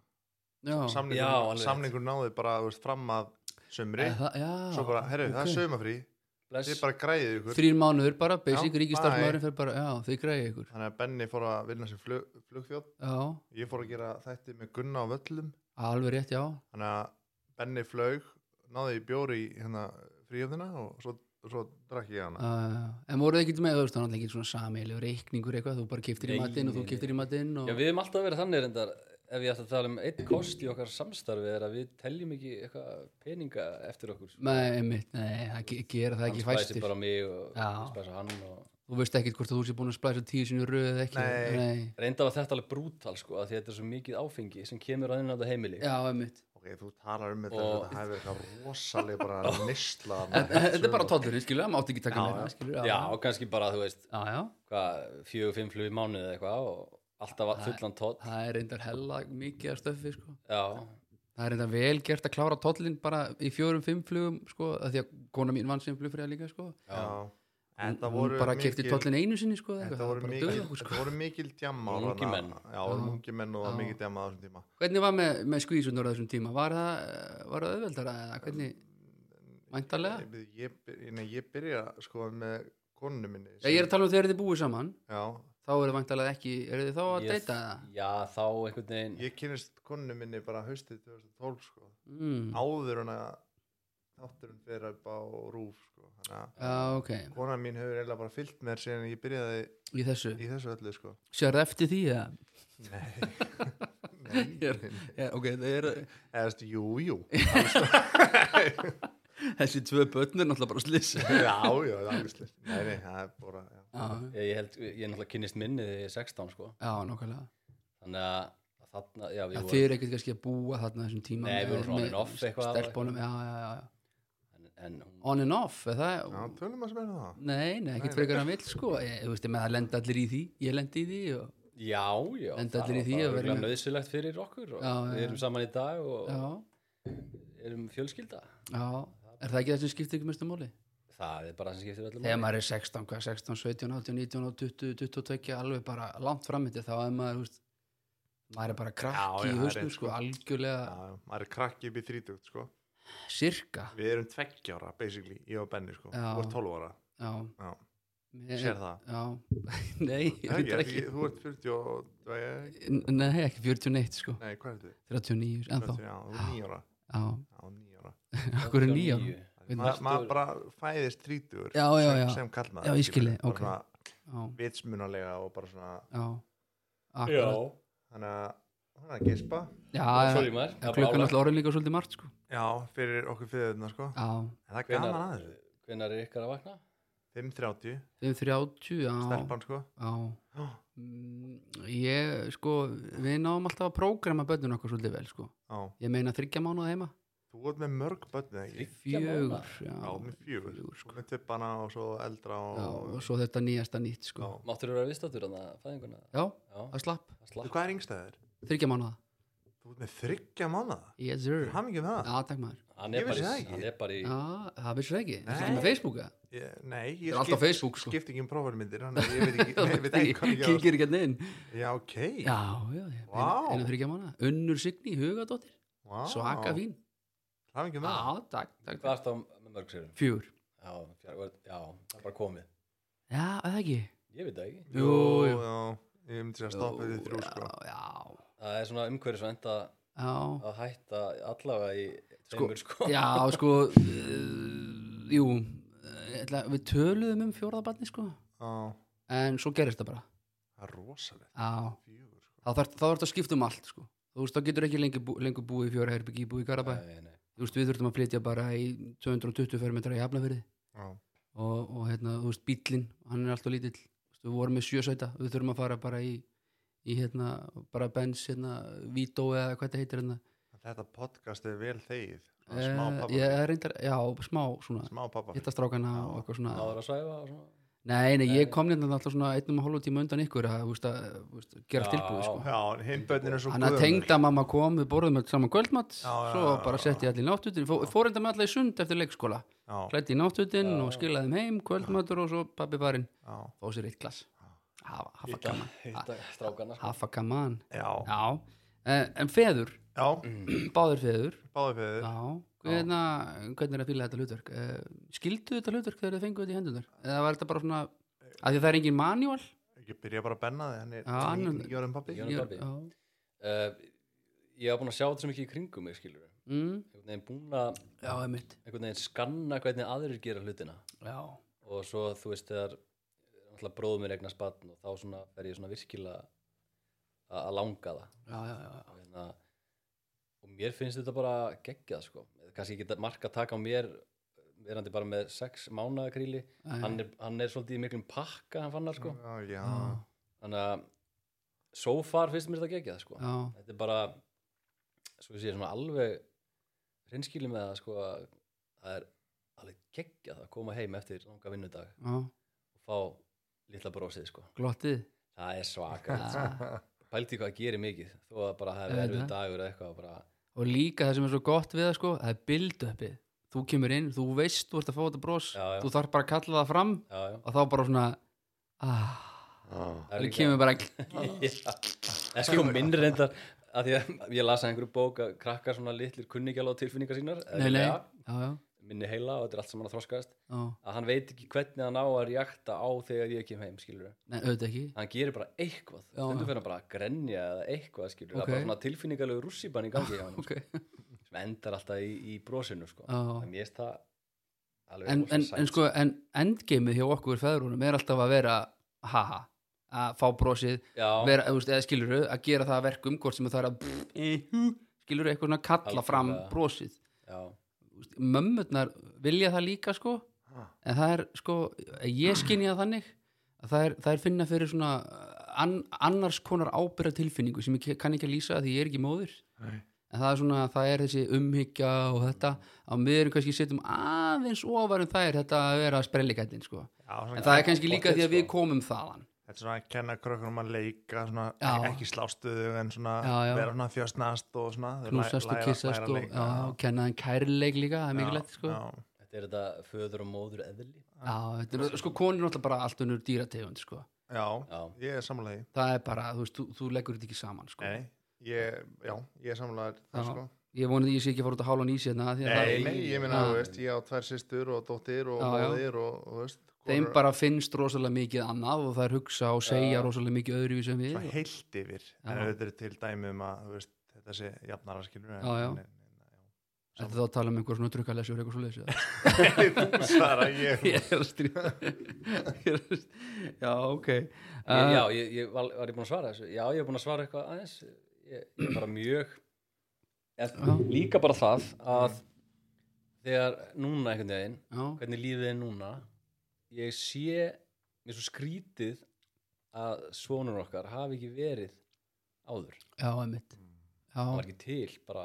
Speaker 1: Já,
Speaker 3: Já, alveg
Speaker 2: samningur,
Speaker 3: rétt.
Speaker 2: samningur náði bara þú veist, fram að sömri
Speaker 1: Eh, það- já
Speaker 2: svo bara, herru, það er
Speaker 1: ok.
Speaker 2: sömafrí
Speaker 3: Bless.
Speaker 2: þið bara græðið ykkur
Speaker 1: Þrír mánuður bara, basic
Speaker 2: Já,
Speaker 1: ríkistarfmaðurinn fyrir bara, já, þið greiði ykkur
Speaker 2: þannig að Benni fór að vinna sem flug, flugfjóð
Speaker 1: Já,
Speaker 2: ég fór að gera þætti með Gunna á völlum
Speaker 1: alveg rétt, já
Speaker 2: þannig að Benni flög náði í bjóri í hérna fríöfnina og svo, svo drakk ég hana
Speaker 1: uh, En voruð þið ekki með, þú veist, þannig ekki svona sameilu reikningur eitthvað, þú bara keftir í
Speaker 3: Nei,
Speaker 1: matinn og þú
Speaker 3: nei,
Speaker 1: keftir í
Speaker 3: nei.
Speaker 1: matinn og...
Speaker 3: Já, við hefum alltaf verið þannig reyndar ef ég ætla að tala um einn kost í okkar samstarfi er að við teljum ekki eitthvað peninga eftir okkur
Speaker 1: Nei, einmitt, nei, það ge- gera það ekki
Speaker 3: hann spæsir
Speaker 1: fæstir
Speaker 3: bara mig og
Speaker 1: Já.
Speaker 3: spæsir hann og...
Speaker 1: Þú veist ekkert hvort að þú sé búin að splæsa tíu sinni röð eða ekki
Speaker 2: Nei.
Speaker 3: reynda var þetta alveg brútal sko af því að þetta er svo mikið áfengi sem kemur á inn á þetta heimili
Speaker 1: Já, einmitt
Speaker 2: ok, þú talar um þetta
Speaker 3: Og-
Speaker 2: og... það hefur eitthvað rosalega bara nýsla
Speaker 1: En- en Þetta er bara tóllurinn, skilur, það mátti ekki taka
Speaker 2: Já,
Speaker 1: meira,
Speaker 2: já.
Speaker 1: skilur
Speaker 3: Já, og kannski bara þú veist
Speaker 1: já, já
Speaker 3: hvað, fjögur, fimm flug í mánuði eða eitthvað og alltaf fullan tótt
Speaker 1: Það er reyndar hella mikið að stöffi, sko
Speaker 3: já,
Speaker 1: Það er reyndar vel gert að klára tóllinn bara í fjórum, fimm flugum, sko af Því að kona mín vann sem flugfræða líka, sko
Speaker 2: já
Speaker 1: Hún-
Speaker 2: Þetta
Speaker 1: Hún
Speaker 2: voru
Speaker 1: bara
Speaker 2: mikil-
Speaker 1: kefti tóllinn einu sinni, sko eða eitthvað,
Speaker 2: Þetta
Speaker 1: það
Speaker 2: voru
Speaker 1: bara
Speaker 2: mikil,
Speaker 1: dugði okkur, sko.
Speaker 2: þetta voru mikil djamma
Speaker 3: Og ungir menn.
Speaker 2: Já, voru ungi menn og það var mikil djamma á þessum tíma
Speaker 1: Hvernig var með, með skvísunar á þessum tíma? Var það, var það auðveldara eða hvernig? Væntarlega?
Speaker 2: Ég, ég, ég, nei, ég byrja sko með konunni minni
Speaker 1: Já, ég er að tala um þegar þið búið saman,
Speaker 2: Já,
Speaker 1: þá eru væntarlega ekki, eru þið þá að
Speaker 3: Ég-
Speaker 1: deyta það?
Speaker 3: já, þá einhvern veginn
Speaker 2: ég kynist konunni minni bara haustið 2012 sko
Speaker 1: Mm.
Speaker 2: Áður en að þátturinn fyrir upp á rúf sko Þannig að
Speaker 1: Já, ok,
Speaker 2: konan mín hefur eiginlega bara fyllt mér síðan ég byrjaði
Speaker 1: í þessu.
Speaker 2: í þessu öllu sko
Speaker 1: Sér eftir því að...
Speaker 2: Nei, nei,
Speaker 1: Ég
Speaker 2: nei.
Speaker 1: Já, ok, það er,
Speaker 2: Eða, veist, jú, jú
Speaker 1: þessi tvö börn er náttúrulega bara sliss.
Speaker 2: Já, já, það er alveg slið Nei, nei, það er bara, já
Speaker 1: Já,
Speaker 3: ég, ég held, ég náttúrulega kynnist minni þegar ég er 16 sko
Speaker 1: já, nákvæmlega.
Speaker 3: þannig að þarna, já, við
Speaker 1: Já,
Speaker 3: vorum
Speaker 1: þið eru ekkert kannski að búa þarna þessum tíma.
Speaker 3: Nei,
Speaker 1: með-
Speaker 3: við vorum svona on
Speaker 1: með
Speaker 3: and off eitthvað.
Speaker 1: Stelpunum, já, já, já, já.
Speaker 3: en, en hún,
Speaker 1: On and off, eða það?
Speaker 2: Já, tölum að sem er það
Speaker 1: Nei, nei, ekkert
Speaker 2: Nei, nei.
Speaker 1: frekar en vill, sko. Ég, þú veist, ég með það lenda allir í því, ég lendi í því og...
Speaker 3: já, já
Speaker 1: Enda
Speaker 3: það
Speaker 1: allir í því að
Speaker 3: var
Speaker 1: vera
Speaker 3: bara
Speaker 1: með-
Speaker 3: nöðsilegt fyrir okkur og
Speaker 1: Já, já,
Speaker 3: við
Speaker 1: já.
Speaker 3: erum saman í dag og
Speaker 1: Já,
Speaker 3: erum fjölskylda
Speaker 1: já. Er það ekki það sem skiptir ekki mestu móli?
Speaker 3: það er bara það sem skiptir öllum
Speaker 1: Þegar
Speaker 3: máli.
Speaker 1: maður er 16, hvað, 16, 17, 18, 19, 20, 22, alveg bara langt framöndi, þá er maður, þú veist, maður er bara
Speaker 2: Já,
Speaker 1: krakki
Speaker 2: já,
Speaker 1: í
Speaker 2: það er
Speaker 1: hausnum, sko,
Speaker 2: rétt, sko.
Speaker 1: algjörlega,
Speaker 2: Já, já, maður er krakki upp í þrítugt sko
Speaker 1: sirka.
Speaker 2: Við erum tveggjára, basically, ég og Benni sko
Speaker 1: Já.
Speaker 2: Þú ert 12 ára
Speaker 1: Já,
Speaker 2: Já,
Speaker 1: Mér-
Speaker 2: sér það
Speaker 1: Já, nei,
Speaker 2: Nei,
Speaker 1: þetta er
Speaker 2: ekki,
Speaker 1: ekki,
Speaker 2: Þú ert 40 og þú er-
Speaker 1: N- nei, ekki 41, sko,
Speaker 2: Nei, hvað er þið?
Speaker 1: 39, sko, ennþá,
Speaker 2: 40, Já, þú er 9 ára
Speaker 1: já,
Speaker 2: Já, 9 ára
Speaker 1: okkur er
Speaker 3: Okkar
Speaker 1: nýja.
Speaker 3: níu.
Speaker 1: Við
Speaker 2: Ma,
Speaker 3: erum
Speaker 2: Maður
Speaker 3: alltaf-
Speaker 2: bara fæðist þrítugur
Speaker 1: Já, já, já.
Speaker 2: Sem, sem kall maður
Speaker 1: Já, ég skil þig, ok. Já,
Speaker 2: Vitsmunalega og bara svona
Speaker 1: já,
Speaker 3: já,
Speaker 1: akkurat.
Speaker 2: Þannig að hann er að gispa
Speaker 1: Já,
Speaker 3: sorry maður það er bara
Speaker 1: klukkan
Speaker 3: álag.
Speaker 1: alltaf orðin líka svolítið margt, sko.
Speaker 2: Já, fyrir okkur fyrirna sko
Speaker 1: Já,
Speaker 2: En það er
Speaker 3: Hvenær-
Speaker 2: gaman að þessu
Speaker 3: hvenær er ykkar að vakna?
Speaker 2: 5.30,
Speaker 1: við erum 30, já.
Speaker 2: stelpan sko
Speaker 1: Já.
Speaker 2: Já,
Speaker 1: Mm, Ég, sko, við náum alltaf að prógrama börnun okkur svolítið vel, sko.
Speaker 2: já
Speaker 1: Ég meina þryggja mánuða heima.
Speaker 2: Þú ert með mörg börn eða ekki
Speaker 3: Þriggja
Speaker 1: Fjögur,
Speaker 3: mánaða?
Speaker 1: já.
Speaker 2: Já, með fjögur
Speaker 1: fjögur, sko.
Speaker 2: Þú með tippana og svo eldra
Speaker 1: Já,
Speaker 2: og
Speaker 1: og svo þetta nýjasta nýtt, sko.
Speaker 2: Já.
Speaker 3: Máttur vera viðstáttur hann að fæðinguna?
Speaker 1: Já,
Speaker 3: Já,
Speaker 1: það slapp.
Speaker 3: það
Speaker 2: Þú,
Speaker 3: slapp.
Speaker 2: Hvað er yngstæður?
Speaker 1: Þryggja mánuða.
Speaker 2: Þú ert með þryggja mánuða
Speaker 1: Yes, sir.
Speaker 2: Hann ekki með það?
Speaker 1: Já, takk maður.
Speaker 3: Hann er
Speaker 2: Ég
Speaker 3: bara
Speaker 2: vissi
Speaker 3: í-
Speaker 2: það ekki.
Speaker 3: Hann er bara í
Speaker 1: Já, það vissir það ekki. Það er
Speaker 2: Nei.
Speaker 1: ekki með Facebooka.
Speaker 2: Ég, nei,
Speaker 1: Það
Speaker 2: ég
Speaker 1: er allt á
Speaker 2: skip,
Speaker 1: Facebook, sko.
Speaker 2: skipt ekki um prófarmyndir Þannig að ég veit ekki, nei, ég veit ekki hvað ég á
Speaker 1: Kíkir ekki hann inn.
Speaker 2: Já, ok
Speaker 1: Já, já, já.
Speaker 2: Vá.
Speaker 1: Einu þryggja mánuða. Unnur Signi, hugadóttir.
Speaker 2: Vá,
Speaker 1: Svaka fín.
Speaker 2: Hann ekki með það?
Speaker 1: Já, takk, takk.
Speaker 3: Hvað er það með mörg sérum?
Speaker 1: Fjögur.
Speaker 3: Já, fjár, já, það er bara komið.
Speaker 1: Já, er það ekki.
Speaker 3: Ég veit það ekki.
Speaker 1: Jú, jú.
Speaker 2: já Ég myndi að stoppa því þrjú
Speaker 1: Já,
Speaker 2: sko
Speaker 1: Já,
Speaker 3: Það er svona umhverfisvænt að,
Speaker 1: já.
Speaker 3: að hætta allavega í tveimur sko.
Speaker 1: Já, sko uh, Jú eh, ætla, Við töluðum um fjórðabarni, sko
Speaker 2: Já, það
Speaker 1: En svo gerist það bara
Speaker 2: er rosalegt
Speaker 1: Já,
Speaker 2: Fjögur sko
Speaker 1: þá þarf þá þarf að skipta um allt, sko Þú veist, þá getur ekki lengur, bú, lengur búið í fjóra herbyggi búið í Garabæ
Speaker 3: Nei, nei.
Speaker 1: Þú veist, við þurfum að flytja bara í 220 fermetra í Hafnafyrði
Speaker 2: Já,
Speaker 1: og, og hérna, þú veist, bíllinn, hann er alltaf lítill Þú veist, Við vorum með sjösæta, við þurfum að fara bara í, í hérna, bara Benz, hérna, Vító eða hvað þetta heitir hérna
Speaker 2: þetta podcast er vel þegið Það er Smá
Speaker 1: Eh,
Speaker 2: pappa
Speaker 1: Ég er reyndar, já, smá svona,
Speaker 2: Smá pappa
Speaker 1: hitta strákana
Speaker 2: Já.
Speaker 1: og eitthvað svona
Speaker 3: Náður að svæfa og svona.
Speaker 1: Nei, nei, ég kom nefnilega alltaf svona einnum og hálfu tíma undan ykkur að, þú veist, að þú veist, gera
Speaker 3: Já.
Speaker 1: tilbúið sko.
Speaker 2: Já, en hinn börnin er svo
Speaker 1: Þannig að tengda mamma kom, við borðum öll saman kvöldmatt
Speaker 2: Já, já,
Speaker 1: svo
Speaker 2: já,
Speaker 1: bara
Speaker 2: já.
Speaker 1: setti ég allir náttutin fó, fór enda með alla í sund eftir leikskóla
Speaker 2: Já,
Speaker 1: hlætti í náttutin
Speaker 3: Já.
Speaker 1: og skilaði þeim heim kvöldmattur og svo pabbi barinn
Speaker 2: já,
Speaker 1: fóð sér eitt glas Hafa- hafa
Speaker 3: Hitta,
Speaker 1: gaman.
Speaker 3: hitta strákana sko.
Speaker 1: hafa gaman
Speaker 2: já,
Speaker 1: Já, en, en feður
Speaker 2: já,
Speaker 1: báður feður
Speaker 2: báði fyrir
Speaker 1: Já, hvernig, hvernig er að fýla þetta hlutverk Eh, skildu þetta hlutverk þegar þið fengu þetta í hendunar eða var þetta bara svona að því það er engin manual
Speaker 2: Ég byrja bara að benna þig, hann er
Speaker 1: Já, hann er-
Speaker 2: tíu- ég var um pappi
Speaker 3: Ég er pabbi. uh, ég var búin að sjá þetta sem ekki í kringum mig skilur
Speaker 1: mm,
Speaker 3: einhvern veginn búin að
Speaker 1: Já, einmitt
Speaker 3: einhvern veginn skanna hvernig aðrir gera hlutina
Speaker 1: Já,
Speaker 3: og svo þú veist þegar alltaf bróðum mér eignast batn og þá svona fer ég svona virkilega að að langa það
Speaker 1: já, já, já, já.
Speaker 3: og, hérna, og mér finnst þetta bara geggjað sko, Eða kannski ekki mark að taka á mér verandi bara með sex mánaða kríli
Speaker 1: Æ,
Speaker 3: hann er, hann er svolítið í miklum pakka hann fann það sko
Speaker 2: Já, já,
Speaker 3: þannig að so far finnst mér þetta geggjað sko
Speaker 1: já,
Speaker 3: þetta er bara svo ég sé svona alveg reynskili með það sko að það er alveg geggjað að koma heim eftir langa vinnudag
Speaker 1: já,
Speaker 3: og fá litla brosið sko
Speaker 1: glottið
Speaker 3: það er svaka
Speaker 1: Já.
Speaker 3: pælti hvað gerir mikið þó að bara hafi
Speaker 1: Auðvitað.
Speaker 3: erfið dagur eða eitthvað bara
Speaker 1: og líka það sem er svo gott við það sko það er build-upið, þú kemur inn þú veist, þú ert að fá þetta bros
Speaker 3: Já, já.
Speaker 1: þú þarf bara að kalla það fram
Speaker 3: já, já.
Speaker 1: og þá bara svona ah,
Speaker 3: Það er
Speaker 1: það
Speaker 3: líka-
Speaker 1: kemur bara
Speaker 3: Já. en sko minn reyndar að því að ég lasa einhverju bók að krakkar svona litlir kunningjala á tilfinningar sínar
Speaker 1: nei, nei,
Speaker 3: eðlilega,
Speaker 1: já, já,
Speaker 3: minni heila og þetta er allt saman að þroskast
Speaker 1: já
Speaker 3: að hann veit ekki hvernig hann á að reakta á þegar ég kem heim skilur
Speaker 1: nei, auðvitað ekki
Speaker 3: hann gerir bara eitthvað
Speaker 1: Já,
Speaker 3: stundum
Speaker 1: já.
Speaker 3: fyrir hann bara að grenja eða eitthvað skilur
Speaker 1: Ok.
Speaker 3: það er bara svona tilfinningalegu rússipan í gangi hjá hann
Speaker 1: okay.
Speaker 3: sem endar alltaf í, í brosinu sko.
Speaker 1: Já.
Speaker 3: en mér finnst það alveg
Speaker 1: en,
Speaker 3: rosa
Speaker 1: en,
Speaker 3: sætt,
Speaker 1: en sko, en endgameið hjá okkur feðrunum er alltaf að vera haha, að fá brosið
Speaker 3: já,
Speaker 1: vera, eða, eða skiluru, að gera það að verkum hvort sem það er að skiluru eitthvað svona kalla fram
Speaker 3: Algjörlega.
Speaker 1: brosið
Speaker 3: já,
Speaker 1: Úst, mömmurnar vilja það líka sko en það er sko, ég skinja þannig að það er, það er finna fyrir svona eh, an, annars konar ábyrra tilfinningu sem ég ke- kann ekki að lýsa því ég er ekki móður
Speaker 2: Nei.
Speaker 1: en það er svona, það er þessi umhyggja og þetta, að við erum kannski setjum aðeins ofar en það er þetta að vera sprellikællin sko,
Speaker 2: já svona-
Speaker 1: en það er kannski líka
Speaker 3: pottþétt,
Speaker 1: því að við
Speaker 3: sko.
Speaker 1: komum þaðan
Speaker 2: Þetta er svona að kenna krökkunum að leika svona,
Speaker 1: Já.
Speaker 2: ekki slástuðu en svona
Speaker 1: Já, já.
Speaker 2: vera svona fjösnast og svona þau læ-
Speaker 1: knúsast og
Speaker 2: læra-
Speaker 1: kissast
Speaker 2: læra að
Speaker 1: og
Speaker 2: leika.
Speaker 1: sko. já, og kenna þeim kærleik líka, það er
Speaker 2: Já,
Speaker 1: mikilvægt sko.
Speaker 2: já.
Speaker 3: þetta er þetta föður og móður eðli
Speaker 1: Já, þetta er, sko, konur er náttúrulega bara allt unnur dýrategund, sko.
Speaker 2: Já,
Speaker 3: Já.
Speaker 2: ég er samlega
Speaker 1: Það er bara, þú veist, þú, þú leggur þetta ekki saman, sko.
Speaker 2: Nei, ég, já, ég er samlega
Speaker 1: Já.
Speaker 2: það sko
Speaker 1: Ég vonið að ég sé ekki að fara út að hálan í sérna, hérna, því að það
Speaker 2: Nei,
Speaker 1: er,
Speaker 2: nei, ég minna,
Speaker 1: Já.
Speaker 2: þú veist, ég á tvær systur og dóttir og
Speaker 1: Já, já.
Speaker 2: móðir og, og þú veist
Speaker 1: þeim
Speaker 2: konur-
Speaker 1: bara finnst rosalega mikið annað og það er hugsa og segja
Speaker 3: Já.
Speaker 1: rosalega mikið öðruvísi sem við.
Speaker 2: svona heilt yfir en
Speaker 1: Já.
Speaker 2: auðvitað er til dæmi um að þú veist, þetta sé jafnara skilur en-
Speaker 1: Já, já.
Speaker 2: en- en-
Speaker 1: Þetta þá að tala um einhver svona drukkalesjur eitthvað svo leysið.
Speaker 2: en- þú svara ég
Speaker 1: ég er að stríða. Ég er að stríða. Já, ok.
Speaker 3: ég,
Speaker 1: Uh,
Speaker 3: já, ég, ég var, var ég búin að svara þessu já, ég er búin að svara eitthvað aðeins ég, ég er bara mjög
Speaker 1: Já.
Speaker 3: en líka bara það að þegar núna einhvern veginn
Speaker 1: Uh, já,
Speaker 3: hvernig lífið er núna ég sé mér svo skrítið að svonur okkar hafi ekki verið áður,
Speaker 1: já, einmitt. Já,
Speaker 3: það var ekki til bara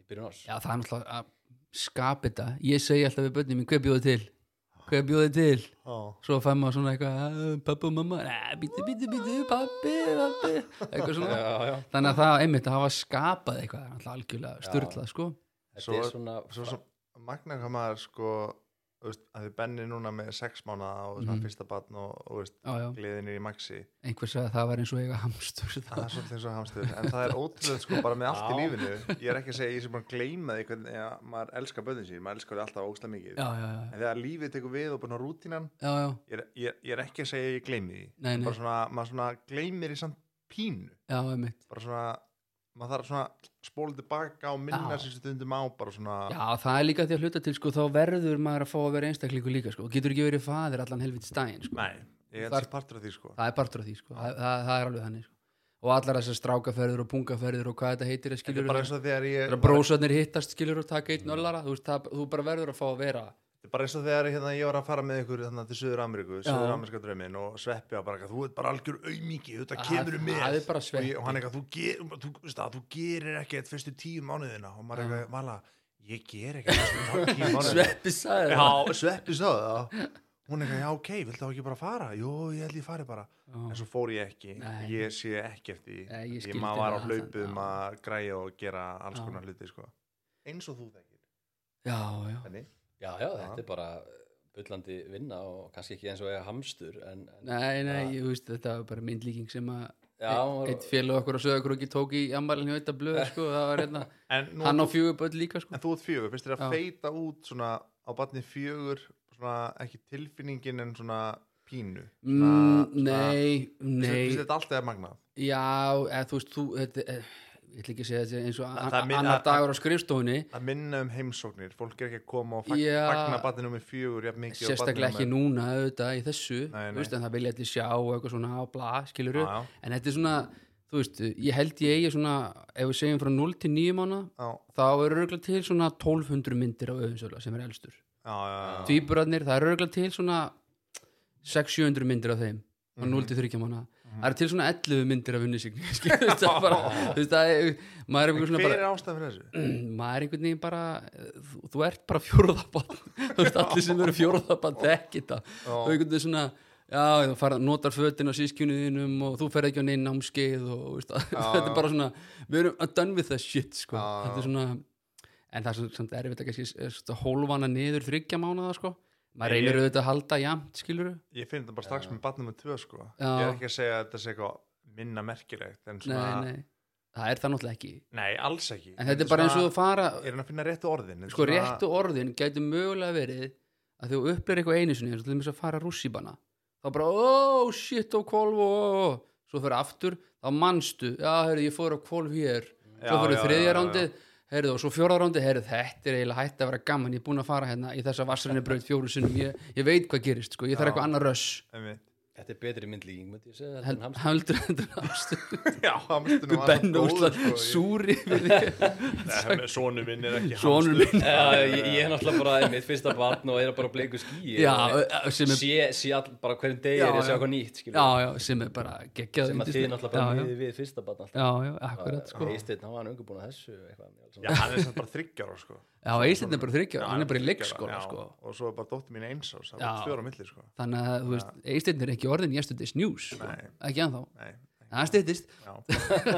Speaker 3: í byrjun árs
Speaker 1: já, það er náttúrulega að skapa þetta. Ég segi alltaf við börnum, hvað bjóðu til? Hvað bjóðu til?
Speaker 2: Já.
Speaker 1: svo fær maður svona eitthvað "Ah, pabbi og mamma, "Ah, bítu, bítu, bítu pabbi, pabbi, eitthvað svona
Speaker 3: já, já.
Speaker 1: þannig að það, einmitt, að hafa skapað eitthvað er alltaf algjörlega styrlað, sko
Speaker 3: þetta
Speaker 2: Svo-
Speaker 3: er svona,
Speaker 2: svo sem magna hvað maður sko þú veist, að þið benni núna með sex mánuða og svona
Speaker 1: Mhm.
Speaker 2: fyrsta batn og, og þú veist,
Speaker 1: já, já,
Speaker 2: gleðin er í maxi
Speaker 1: einhver sagði að það var eins og eiga hamstur
Speaker 2: það er svolítið eins og hamstur en það er ótrúlega sko bara með allt í
Speaker 3: Já.
Speaker 2: lífinu ég er ekki að segja, ég sem bara gleyma því hvernig ja, maður elskar böðin sín, maður elskar því alltaf ógsta mikið
Speaker 1: já, já, já,
Speaker 2: en þegar lífið tekur við og bara rútínan
Speaker 1: já, já,
Speaker 2: ég er, ég, er- ég er ekki að segja að ég gleymi því
Speaker 1: Nei, nei.
Speaker 2: bara svona, maður svona gleymir því samt pínu
Speaker 1: já, einmitt
Speaker 2: bara svona, maður þarf svona spóla tilbaka og minna
Speaker 1: Já.
Speaker 2: sér stundum á bara svona,
Speaker 1: já, það er líka því að hluta til, sko, þá verður maður að fá að vera einstaklingu líka, sko, og getur ekki verið faðir allan helviti stæðin, sko,
Speaker 2: nei, ég er
Speaker 1: Þar-
Speaker 2: þessi partur af því sko
Speaker 1: það er partur af því, sko það, það, það er alveg þannig, sko og allar þessar strákaferður og pungaferður og hvað þetta heitir er
Speaker 2: þetta
Speaker 1: skilur
Speaker 2: er bara eins og þegar ég
Speaker 1: þegar brósarnir hittast skilur og taka einn öllara þú, veist, það, þú bara verður að fá að vera
Speaker 2: þetta er bara eins og þegar hérna, ég var að fara með ykkur þannig, til Suður Ameríku,
Speaker 1: Já.
Speaker 2: Suður Ameríska drauminn og sveppi á bara eitthvað, þú ert bara algjör aumingi þetta
Speaker 1: Það-
Speaker 2: kemur með
Speaker 1: það er bara
Speaker 2: og, ég,
Speaker 1: Sveppi.
Speaker 2: og hann eitthvað, þú, ger, þú, veist það, þú gerir ekkert fyrstu tíu mánuðina og maður
Speaker 1: Já.
Speaker 2: eitthvað, vala, ég ger ekkert fyrstu tíu mánuðina
Speaker 1: Sveppi sagði það
Speaker 2: Já, sveppi sá það hún er eitthvað, já ok, vilt þá ekki bara fara jú, ég held ég fari bara en svo fór ég ekki,
Speaker 1: Nei.
Speaker 2: ég sé ekki eftir því.
Speaker 1: Nei, ég
Speaker 2: ég,
Speaker 1: skildi
Speaker 2: maður var á
Speaker 1: það,
Speaker 2: hlaupið
Speaker 1: já.
Speaker 2: um að græja og gera alls
Speaker 1: Já.
Speaker 2: konar hluti sko. eins og þú þekkir
Speaker 1: já, já,
Speaker 2: þannig,
Speaker 3: já, já, þetta er bara bullandi vinna og kannski ekki eins og eiga hamstur en, en
Speaker 1: nei, nei, ég veist þetta var bara myndlíking sem að
Speaker 3: já, hún var-
Speaker 1: eitt félag okkur á Söðakrúki tók í ammælinn hjá þetta blöð, sko, það var hérna
Speaker 2: en, nú,
Speaker 1: hann á fjöguböld líka, sko
Speaker 2: en þú ert fjögur, finnst þér
Speaker 1: Já.
Speaker 2: að feita út svona á batni fjögur svona, ekki tilfinningin en svona pínu Ah,
Speaker 1: Mm, Nei,
Speaker 2: finnst
Speaker 1: nei,
Speaker 2: þér þetta alltaf er magnað
Speaker 1: já, eða, þú veist, þú, þetta, eh, ég ætla ekki að segja þetta eins og
Speaker 2: það er
Speaker 1: an-
Speaker 2: minna-
Speaker 1: annar dagur á skrifstofunni,
Speaker 2: að minna um heimsóknir, fólk er ekki að koma og fag-
Speaker 1: Já.
Speaker 2: fagna batni nummer fjögur jafn mikið og
Speaker 1: sérstaklega
Speaker 2: barni
Speaker 1: ekki
Speaker 2: númer-
Speaker 1: núna auðvitað í þessu,
Speaker 2: Nei,
Speaker 1: þú
Speaker 2: nei.
Speaker 1: veist, en það vilja allir sjá og eitthvað svona og bla, skilur
Speaker 2: Já, já.
Speaker 1: en þetta er svona, þú veist, ég held ég eigi svona, ef við segjum frá 0 til 9 mánu,
Speaker 2: já,
Speaker 1: þá eru örgulega til svona 1200 myndir á auðvinsöla sem er elstur.
Speaker 2: já, já, já.
Speaker 1: Tvíburarnir, það eru örgulega til svona 600-700 myndir af þeim
Speaker 2: Mhm.
Speaker 1: á 0 til 3 mánu. Það eru til svona 11 myndir af unnisíkni, skilur þetta bara, þú veist, það er, maður er einhver svona
Speaker 2: hver
Speaker 1: bara,
Speaker 2: er ástæðan fyrir þessu?
Speaker 1: maður er einhvern veginn bara þú, þú ert bara fjóruðabann þú veist allir sem eru fjóruðabann þekki þetta og einhvern veginn svona já, þú fara, notar fötin á sískjunniðinum og þú ferð ekki á neinn námskeið og þú veist, þetta er bara svona við erum að done with that shit sko.
Speaker 2: Já, já.
Speaker 1: þetta er svona en það er svona- samt erfitt að kannski eh, s- s- hólfana niður þryggja mánuða sko maður
Speaker 2: Ég-
Speaker 1: reynir auðvitað að halda jafnt skilur
Speaker 2: ég finn þetta bara strax með batni nummer tvö sko.
Speaker 1: Já.
Speaker 2: ég er ekki að segja að þetta sé eitthvað minna merkilegt en
Speaker 1: nei,
Speaker 2: svona,
Speaker 1: nei, það er það náttúrulega ekki
Speaker 2: Nei, alls ekki
Speaker 1: en þetta er bara eins og þú fara
Speaker 2: Ég er hann að finna réttu orðin þetta er
Speaker 1: sko
Speaker 2: svona-
Speaker 1: réttu orðin gætu mögulega verið að þú upplir eitthvað einu sinni eins og til þess að fara rússíbana þá bara, ó, shit á kvolf og svo fyrir aftur, þá manstu já, heyrðu, ég fór á kvolf hér svo
Speaker 2: Já,
Speaker 1: fyrir
Speaker 2: já, já, já,
Speaker 1: þriðja rándið, heyrðu, og svo fjórða rándið heyrðu, þetta er eiginlega hætt að vera gaman ég er búin að fara hérna í þessa vassrinni braut fjóru sinnum ég, ég veit hvað gerist, sko, ég þarf eitthvað annað röss
Speaker 2: Einmitt.
Speaker 3: þetta er betri myndlíking myndi ég segja, þetta er
Speaker 1: heldur
Speaker 3: hamstur
Speaker 1: þetta er aftur
Speaker 2: Já, hamstunum
Speaker 1: Ben
Speaker 2: sko.
Speaker 1: Ósland, súri við þig
Speaker 2: Sónu minn er ekki
Speaker 1: Sonur minn.
Speaker 2: hamstur.
Speaker 3: Já, ég, ég er náttúrulega bara mitt fyrsta barn og er bara á bleiku skýi
Speaker 1: já,
Speaker 3: og
Speaker 1: sem er
Speaker 3: sé, sé all, bara hverjum degi
Speaker 2: Já,
Speaker 3: er ég að
Speaker 2: já.
Speaker 3: sjá eitthvað nýtt skilur,
Speaker 1: já, já, sem er bara geggjað
Speaker 3: sem að þið
Speaker 1: yndislegt.
Speaker 3: náttúrulega bara
Speaker 1: Já, já.
Speaker 3: miðið við fyrsta barn alltaf
Speaker 1: Já, já, akkurat sko
Speaker 3: Ísteinn, hann var ungu búin að þessu eitthvað,
Speaker 2: Já, hann er samt bara þryggjára sko.
Speaker 1: Já, Ísland er bara þryggja, hann er bara í
Speaker 2: þriggja ára,
Speaker 1: leikskóla
Speaker 2: já.
Speaker 1: sko
Speaker 2: Og svo er bara dóttir mín eins ás, það
Speaker 1: Já.
Speaker 2: var tvör á milli sko.
Speaker 1: Þannig að, þú veist, Ísland er ekki orðin yesterday's news sko.
Speaker 2: Nei.
Speaker 1: Ekki anþá,
Speaker 2: Nei,
Speaker 1: það stýttist
Speaker 2: já Já,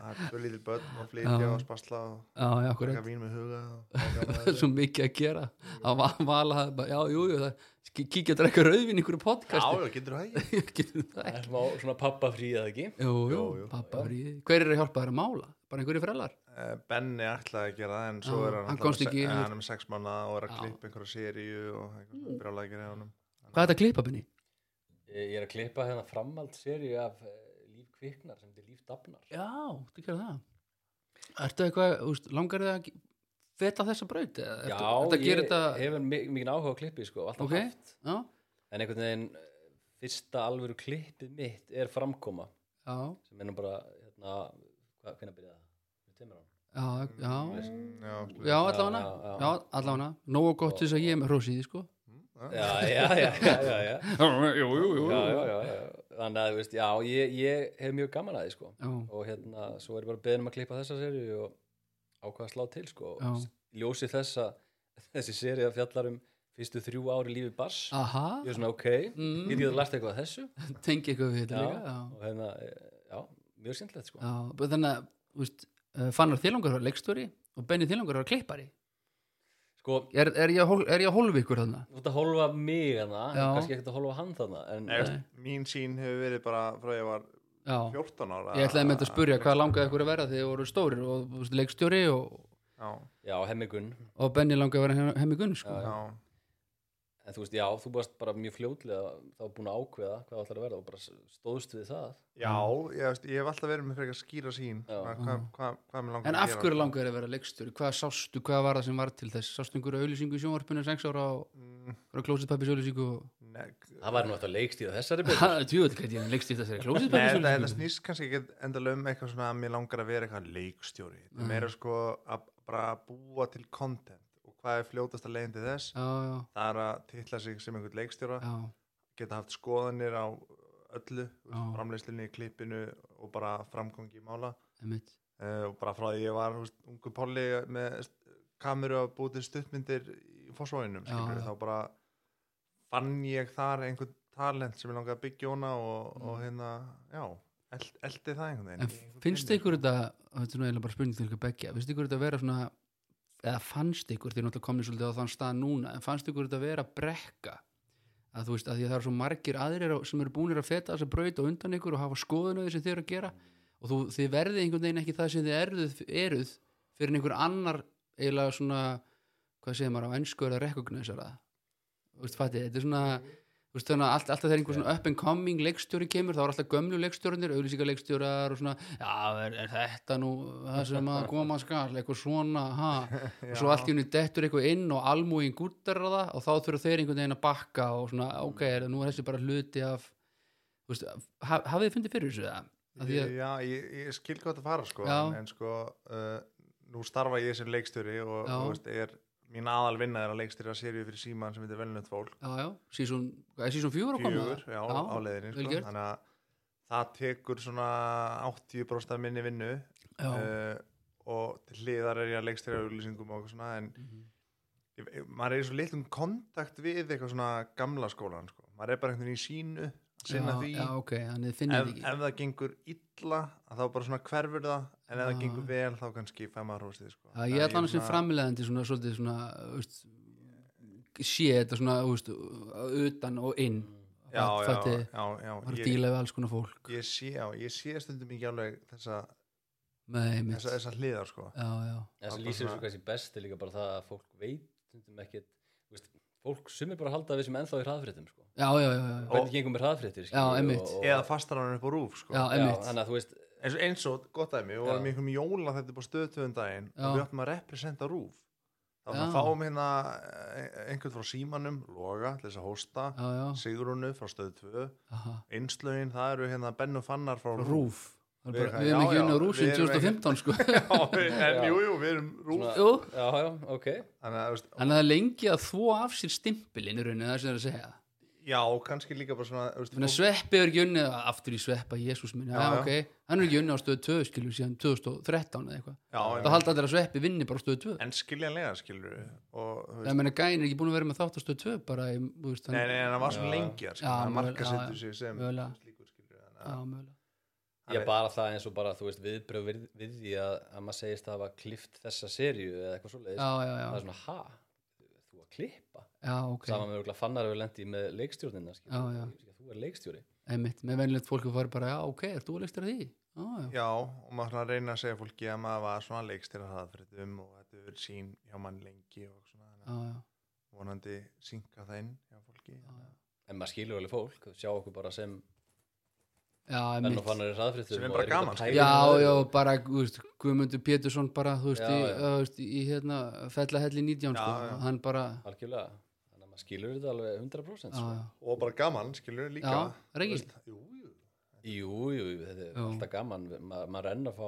Speaker 2: Það er tvö lítil börn og flytja og spasla og
Speaker 1: Já, já, akkurat,
Speaker 2: taka vín með huga og-
Speaker 1: það er svo mikið að gera að va- vala, bara, já, jú, jú það, ki- kíkja að drekka rauðvin í einhverju
Speaker 2: Já,
Speaker 1: podcasti
Speaker 2: já, getur það ekki
Speaker 1: Getur það ekki?
Speaker 3: það er smá svona pappa fríð eða ekki
Speaker 1: Jú, jú,
Speaker 2: jú,
Speaker 1: pappa fríði Hver er að hjálpa þér að mála? Bara einhverju frelar?
Speaker 2: Eh, Benni ætlaði að gera það en svo
Speaker 1: Já,
Speaker 2: er hann,
Speaker 1: hann
Speaker 2: alltaf
Speaker 1: komst
Speaker 2: með se-
Speaker 1: ekki,
Speaker 2: eh,
Speaker 1: hann-
Speaker 2: hann er með sex manna og er að
Speaker 1: Já. Mm.
Speaker 2: klippa einhverja seríu og einhverja brjálækir í honum
Speaker 1: Hvað er þetta að klippa minni?
Speaker 3: ég, ég er að klippa hérna framhaldsseríu af eh, líf kviknar sem þetta er líf dafnar
Speaker 1: Já, þú gerir það Ertu eitthvað, þú veist, langar þið að ge- feta þessa braut? Já,
Speaker 3: já,
Speaker 1: ertu að
Speaker 3: ég
Speaker 1: gera þetta
Speaker 3: hefur mi- mikið áhuga á klippi sko, og alltaf
Speaker 1: Ok.
Speaker 3: haft
Speaker 1: Já,
Speaker 3: en einhvern veginn eh, fyrsta alvöru klippið mitt er framkoma
Speaker 1: já,
Speaker 3: sem er nú bara hérna, hvað, hvernig byrjaði það? Við teimur hann
Speaker 1: já, já
Speaker 2: Mm, Já, slúður.
Speaker 1: Já, allavega
Speaker 3: já, já.
Speaker 1: Já, allavega Nóa gott til þess að ég er með hrósiði, sko
Speaker 2: Mm,
Speaker 3: já, já, já, já, já, já.
Speaker 1: Jú, jú, jú
Speaker 3: já, já, já, já. þannig að þú veist, já, ég, ég hef mjög gaman að því sko.
Speaker 1: Já,
Speaker 3: og hérna, svo er ég bara beðin um að klippa þessa seri og ákvað að slá til sko.
Speaker 1: Já.
Speaker 3: ljósi þess að þessi seri að fjallar um fyrstu þrjú ári lífi bars
Speaker 1: aha
Speaker 3: ég er svona ok,
Speaker 1: Mm.
Speaker 3: ég get að lært eitthvað að þessu
Speaker 1: Tengi eitthvað við þetta líka
Speaker 3: já,
Speaker 1: Já,
Speaker 3: og hérna, eh, já, mjög sýndlegt sko.
Speaker 1: já bara Þannig að, þú veist eh, Fannar Þélungar var leikstjóri og Benni Þélungar var klippari
Speaker 3: sko,
Speaker 1: Er, er, ég, að hól- er ég að hólfi ykkur þarna?
Speaker 3: þú ert að hólfa mig hana,
Speaker 1: Já.
Speaker 3: kannski ekkert að hólfa hann þarna en, eh,
Speaker 2: Nei, veist, mín sín hefur verið bara frá ég var
Speaker 1: Já
Speaker 2: 14 ára
Speaker 1: Ég ætlaði með þetta að spurja hvað langaði ykkur að vera þegar þið voru stórir og þú veist, leikstjóri og,
Speaker 2: Já,
Speaker 3: já, hemmigun
Speaker 1: og Benni langaði að vera hem- hemmi gunn, sko
Speaker 2: já,
Speaker 3: en þú veist, já, þú varst bara mjög fljótlega þá búin að ákveða hvað ætlar að verða og bara stóðst við það
Speaker 2: já ég, veist, ég hef alltaf verið með frekar skýra sín
Speaker 3: Já.
Speaker 2: hvað hva, hva, hva mér langar
Speaker 1: En
Speaker 2: að
Speaker 1: af
Speaker 2: gera.
Speaker 1: hverju langaði þér að vera leikstjóri? Hvað sástu, hvað var það sem var til þess? Sástu einhverju auðlýsingu í sjónvarpinu sex ára og
Speaker 2: Mm,
Speaker 1: einhverju klósitpappis auðlýsingu og
Speaker 2: Nei,
Speaker 3: það var nú eftir að leikstíða þessari byrju
Speaker 1: Tjúvöld, hvernig ég leikst í þessari klósið
Speaker 2: Nei, þetta, þetta snýst kannski ekki endala um eitthvað svona að mér langar að vera eitthvað leikstjóri Þetta er meira sko að bara búa til content og hvað er fljótast að leiðin til þess
Speaker 1: Já, já,
Speaker 2: það er að titla sig sem einhvern leikstjóra
Speaker 1: já,
Speaker 2: geta haft skoðanir á öllu
Speaker 1: Já.
Speaker 2: framleyslinni í klippinu og bara framgangi í mála
Speaker 1: einmitt
Speaker 2: uh, og bara frá því ég var húst, ungu polli með st- kameru að búið til stuttmyndir í fósvóinum
Speaker 1: Já, já.
Speaker 2: þá bara fann ég þar einhvern talent sem ég langaði að byggja hana og, og hérna, já, eld, eldi það einhvern veginn
Speaker 1: Mm. En
Speaker 2: í einhvern
Speaker 1: finnst
Speaker 2: vinnu.
Speaker 1: ykkur þetta, þetta er nú eiginlega bara spurning til ykkur begja, finnst ykkur þetta að vera svona, eða fannst ykkur, þið er náttúrulega komnið svolítið á þann stað núna, en fannst ykkur þetta að vera brekka? Að þú veist, að því að það eru svo margir aðrir á- sem eru búinir að feta þessa braut og undan ykkur og hafa skoðun á því sem þið eru að gera og þú, þið verðið einhvern veginn ekki það sem þið eruð, eruð fyrir en einhver annar eiginlega svona, hvað segir maður á ennsku er að recognisera það. Þú veist, fatið, þetta er svona, þú veist, þannig að allt, alltaf þegar einhver svona up and coming leikstjóri kemur, þá er alltaf gömlu leikstjórnir, auðlýsingarleikstjórar og svona, já, er, er þetta nú það sem að koma skall, eitthvað svona, ha, og svo
Speaker 2: Já.
Speaker 1: allt í henni dettur eitthvað inn og almúin gúttar það og þá þurfa þeir einhvern veginn að bakka og svona,
Speaker 2: Mm.
Speaker 1: ok, er, nú er þessi bara hluti af, þú veist, haf, hafið þið fundið fyrir þessu það? Að því að,
Speaker 2: Já, ég, ég skil hvað það fara sko,
Speaker 1: Já.
Speaker 2: en, en sko uh, nú starfa ég sem leikstjóri og,
Speaker 1: Já.
Speaker 2: og veist, er, mín aðal vinna er að leikstjóra seríu fyrir síman sem heitir velnönd fólk
Speaker 1: já, já, sísón, hvað er sísón fjögur að koma?
Speaker 2: fjögur já, á leiðinni
Speaker 1: vel
Speaker 2: sko,
Speaker 1: gert.
Speaker 2: þannig að það tekur svona 80% af minni vinnu
Speaker 1: Já,
Speaker 2: uh, og til hliðar er ég að leikstjóra auðlýsingum og eitthvað svona en
Speaker 1: Mhm.
Speaker 2: ég, ég- maður er í svo litlum kontakt við eitthvað svona gamla skólan sko. maður er bara einhvern veginn í sínu að sinna
Speaker 1: já,
Speaker 2: því
Speaker 1: já, ok, þannig þið finnir
Speaker 2: ef,
Speaker 1: þið ekki.
Speaker 2: ef það gengur illa að þá bara svona hverfur það en ef það
Speaker 1: Já.
Speaker 2: gengur vel þá kannski fæ maður húsið sko.
Speaker 1: Já, ég ætla hann sem
Speaker 2: svona-
Speaker 1: framlegandi svona, svolítið svona, þú veist, sé þetta svona, þú veist, utan og inn.
Speaker 2: Mm, já, já,
Speaker 1: Fætti,
Speaker 2: já, já,
Speaker 1: var að
Speaker 2: ég,
Speaker 1: díla við alls konar fólk.
Speaker 2: ég, sé, já, ég sé stundum ekki alveg þessa,
Speaker 1: Með einmitt.
Speaker 2: þessa, þessa hliðar sko.
Speaker 1: Já, já,
Speaker 3: það
Speaker 2: bara
Speaker 3: sem lýsir
Speaker 2: svona-
Speaker 3: þessu kannski best er líka bara það að fólk veit stundum ekkit, þú veist, fólk sumir bara að halda að við sem ennþá í hraðfréttum sko.
Speaker 1: já, já, já, já, já.
Speaker 3: hvernig gengum við hraðfréttir
Speaker 1: Já, einmitt.
Speaker 2: eða fastar hann upp á rúf sko.
Speaker 1: já
Speaker 3: já,
Speaker 1: einmitt.
Speaker 3: þannig að þú veist
Speaker 2: eins, og- eins og gott dæmi, við vorum í einhverjum jóla þetta búið stöðtöðum daginn
Speaker 1: Já.
Speaker 2: og við áttum að representa rúf þá
Speaker 1: Já.
Speaker 2: við fáum hérna eh, einhvern frá símanum, Loga til þess að hósta,
Speaker 1: Já, já,
Speaker 2: Sigrunu frá stöð 2
Speaker 1: aha.
Speaker 2: einslögin, það eru hérna Benn og Fannar frá
Speaker 1: Rúf. Það er
Speaker 2: Við-
Speaker 1: bara- Við erum
Speaker 2: já,
Speaker 1: ekki unni
Speaker 2: já,
Speaker 1: á
Speaker 2: við
Speaker 1: rúsin
Speaker 2: erum ekki-
Speaker 1: 2015, sko.
Speaker 2: Já, við- en
Speaker 3: Já.
Speaker 2: jú, jú, við erum rúf
Speaker 3: Svona-
Speaker 1: Jú,
Speaker 3: já, já, ok
Speaker 2: þannig að, þú veist,
Speaker 1: þannig að það er lengi að þvó af sér stimpilinn í rauninu, það er sem það er að segja.
Speaker 2: já, kannski líka bara svona, þú veist,
Speaker 1: Þannig að
Speaker 2: fólk-
Speaker 1: sveppi er ekki unni, aftur í sveppa, Jésús minn, já,
Speaker 2: Sko- Já, já.
Speaker 1: ok, hann er ekki unni á stöðu 2, skilur, síðan 2013 eða eitthvað.
Speaker 2: já,
Speaker 1: Þá
Speaker 2: en,
Speaker 1: halda allir að sveppi vinni bara á stöðu 2.
Speaker 2: en skiljanlega skilur við, og, þú
Speaker 1: Ég
Speaker 2: veist,
Speaker 1: meina, gæin er ekki búin að vera með þátt á stöð 2 bara í, þú veist,
Speaker 2: nei, nei, en það var svona
Speaker 3: Já.
Speaker 2: lengi að skilur,
Speaker 1: Já,
Speaker 2: það
Speaker 1: mögulega,
Speaker 2: markasettur
Speaker 1: já,
Speaker 2: sig sem
Speaker 1: mögulega.
Speaker 2: slíkur skilur við, þannig
Speaker 1: Já,
Speaker 2: að-
Speaker 1: mögulega.
Speaker 3: ég bara það eins og bara, þú veist, viðbröð við, við því að, að maður segist að hafa klift þessa serju eða eitthvað svoleiðis
Speaker 1: Já, já,
Speaker 3: það er
Speaker 1: já,
Speaker 3: svona, ha, þú að klippa
Speaker 1: já, ok,
Speaker 3: okay. saman með örugglega fannar hefur lendi með leikstjórnina skilur.
Speaker 1: Já, já.
Speaker 3: Ég- þú er leikstjóri
Speaker 1: einmitt, með venjulegt fólk að fara bara, já, ok, er þú að leikstur að því? Já, já,
Speaker 2: já, og maður svona reyna að segja fólki að maður var svona leikstýra hraðfréttum og þetta hefur verið sín hjá mann lengi og svona, þannig
Speaker 1: já,
Speaker 2: að
Speaker 1: já,
Speaker 2: vonandi synka það inn hjá fólki þannig að-
Speaker 3: en maður skilur alveg fólk, þau sjá okkur bara sem
Speaker 1: já,
Speaker 3: menn og
Speaker 1: einmitt.
Speaker 3: fannar í hraðfréttum
Speaker 2: Sem er
Speaker 3: og
Speaker 2: bara
Speaker 3: eru
Speaker 2: gaman,
Speaker 3: að pæla
Speaker 2: skilur.
Speaker 1: Já,
Speaker 3: í öðru.
Speaker 1: já, bara, þú veist, Guðmundur Pétursson bara, þú veist,
Speaker 3: Já,
Speaker 1: í,
Speaker 3: já.
Speaker 1: þú veist, í hérna, fellahelli 19,
Speaker 2: Já,
Speaker 1: sko,
Speaker 2: já.
Speaker 1: hann bara,
Speaker 3: algjörlega, þannig að maður skilur þetta alveg 100%
Speaker 1: já,
Speaker 3: sko.
Speaker 1: já,
Speaker 2: og bara gaman, skilur við, líka
Speaker 1: Já, er ekki?
Speaker 2: Þú veist, jú, jú,
Speaker 3: jú, jú, jú, þetta er
Speaker 1: Já.
Speaker 3: alltaf gaman Ma- maður renn að fá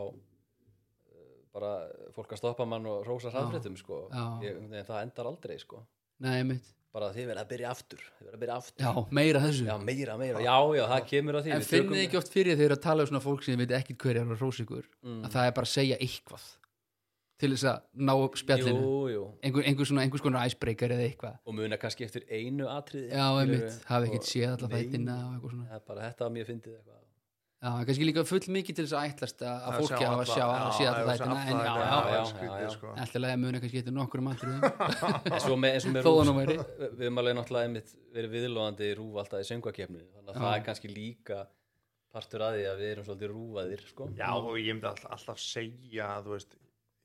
Speaker 3: eh, bara fólk að stoppa mann og rósa hraðfréttum sko.
Speaker 1: Já.
Speaker 3: Ég- einhvern veginn, það endar aldrei sko.
Speaker 1: nei, einmitt,
Speaker 3: bara þið verða að byrja aftur þið verða að byrja aftur
Speaker 1: já, meira þessu.
Speaker 3: Já, meira, meira, já, já, það kemur að því
Speaker 1: En
Speaker 3: Við
Speaker 1: finnið þið
Speaker 3: tökum-
Speaker 1: ekki oft fyrir þegar að tala um svona fólk sem veit ekkit hverjar og hrós ykkur,
Speaker 3: Mm.
Speaker 1: að það er bara að segja eitthvað til þess að ná upp spjallinu,
Speaker 3: Jú, jú,
Speaker 1: einhver, einhver svona, einhvers konar icebreaker eða eitthvað.
Speaker 3: og muna kannski eftir einu
Speaker 1: Já,
Speaker 3: atriði skilurðu,
Speaker 1: einmitt, hafi
Speaker 3: og-
Speaker 1: ekkert séð alla
Speaker 3: Nei,
Speaker 1: þættina og eitthvað svona
Speaker 3: það er bara þetta að mér fyndið eitthvað
Speaker 1: Já, kannski líka full mikið til þess að ætlast að að
Speaker 2: að
Speaker 1: fólki hafa
Speaker 2: sjá
Speaker 1: að
Speaker 2: alla-
Speaker 1: sjá að
Speaker 2: já,
Speaker 1: sé
Speaker 2: ef
Speaker 1: alla
Speaker 2: þú
Speaker 1: þættina
Speaker 2: sjá
Speaker 1: en já,
Speaker 2: alla þættina,
Speaker 1: já,
Speaker 2: það
Speaker 1: já
Speaker 2: er
Speaker 3: já,
Speaker 2: skrítið,
Speaker 3: já.
Speaker 2: sko.
Speaker 1: Alltaf lega muni kannski eitthvað nokkur um atriðum
Speaker 3: eins og með, eins og með
Speaker 1: Þó
Speaker 3: rúf
Speaker 1: það nú væri
Speaker 3: við við höfum alveg náttúrulega einmitt verið viðlóðandi í rúf alltaf í söngvakefni þannig að
Speaker 1: Já.
Speaker 3: það er kannski líka partur að því að við erum svolítið rúfaðir sko.
Speaker 2: Já, og ég myndi all, alltaf segja að þú veist,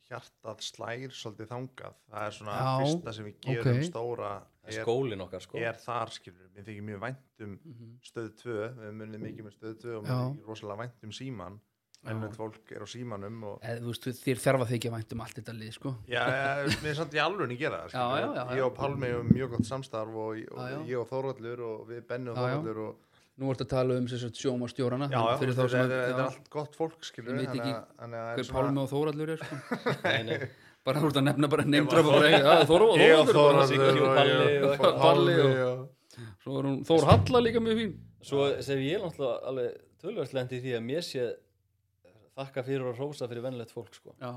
Speaker 2: hjartað slær svolítið þangað. Það er svona
Speaker 1: Já,
Speaker 2: fyrsta sem við gerum
Speaker 1: ok.
Speaker 2: stóra
Speaker 3: Það er
Speaker 2: er,
Speaker 3: skólin okkar sko.
Speaker 2: er þar, skilur. Mér þykir mjög vænt um stöð 2, við munum mikið með stöð 2 og mér
Speaker 1: Já.
Speaker 2: þykir rosalega vænt um síman. Ennvend fólk er á símanum og
Speaker 1: Eða, þú veist, þér þarfa þig ekki að væntum allt þetta lið, sko
Speaker 2: Já, já, mér er samt í alveg að gera það
Speaker 1: Já, já,
Speaker 2: skilurðu.
Speaker 1: já, já.
Speaker 2: Ég og Pálmi hefum mjög gott samstarf og, og
Speaker 1: Já, já.
Speaker 2: ég og Þórvallur og við Benni og
Speaker 1: Já, já.
Speaker 2: Þórvallur og
Speaker 1: Nú ertu að tala um sér sjóma stjórana
Speaker 2: Já, já,
Speaker 1: fyrir þá
Speaker 2: þetta
Speaker 1: sem
Speaker 2: er-
Speaker 1: að
Speaker 2: þetta er
Speaker 1: já,
Speaker 2: allt gott fólk
Speaker 1: Ég
Speaker 2: skilur
Speaker 1: veit ekki hver Pálmi og Þórallur er, sko
Speaker 3: Nei, nei.
Speaker 1: bara þú ert að nefna bara neymdrapa bara, "Hey, já, Þór og
Speaker 2: Ég og
Speaker 1: Þórallur bara,
Speaker 2: Þórvallur
Speaker 3: Siggi og Palli og
Speaker 2: og
Speaker 1: eitthvað.
Speaker 2: Pálmi
Speaker 1: Palli
Speaker 2: og
Speaker 1: Svo er hún Þór Halla líka mjög fín
Speaker 3: svo sem ég náttúrulega alveg tölvöldlendi því að mér sé þakka fyrir og rósa fyrir vennlegt fólk sko.
Speaker 1: Já,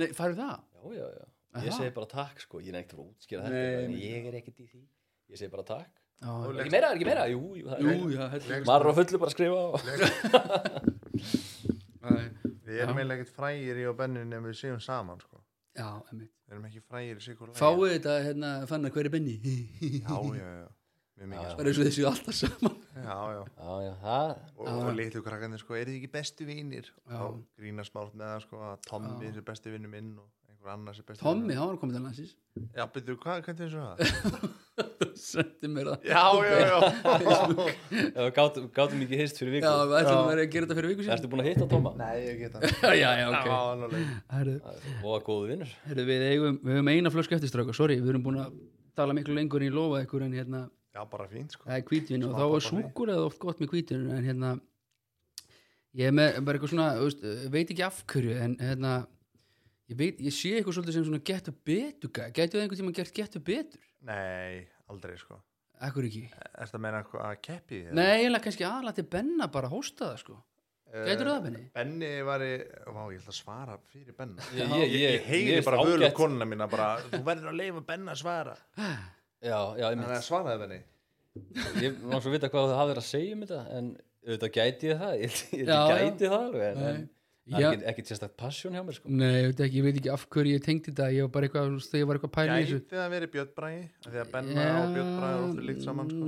Speaker 1: nei, færðu það?
Speaker 3: já, já, já, ég
Speaker 1: Aha.
Speaker 3: segi bara takk sko. ég er ekkert að útskýra
Speaker 1: Nei,
Speaker 3: þetta en
Speaker 1: nei.
Speaker 3: ég er ekkert í því ég segi bara takk
Speaker 1: já,
Speaker 2: Og
Speaker 3: ekki meira, ekki meira, jú, jú, það
Speaker 1: Jú, já,
Speaker 3: er
Speaker 1: heldur
Speaker 2: Leggst-
Speaker 3: maður er á fullu bara að skrifa og...
Speaker 1: Æ,
Speaker 2: Við erum eiginlega ekkert frægir í og bennin en við séum saman sko.
Speaker 1: Já, emmi
Speaker 2: Við erum ekki frægir í sikur lagi.
Speaker 1: Fáið þetta, hérna, fann að hver er Benny
Speaker 2: Já, já, já. Mjög mikið
Speaker 3: Já,
Speaker 1: Það er
Speaker 2: sko.
Speaker 1: eins og þessu alltaf saman
Speaker 2: Já, já.
Speaker 3: já, já, það
Speaker 2: Og, og litlu krakkandi sko, eru þið ekki bestu vinir?
Speaker 1: Já.
Speaker 2: Og þá grína smátt með það sko að Tommi er besti vinnu minn og einhver annars er besti
Speaker 1: Tommy, hann var komið til landsins
Speaker 2: vinur. Já, byrju, hvað, hvernig er það?
Speaker 1: Sendi mér það
Speaker 2: já, já, já.
Speaker 3: já, við gátum, gátum ekki hist fyrir
Speaker 1: Já,
Speaker 3: viku
Speaker 1: við ætlum að vera að gera þetta fyrir viku síðan
Speaker 3: ertu búin að hitta Tóma?
Speaker 2: Nei, ég get það.
Speaker 1: Já, já, já,
Speaker 2: Já,
Speaker 1: ok
Speaker 2: alveg.
Speaker 1: Herru,
Speaker 3: og góðu vinnur
Speaker 1: herru, við eigum, við eigum eina flösku eftir stráka Sorry, við erum búin að tala miklu lengur en ég lofa ykkur en hérna
Speaker 2: Já, bara fínt sko.
Speaker 1: Það er hvítvín og
Speaker 2: Smá
Speaker 1: þá er
Speaker 2: kaffi.
Speaker 1: súkur eða oft gott með hvítvín en hérna ég er með bara eitthvað svona, þú veist, eh, veit ekki af hverju en hérna ég, veit, ég sé eitthvað svolítið sem svona getur betur getur það einhvern tíma gert getur betur
Speaker 2: Nei, aldrei sko.
Speaker 1: ekkur ekki,
Speaker 2: Er það meina hvað að keppi? eða?
Speaker 1: nei eiginlega kannski aðlætti benna bara að hósta það sko
Speaker 2: Eh,
Speaker 1: getur það benni?
Speaker 2: Benni var í, vá, ég ætla að svara fyrir Benna.
Speaker 3: Ég- ég- ég-
Speaker 2: heyri
Speaker 3: ég er
Speaker 2: bara völu
Speaker 3: ágætt.
Speaker 2: konuna mína bara, þú verður að leifa Benna að svara.
Speaker 3: já, já, ég
Speaker 2: Þannig
Speaker 3: mynd
Speaker 2: að svaraði Benni.
Speaker 3: ég náttúrulega svo vita hvað þú hafðir að segja um þetta en auðvitað gæti ég það ég, ég,
Speaker 1: Já, já.
Speaker 3: gæti það alveg en, en það
Speaker 1: Já.
Speaker 3: er ekki, ekki sérstaklega passion hjá mér sko.
Speaker 1: nei, ég veit ekki, ég veit ekki af hverju ég tengdi þetta ég var bara eitthvað, þú veist, þegar ég var eitthvað pæli
Speaker 2: Gæti það verið Björn Bragi? Af Því að Benna og Björn Bragi eru ofta líkt saman, sko.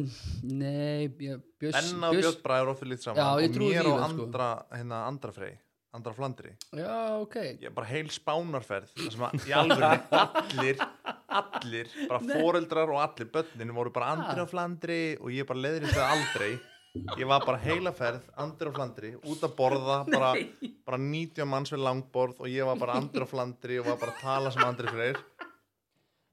Speaker 1: nei, ég, björs,
Speaker 2: Benna og Björn Bragi eru ofta líkt saman.
Speaker 1: Já, ég
Speaker 2: og
Speaker 1: trúi því
Speaker 2: mér og
Speaker 1: alveg, sko.
Speaker 2: andra, hérna, andra frey, andra flandri.
Speaker 1: já, ok,
Speaker 2: Ég er bara heil spánarferð, það sem að í alveg allir, allir, bara foreldrar og allir börnin voru bara andri
Speaker 1: Ah.
Speaker 2: og flandri og ég bara leðrið það aldrei. Ég var bara heila ferð, andri og flandri, út að borða, bara, bara 90 manns við langborð og ég var bara andri og flandri og var bara að tala sem andri freyr.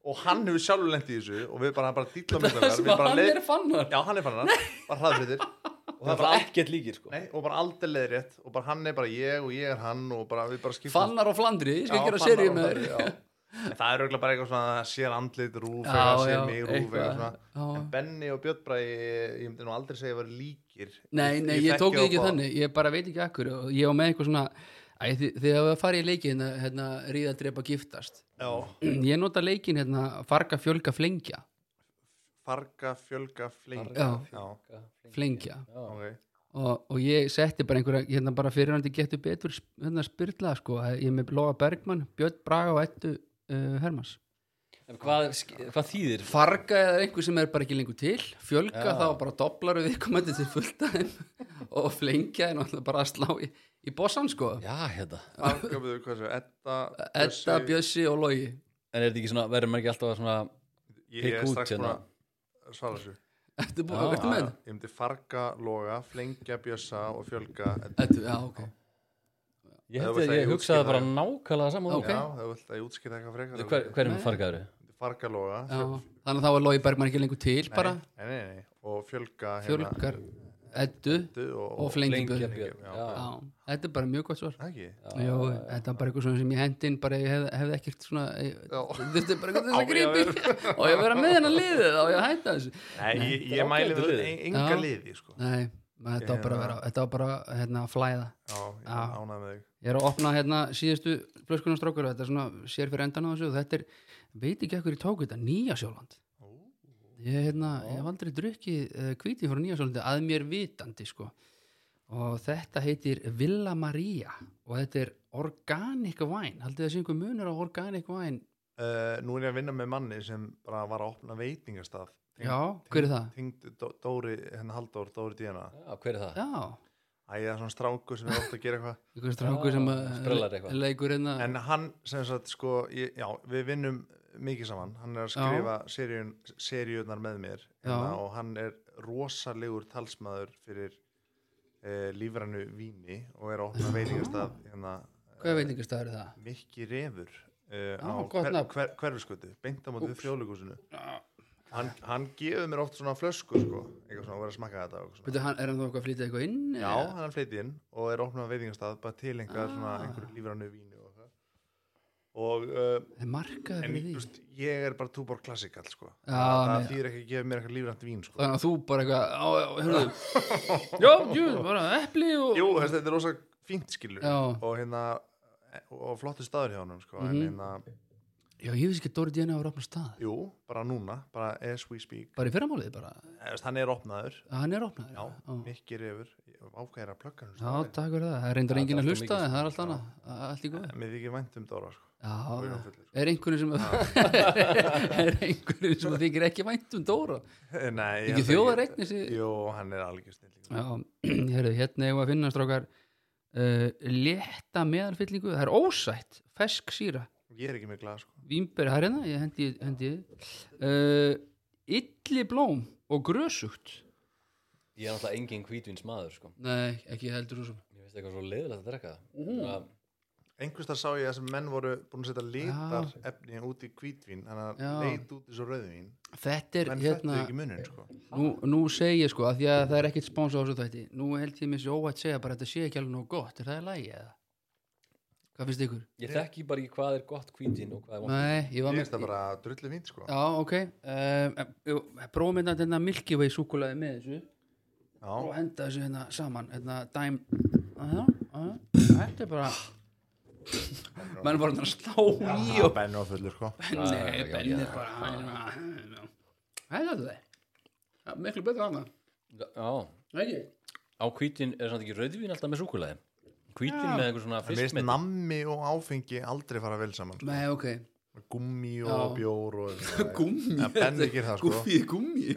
Speaker 2: Og hann hefur sjálfur lent í þessu og við bara, bara dýtla með
Speaker 1: það sem að hann er fannar
Speaker 2: Já, hann er fannar, bara hraðfriðir. Og
Speaker 3: það
Speaker 2: það
Speaker 3: er
Speaker 2: er bara
Speaker 3: bara ekkert líkir sko.
Speaker 2: Nei, og bara aldrei leiðrétt og bara hann er bara ég og ég er hann og bara við bara skiptum
Speaker 1: fannar og flandri, ég skal
Speaker 2: Já,
Speaker 1: gera
Speaker 2: fannar
Speaker 1: serið
Speaker 2: og
Speaker 1: með
Speaker 2: fannar,
Speaker 1: þér
Speaker 2: já. En það er auðvitað bara eitthvað svona það sér andlit rúf
Speaker 1: Já,
Speaker 2: eitthvað,
Speaker 1: já,
Speaker 2: sér mig rúf eitthvað
Speaker 1: eitthvað,
Speaker 2: svona
Speaker 1: já.
Speaker 2: en Benni og Björn Bræði ég myndi nú aldrei segja að vera líkir
Speaker 1: Nei, nei, ég,
Speaker 2: þekki
Speaker 1: tók
Speaker 2: þá
Speaker 1: það ekki
Speaker 2: bara-
Speaker 1: þannig, ég bara veit ekki akkur og ég var með eitthvað svona æ, þi- þegar við farið í leikin hérna, ríða, drepa, giftast
Speaker 2: Já,
Speaker 1: ég nota leikin hérna, farga, fjölga, flengja
Speaker 2: farga, fjölga, flengja
Speaker 1: Já.
Speaker 2: já,
Speaker 1: flengja
Speaker 3: Já.
Speaker 2: ok
Speaker 1: og, og ég setti bara einhverja hérna, bara fyrirhandi getur betur sp- hérna, spyrla sko, að ég er með Lóa Bergmann, Björn Braga og Ettu uh, Hermans
Speaker 3: En hvað, sk- hvað þýðir
Speaker 1: farga eða einhver sem er bara ekki lengur til fjölga
Speaker 3: Já.
Speaker 1: þá bara doblar við komandi til fullta og flengja er náttúrulega bara að slá í, í bossan sko
Speaker 3: já, hérna.
Speaker 2: Farga, við hvað svo, Edda
Speaker 1: Edda,
Speaker 2: Bjössi,
Speaker 1: Bjössi og Lógi
Speaker 3: en er þetta ekki svona, verður maður ekki alltaf að svona
Speaker 2: Ég
Speaker 3: pick
Speaker 2: er
Speaker 3: út
Speaker 2: strax búin
Speaker 3: hérna.
Speaker 2: að svara þessu
Speaker 1: Ertu búin
Speaker 3: Já.
Speaker 1: að verða með þetta?
Speaker 2: Ég myndi farga, loga, flengja, bjössa og fjölga Eddu.
Speaker 1: Þetta, já, ok
Speaker 3: ég,
Speaker 2: Ef
Speaker 3: held
Speaker 2: þú
Speaker 3: að ég
Speaker 2: segir
Speaker 3: hugsaði
Speaker 2: útskýra
Speaker 3: bara
Speaker 2: það.
Speaker 3: nákvæmlega saman
Speaker 1: Ok.
Speaker 2: Já, það vilt að ég útskýta eitthvað frekar
Speaker 3: hver, hver er með fargaður?
Speaker 2: Myndi Farga, loga,
Speaker 1: já. Þannig að þá var Lói Bergmann ekki lengur til bara
Speaker 2: nei, nei, nei, og fjölga hérna,
Speaker 1: fjölgar Eddu
Speaker 2: Eddu
Speaker 1: og flengjabjör
Speaker 3: Lengja
Speaker 1: Já,
Speaker 3: Björn
Speaker 2: Já.
Speaker 3: já.
Speaker 1: þetta er bara mjög gott svar
Speaker 2: Það ekki?
Speaker 1: Jó, þetta er bara eitthvað svona sem ég hendin bara ég hef, hefði ekkert svona ég-
Speaker 2: Já.
Speaker 1: þetta er bara eitthvað þess
Speaker 2: Á,
Speaker 1: að grípi og ég að vera með hennar liðið og ég að hætta þessu
Speaker 2: Nei, ég,
Speaker 3: þetta
Speaker 2: ég
Speaker 3: er
Speaker 2: mæli
Speaker 3: ágætur
Speaker 2: við
Speaker 3: liður.
Speaker 2: en- enga
Speaker 1: Já.
Speaker 2: liði, sko.
Speaker 1: Nei, maður, þetta var bara að vera þetta var bara hérna að flæða
Speaker 2: Já, ég
Speaker 1: Já.
Speaker 2: ánað með þig.
Speaker 1: Ég er að opna hérna síðustu flöskunarstrókur þetta er svona sér fyrir endan á þessu og þetta er, veit ekki ekkur ég tók þetta, Nýja Sjóland ég, hérna, ég hef aldrei drukkið uh, hvítið frá Nýja Sjólandi að mér vitandi sko og þetta heitir Villa Maria og þetta er organic wine haldið það sé einhver munur á organic wine
Speaker 2: Uh, nú er ég að vinna með manni sem bara var að opna veitingastaf.
Speaker 1: já, hver er það?
Speaker 2: Tengd Dóri, henni Halldór, Dóri Díana.
Speaker 3: já, hver er það?
Speaker 1: Já,
Speaker 2: Æ, það er svona strákur sem er ofta að gera eitthvað.
Speaker 1: einhver strákur sem að
Speaker 3: sprellar eitthvað.
Speaker 1: leikur hérna
Speaker 2: En hann, sem sagt, sko, ég, já, við vinnum mikið saman. Hann er að skrifa seríun, seríunar með mér. Hérna,
Speaker 1: Já.
Speaker 2: og hann er rosalegur talsmaður fyrir uh, lífrannu víni og er að opna veitingastaf hérna,
Speaker 1: hvað veitingastæður er það?
Speaker 2: Mikki Refur
Speaker 1: Já,
Speaker 2: uh, á
Speaker 1: gott
Speaker 2: hver,
Speaker 1: nafn.
Speaker 2: hver, hverfiskötu, beint á móti þjóðleikúsinu hann, hann gefur mér oft svona flösku sko, eitthvað svona, og verið að smakka þetta og eitthvað svona.
Speaker 1: Byrju, hann, er hann þá eitthvað að flytja eitthvað inn?
Speaker 2: já, hann fleiti inn og er opnað veitingastað bara til einhver svona
Speaker 1: Ah.
Speaker 2: einhverju lífrannu víni og það og uh,
Speaker 1: Það er markaður
Speaker 2: en
Speaker 1: fyrir því
Speaker 2: just, ég er bara túbor klassikall sko
Speaker 1: Já,
Speaker 2: það,
Speaker 1: nei.
Speaker 2: það þýr ekki að gefa mér eitthvað lífrænt vín sko
Speaker 1: þannig að þú bara eitthvað á, á, hörðu, já, jú, bara epli og
Speaker 2: jú, þessi, þetta er rosa fínt skilur eh,
Speaker 1: Já. Mhm.
Speaker 2: og hérna og flottu staður hjá hann sko, en hérna
Speaker 1: Já, ég veist ekki að Dóri DNA var opnað stað
Speaker 2: Jú, bara núna, bara as we speak
Speaker 1: Bara í fyrramálið bara
Speaker 2: Eðast, Hann er opnaður
Speaker 1: að Hann er opnað
Speaker 2: Já, mikki refur Ákveðir að plugga
Speaker 1: Já,
Speaker 2: hann sko.
Speaker 1: takk fyrir það, það er reyndar
Speaker 3: Já,
Speaker 1: enginn
Speaker 3: það
Speaker 1: að
Speaker 3: er
Speaker 1: hlusta
Speaker 3: mikið-
Speaker 1: en það er allt annað, Það er allt í góð
Speaker 2: Mér þykir vænt um Dóra sko.
Speaker 1: Já,
Speaker 2: Og Jón fullur.
Speaker 1: er einhverjum sem er einhverjum sem þykir ekki vænt um Dóra
Speaker 2: Nei, ég
Speaker 1: ekki
Speaker 2: held
Speaker 1: þjóðar eignis í-
Speaker 2: Jú, hann er algjör snill
Speaker 1: Já, heyrðu, hérna eigum við að finna strákar uh, létta meðalfyllingu það er ósætt, fesk síra
Speaker 2: Ég er ekki með glas sko.
Speaker 1: vínberi, það er hérna, ég hendi, hendi uh, illi blóm og grösugt
Speaker 3: ég er náttúrulega engin hvítvins maður sko.
Speaker 1: Nei, ekki heldur þú sem
Speaker 3: ég veist eitthvað svo leiðilegt að drekka
Speaker 1: Mhm.
Speaker 3: Svona-
Speaker 2: Einhverstað sá ég að sem menn voru búin að setja litar efni út í hvítvín Þannig
Speaker 1: Já.
Speaker 2: að leit út í svo rauðvín
Speaker 1: Þetta er
Speaker 2: Menn
Speaker 1: hérna
Speaker 2: fættu ekki munun sko.
Speaker 1: nú, nú segi ég sko, af því að það er ekkit spóns á þessu þætti nú held ég mér sér óvægt segja bara að þetta sé ekki alveg nóg gott, er það í lagi eða? Hvað finnst ykkur?
Speaker 3: ég þekki bara ekki hvað er gott hvítvin og hvað er vont
Speaker 1: Nei, ég
Speaker 2: Ég
Speaker 1: var
Speaker 2: veist það bara drullu fínt sko.
Speaker 1: Já, ok um, Prófum hérna þetta Milky Way súkulaði með þessu og
Speaker 2: Já,
Speaker 1: henda þessu hérna saman hérna dæm Aha, aha. Þetta er bara Menn bara að slá í og
Speaker 2: Benni og fullur sko.
Speaker 1: Nei,
Speaker 3: já,
Speaker 1: Benni
Speaker 3: já.
Speaker 1: bara Það er þetta það er Miklu betra annað,
Speaker 3: já,
Speaker 1: ekki?
Speaker 3: á hvítvin er samt ekki rauðvin alltaf með súkulæði hvítvin
Speaker 1: Já.
Speaker 3: með einhver svona
Speaker 2: En Mér finnst
Speaker 3: fiskmet
Speaker 2: nammi og áfengi aldrei fara vel saman sko.
Speaker 1: Nei, ok
Speaker 2: Gummi og
Speaker 1: Já.
Speaker 2: bjór og
Speaker 1: Gummi
Speaker 2: Ja, Benni gerir það, sko.
Speaker 1: Gummi,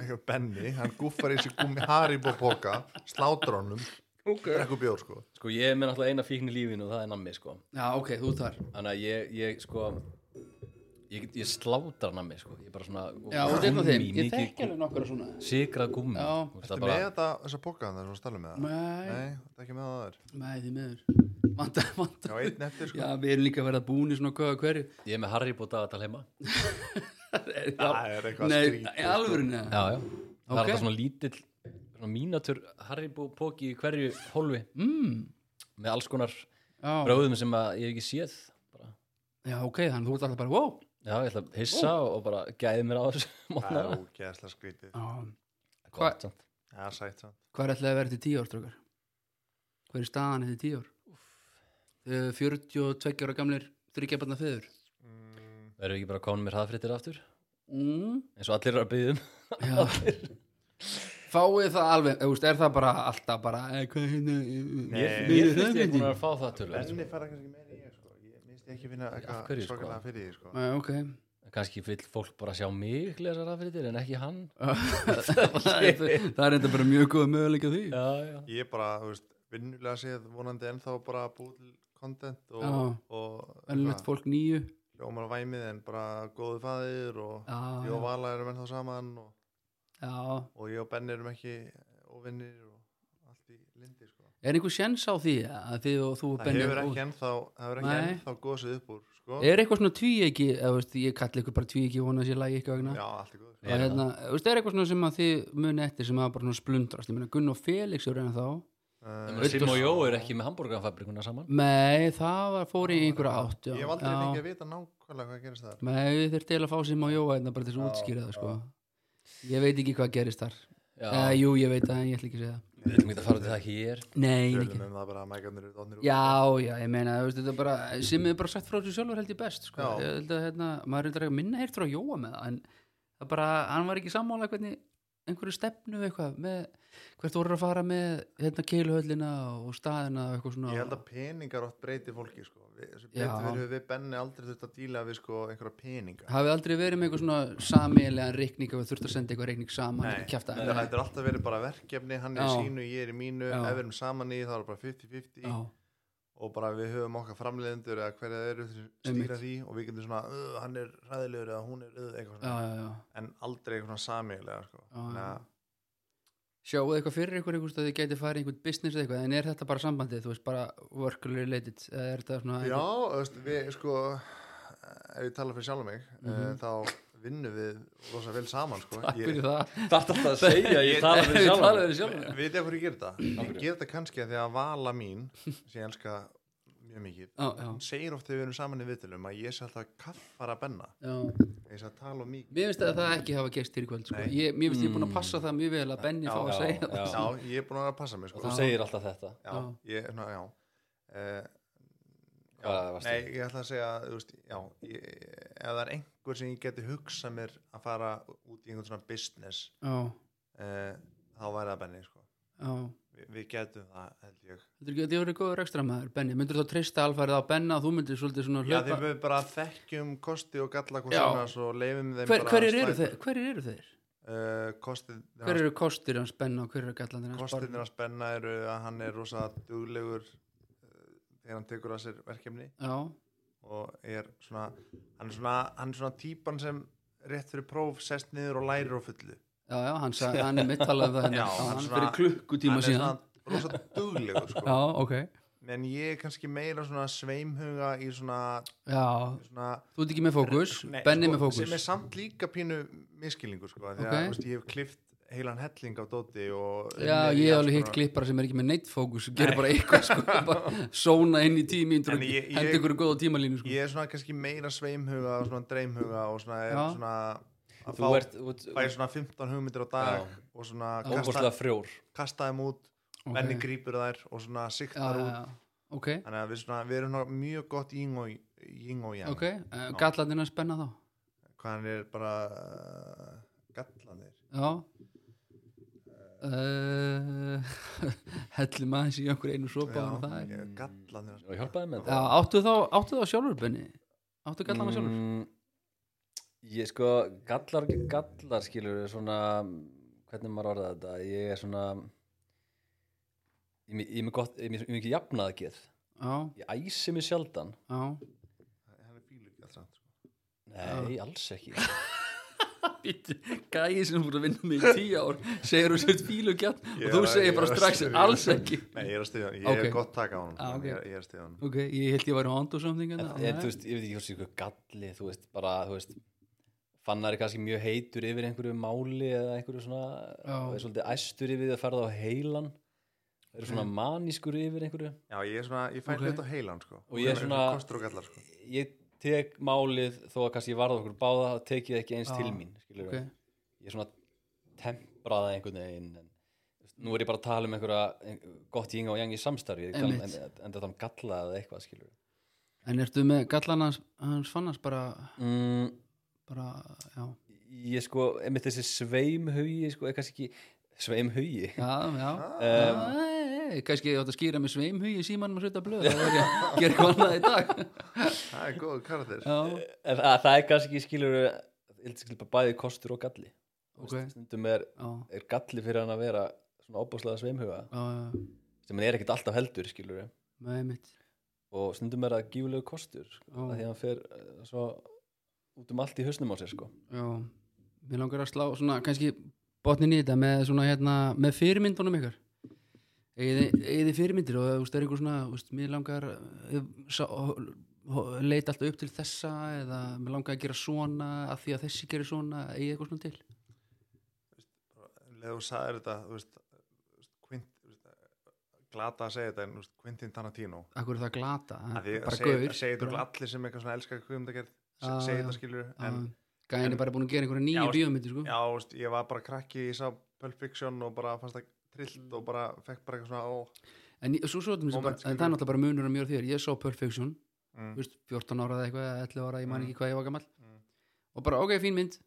Speaker 1: gummi
Speaker 2: Benni, hann guffar í sig gummi Haribo boka, slátur honum
Speaker 1: Ok
Speaker 2: drekku bjór sko
Speaker 3: sko ég er með náttúrulega eina fíkn í lífinu og það er nammi sko
Speaker 1: Já, ok, þú ert þar
Speaker 3: þannig að ég, ég sko ég, ég slátar nammi sko ég bara svona
Speaker 1: Já, og þetta er þeim,
Speaker 3: gúmmí,
Speaker 1: ég
Speaker 3: mikið
Speaker 1: þekki alveg nokkura svona
Speaker 3: gú- sigrað gummi
Speaker 1: Já.
Speaker 3: Þú veist,
Speaker 2: Þetta
Speaker 3: það
Speaker 2: með
Speaker 3: bara,
Speaker 2: þetta, þessa boka þannig að stala með það
Speaker 1: Nei,
Speaker 2: Nei, þetta er ekki með það það er
Speaker 1: nei, því miður Vanda,
Speaker 2: Já,
Speaker 1: vanda
Speaker 2: einn eftir sko
Speaker 1: Já, við erum líka að verða búin í svona hvað og hverju
Speaker 3: ég er með Harry bóta að tala heima
Speaker 2: Það er eitthvað
Speaker 1: Nei,
Speaker 2: skrítið,
Speaker 1: í alvörunni eða?
Speaker 3: já, já. það er
Speaker 1: Ok.
Speaker 3: alltaf svona lítill svona mínatur Haribo póki í hverju hólfi
Speaker 1: mm,
Speaker 3: með alls konar
Speaker 1: já,
Speaker 3: bröðum sem að ég hef ekki séð bara.
Speaker 1: já, ok, þannig þú ert alltaf bara wow.
Speaker 3: já, ég ætla að hissa og bara gæði mér á þessu
Speaker 2: Það er
Speaker 3: mótnara.
Speaker 2: ógeðslega skrítið
Speaker 1: já,
Speaker 3: Gott, samt.
Speaker 2: Það er sætt samt
Speaker 1: Hvað er ætlaði að vera til tíu ár, strókar? Hver er staðan eftir tíu ár? Uh, 42 ára gamlir þryggjabarna feður
Speaker 2: Mm,
Speaker 3: verður ekki bara konum mér hraðfrittir aftur
Speaker 1: mm,
Speaker 3: eins og allir eru að byggja um
Speaker 1: Já Fáið það alveg, þú veist, er það bara alltaf bara, eh, hvað er hérna eh,
Speaker 2: Nei.
Speaker 1: eh,
Speaker 3: ég,
Speaker 1: Nei,
Speaker 3: ég
Speaker 1: það
Speaker 3: finnst
Speaker 1: er
Speaker 3: ég búin
Speaker 1: ekki.
Speaker 3: að fá það tölvöld
Speaker 2: Benni fara kannski meira í ég sko Ég misti ekki finna
Speaker 3: Af
Speaker 2: eitthvað
Speaker 3: hverju, sko?
Speaker 2: svakalega fyrir því sko
Speaker 1: eh, ok
Speaker 3: kannski vill fólk bara sjá mig lesa rafritir en ekki hann
Speaker 1: Það er- það er enda bara mjög góð möguleika á því
Speaker 3: já, já.
Speaker 2: Ég bara, þú veist, vinnulega séð vonandi ennþá bara búið til content og,
Speaker 1: Já.
Speaker 2: og
Speaker 1: Ölmett fólk nýju
Speaker 2: hljómar væmið en bara góðu fæðir og
Speaker 1: Já,
Speaker 2: ég og Vala erum ennþá saman og,
Speaker 1: já
Speaker 2: og ég og Benni erum ekki óvinnir og allt í lindi sko.
Speaker 1: Er einhver séns á því að þið og þú og
Speaker 2: það,
Speaker 1: Benni
Speaker 2: hefur
Speaker 1: eru
Speaker 2: ekki
Speaker 1: góð?
Speaker 2: ennþá, það hefur ekki
Speaker 1: Nei.
Speaker 2: ennþá gósið upp úr sko.
Speaker 1: Er eitthvað svona tví ekki, veist, ég kalli ykkur bara tví ekki vona að ég lagi ykkur vegna
Speaker 2: Já, allt er góð
Speaker 1: og
Speaker 3: Er
Speaker 1: hérna, þú veist, er eitthvað svona sem að þið muni eftir sem að bara svona splundrast, ég meina Gunn og Felix eru enn þá,
Speaker 2: uh,
Speaker 3: Þannig að Sim og Jó er ekki með hambúrgarfabrikuna saman
Speaker 1: nei, það var fór í einhverja átt, já,
Speaker 2: Ég hef aldrei fengið
Speaker 1: já.
Speaker 2: að vita nákvæmlega hvað gerist þar
Speaker 1: nei, þeir til að fá sem á Jóa hérna bara til þess að útskýra það, sko ég veit ekki hvað gerist þar,
Speaker 3: já,
Speaker 1: eh, jú, ég veit það, en ég ætla ekki að segja það,
Speaker 3: við ætlum ekki að fara til það hér
Speaker 1: nei,
Speaker 2: Við
Speaker 1: ekki
Speaker 2: höfum um það bara að mækarnir eru dónir
Speaker 1: Já, já, ég meina, þú veist, þetta er bara sem er bara sagt frá þessu sjálfur held ég best sko.
Speaker 2: Já.
Speaker 1: ég held að, hérna, maður er eitthvað minna heyrt frá Jóa með það, en það bara, hann var ekki sammála hvernig einhverju stefnu eitthvað, með, hvert voru að fara með hérna keiluhöllina og staðina og eitthvað svona
Speaker 2: Ég held að peningar oft breyti fólki sko. við, sem
Speaker 1: Já.
Speaker 2: betur verið höfum við Benni aldrei þurft að díla við sko, einhverja peninga
Speaker 1: Hafið aldrei verið með eitthvað svona sameilegan reikning og þurft að senda eitthvað reikning saman
Speaker 2: Nei,
Speaker 1: og kjafta
Speaker 2: þetta þetta er alltaf verið bara verkefni hann er í
Speaker 1: Já.
Speaker 2: sínu, ég er í mínu,
Speaker 1: Já.
Speaker 2: ef við erum saman í þá er bara 50-50
Speaker 1: Já,
Speaker 2: og bara við höfum okkar framleiðendur eða hverja þeir eru sem
Speaker 1: Einmitt.
Speaker 2: stýra því og við getum svona, "Ugh, hann er ræðilegur eða hún er öð,
Speaker 1: já,
Speaker 2: eitthvað
Speaker 1: já,
Speaker 2: svona,
Speaker 1: já
Speaker 2: en aldrei eitthvað svona samílega sko.
Speaker 1: Já,
Speaker 2: Þannig
Speaker 1: já.
Speaker 2: að-
Speaker 1: Sjáuðu eitthvað fyrir ykkur einhvers að þið gæti farið í einhvern business eða eitthvað, en er þetta bara sambandið, þú veist, bara work related, eða er þetta svona
Speaker 2: Já, þú veist, við sko eh, ef ég tala fyrir sjálf mig mm þá vinnum við rosa vel saman sko.
Speaker 1: Mhm. Takk fyrir það
Speaker 3: þarf alltaf að segja,
Speaker 2: ég tala
Speaker 1: Við talaðum við sjálfan.
Speaker 2: Við þið að hverju ég gera þetta? Ég
Speaker 3: hverju?
Speaker 2: gera þetta kannski að því að vala mín sem ég elska mjög mikið
Speaker 1: Já, já,
Speaker 2: hún segir oft þegar við erum saman í viðtölum að ég sé alltaf kaffara benna
Speaker 1: já
Speaker 2: ég sé að tala um mikið
Speaker 1: Mér finnst að það ekki hafa gerst hér í kvöld sko.
Speaker 2: Nei. Mm.
Speaker 1: ég, Mér finnst ég búin að passa það mjög vel að Benni fá að
Speaker 3: já,
Speaker 1: segja
Speaker 3: já.
Speaker 1: það
Speaker 2: Já, ég er búin að vera að passa mig sko.
Speaker 3: þú segir alltaf þetta
Speaker 2: Já,
Speaker 1: Já.
Speaker 2: ég, ná, já uh,
Speaker 3: Hvað varstu?
Speaker 2: Nei, ég ætla að segja þú veist, já, ég, ef það er einhver sem ég geti hugsað mér að fara út í einhvern svona business
Speaker 1: já,
Speaker 2: uh, þá væri það benni sko.
Speaker 1: já
Speaker 2: Vi, við getum það held ég
Speaker 1: Þetta er ekki að þið voru góður ekstra maður, Benni Myndur þú treysta alfarið á Benna að þú myndir svolítið svona
Speaker 2: Já, þeir
Speaker 1: hlaupa
Speaker 2: við bara þekkjum kosti og galla hvort
Speaker 1: Já.
Speaker 2: annars og leifum þeim
Speaker 1: Hver,
Speaker 2: bara
Speaker 1: Hverjir eru þeir? Hverjir eru þeir?
Speaker 2: Uh, kostið,
Speaker 1: Hverjir eru kostir hans Benna og hverjir eru gallandir hans
Speaker 2: kostinir
Speaker 1: Barna?
Speaker 2: að spenna eru að hann er rosa duglegur uh, þegar hann tekur að sér verkefni
Speaker 1: Já,
Speaker 2: og er svona hann er svona, hann er svona típan sem rétt fyrir próf sest niður og lærir á fullu
Speaker 1: já, já, hann, sa, hann er mitt talað um það henni
Speaker 2: Já, hann
Speaker 1: Hann
Speaker 2: svona-
Speaker 1: fyrir klukkutíma
Speaker 2: hann er
Speaker 1: síðan
Speaker 2: svona rosa duglegur sko.
Speaker 1: Já, ok
Speaker 2: en ég er kannski meira svona sveimhuga í svona,
Speaker 1: Já,
Speaker 2: svona
Speaker 1: þú ert ekki með fókus
Speaker 2: Nei,
Speaker 1: Benni
Speaker 2: sko,
Speaker 1: með
Speaker 2: sem er
Speaker 1: fókus
Speaker 2: samt líka pínu miskilningur sko, af því að
Speaker 1: Ok.
Speaker 2: þú veist, ég hef klift heilan helling á dóti og
Speaker 1: Já,
Speaker 2: unnið í
Speaker 1: ég hef
Speaker 2: alls
Speaker 1: alveg hitt
Speaker 2: konar-
Speaker 1: klippara sem er ekki með neitt fókus Gerir bara eitthvað sko bara Sóna inn í tími
Speaker 2: En ég- ég-
Speaker 1: Hendi ykkur góða tímalínu sko
Speaker 2: ég er svona kannski meira sveimhuga og svona dreimhuga og svona, er
Speaker 1: Já.
Speaker 2: svona að
Speaker 3: Þú
Speaker 2: fá,
Speaker 3: ert, þú ert
Speaker 2: fæ svona 15 hugmyndir á dag
Speaker 3: Já.
Speaker 2: og svona kasta,
Speaker 3: óbúrslega frjór
Speaker 2: kasta þeim út
Speaker 1: Ok.
Speaker 2: venni grípur þær og svona
Speaker 1: Já,
Speaker 2: siktar
Speaker 1: já,
Speaker 2: út
Speaker 1: já, ok
Speaker 2: þannig að við, svona, við erum svona mjög gott ying og, ying og yang
Speaker 1: Ok, uh, gallandir hans Benna þá
Speaker 2: hvað hann er bara uh, gallanir
Speaker 1: Já uh, Hellum aðeins í okkur einu sopa og það eh? er
Speaker 2: ég- gallanir
Speaker 3: og hjálpaði með
Speaker 1: Já, áttu þá, áttu þá sjálfur Benni Áttu gallana sjálfur
Speaker 3: Mm, ég sko, gallar gallar skilur er svona hvernig maður orðað þetta ég er svona ég er með- ég er með gott, ég er með- ég er með ekki jafnað að geð
Speaker 1: Já,
Speaker 3: ég æsi mig sjaldan
Speaker 1: já
Speaker 2: hann er bílu gallsamt sko.
Speaker 3: nei, alls ekki
Speaker 1: Býttu, gæði sem voru að vinna mig í tíu ár segir um þú sér fíl og gjarn
Speaker 2: Ég
Speaker 1: og þú
Speaker 2: er að-
Speaker 1: segir bara
Speaker 2: ég er að
Speaker 1: strax
Speaker 2: segja-
Speaker 1: alls ekki
Speaker 2: Nei, ég er að stiða hann, ég
Speaker 1: Ok.
Speaker 2: er gott taka á hann
Speaker 1: Ah, ok.
Speaker 2: ég, er- ég er að stiða hann
Speaker 1: Ok, ég held ég væri hónd og samþing
Speaker 3: en, en, þú veist, ég veit ekki hvort sé ykkur galli þú veist, bara, þú veist fannar er kannski mjög heitur yfir einhverju máli eða einhverju svona
Speaker 1: Já.
Speaker 3: og er svolítið æstur yfir því að ferða á heilan er svona
Speaker 1: Mm.
Speaker 3: manískur yfir einhverju
Speaker 2: já, ég er svona, ég fæ
Speaker 1: Ok.
Speaker 2: okay. hlut á heilan sko.
Speaker 3: Og ég er
Speaker 2: Sem
Speaker 3: svona-
Speaker 2: kostur og gallar sko.
Speaker 3: ég tek málið þó að kannski ég varða okkur báða þá tek ég það ekki eins
Speaker 1: Já.
Speaker 3: til mín skilur
Speaker 1: Ah, Ok,
Speaker 3: ég er svona tempraða einhvern veginn en, þú veist, nú er ég bara að tala um einhverja ein- gott jinga og jang í samstarfi ég tala um- en,
Speaker 1: Einmitt.
Speaker 3: en, en þetta um galla eða eitthvað skilur
Speaker 1: en ertu með gallan hans, hans fannast bara,
Speaker 3: mm,
Speaker 1: bara, já
Speaker 3: ég sko, einmitt þessi sveimhugi sko, er kannski ekki sveimhugi
Speaker 1: Já, já
Speaker 3: Em.
Speaker 1: um, Kannski ég átt að skýra með sveimhugi símanum að setja blöð Það er ég að gera eitthvað annað í dag
Speaker 2: það er góð karakter
Speaker 1: Já,
Speaker 3: en að, það er kannski skilur skilur bara bæði kostur og galli Þú
Speaker 1: ok Já,
Speaker 3: veist, stundum er,
Speaker 1: já,
Speaker 3: er galli fyrir hann að vera svona opaslega sveimhuga
Speaker 1: já
Speaker 3: sem hann er ekkert alltaf heldur skilur
Speaker 1: Með mitt
Speaker 3: og stundum er það gífulegu kostur sko,
Speaker 1: Já.
Speaker 3: af því að hann fer eh, svo út um allt í hausnum á sér sko
Speaker 1: Já, mér langar að slá svona kannski botnin í þetta með svona hérna, með fyrirmyndunum ykkar eða þið fyrirmyndir og þú veist, er einhver svona, þú veist, mér langar eh, sá, leita alltaf upp til þessa eða mér langar að gera svona að því að þessi gerir svona, eigi eitthvað svona til
Speaker 2: leður þú sagðir þetta þú veist, þú veist, Quint, þú veist, glata að segja þetta en þú veist, Quintin Tarantino
Speaker 1: Akkur er það glata,
Speaker 2: að því
Speaker 1: bara
Speaker 2: að
Speaker 1: Ah,
Speaker 2: segja
Speaker 1: gaur
Speaker 2: að segja þetta allir sem eitthvað svona elskar kvimdagerð
Speaker 1: Já,
Speaker 2: segja
Speaker 1: já.
Speaker 2: þetta skilur en
Speaker 1: en, Gæin
Speaker 2: en-
Speaker 1: er bara búin að gera einhverja
Speaker 2: Já,
Speaker 1: nýju
Speaker 2: veist-
Speaker 1: bíómyndi sko.
Speaker 2: já, þú veist, ég var bara krakki ég sá Pulp Fiction og bara fannst það trillt og bara fekk bara eitthvað svona ó,
Speaker 1: en, ég- svo, svo, svo,
Speaker 2: Moment,
Speaker 1: bara, en það er
Speaker 2: skilur.
Speaker 1: náttúrulega bara munur á mér og þér, ég sá Perfection
Speaker 2: mm,
Speaker 1: Þú veist, 14 ára eða eitthvað, eða 11 ára, ég man
Speaker 2: Mm.
Speaker 1: ekki hvað ég var gammal
Speaker 2: Mm.
Speaker 1: og bara ok, fín mynd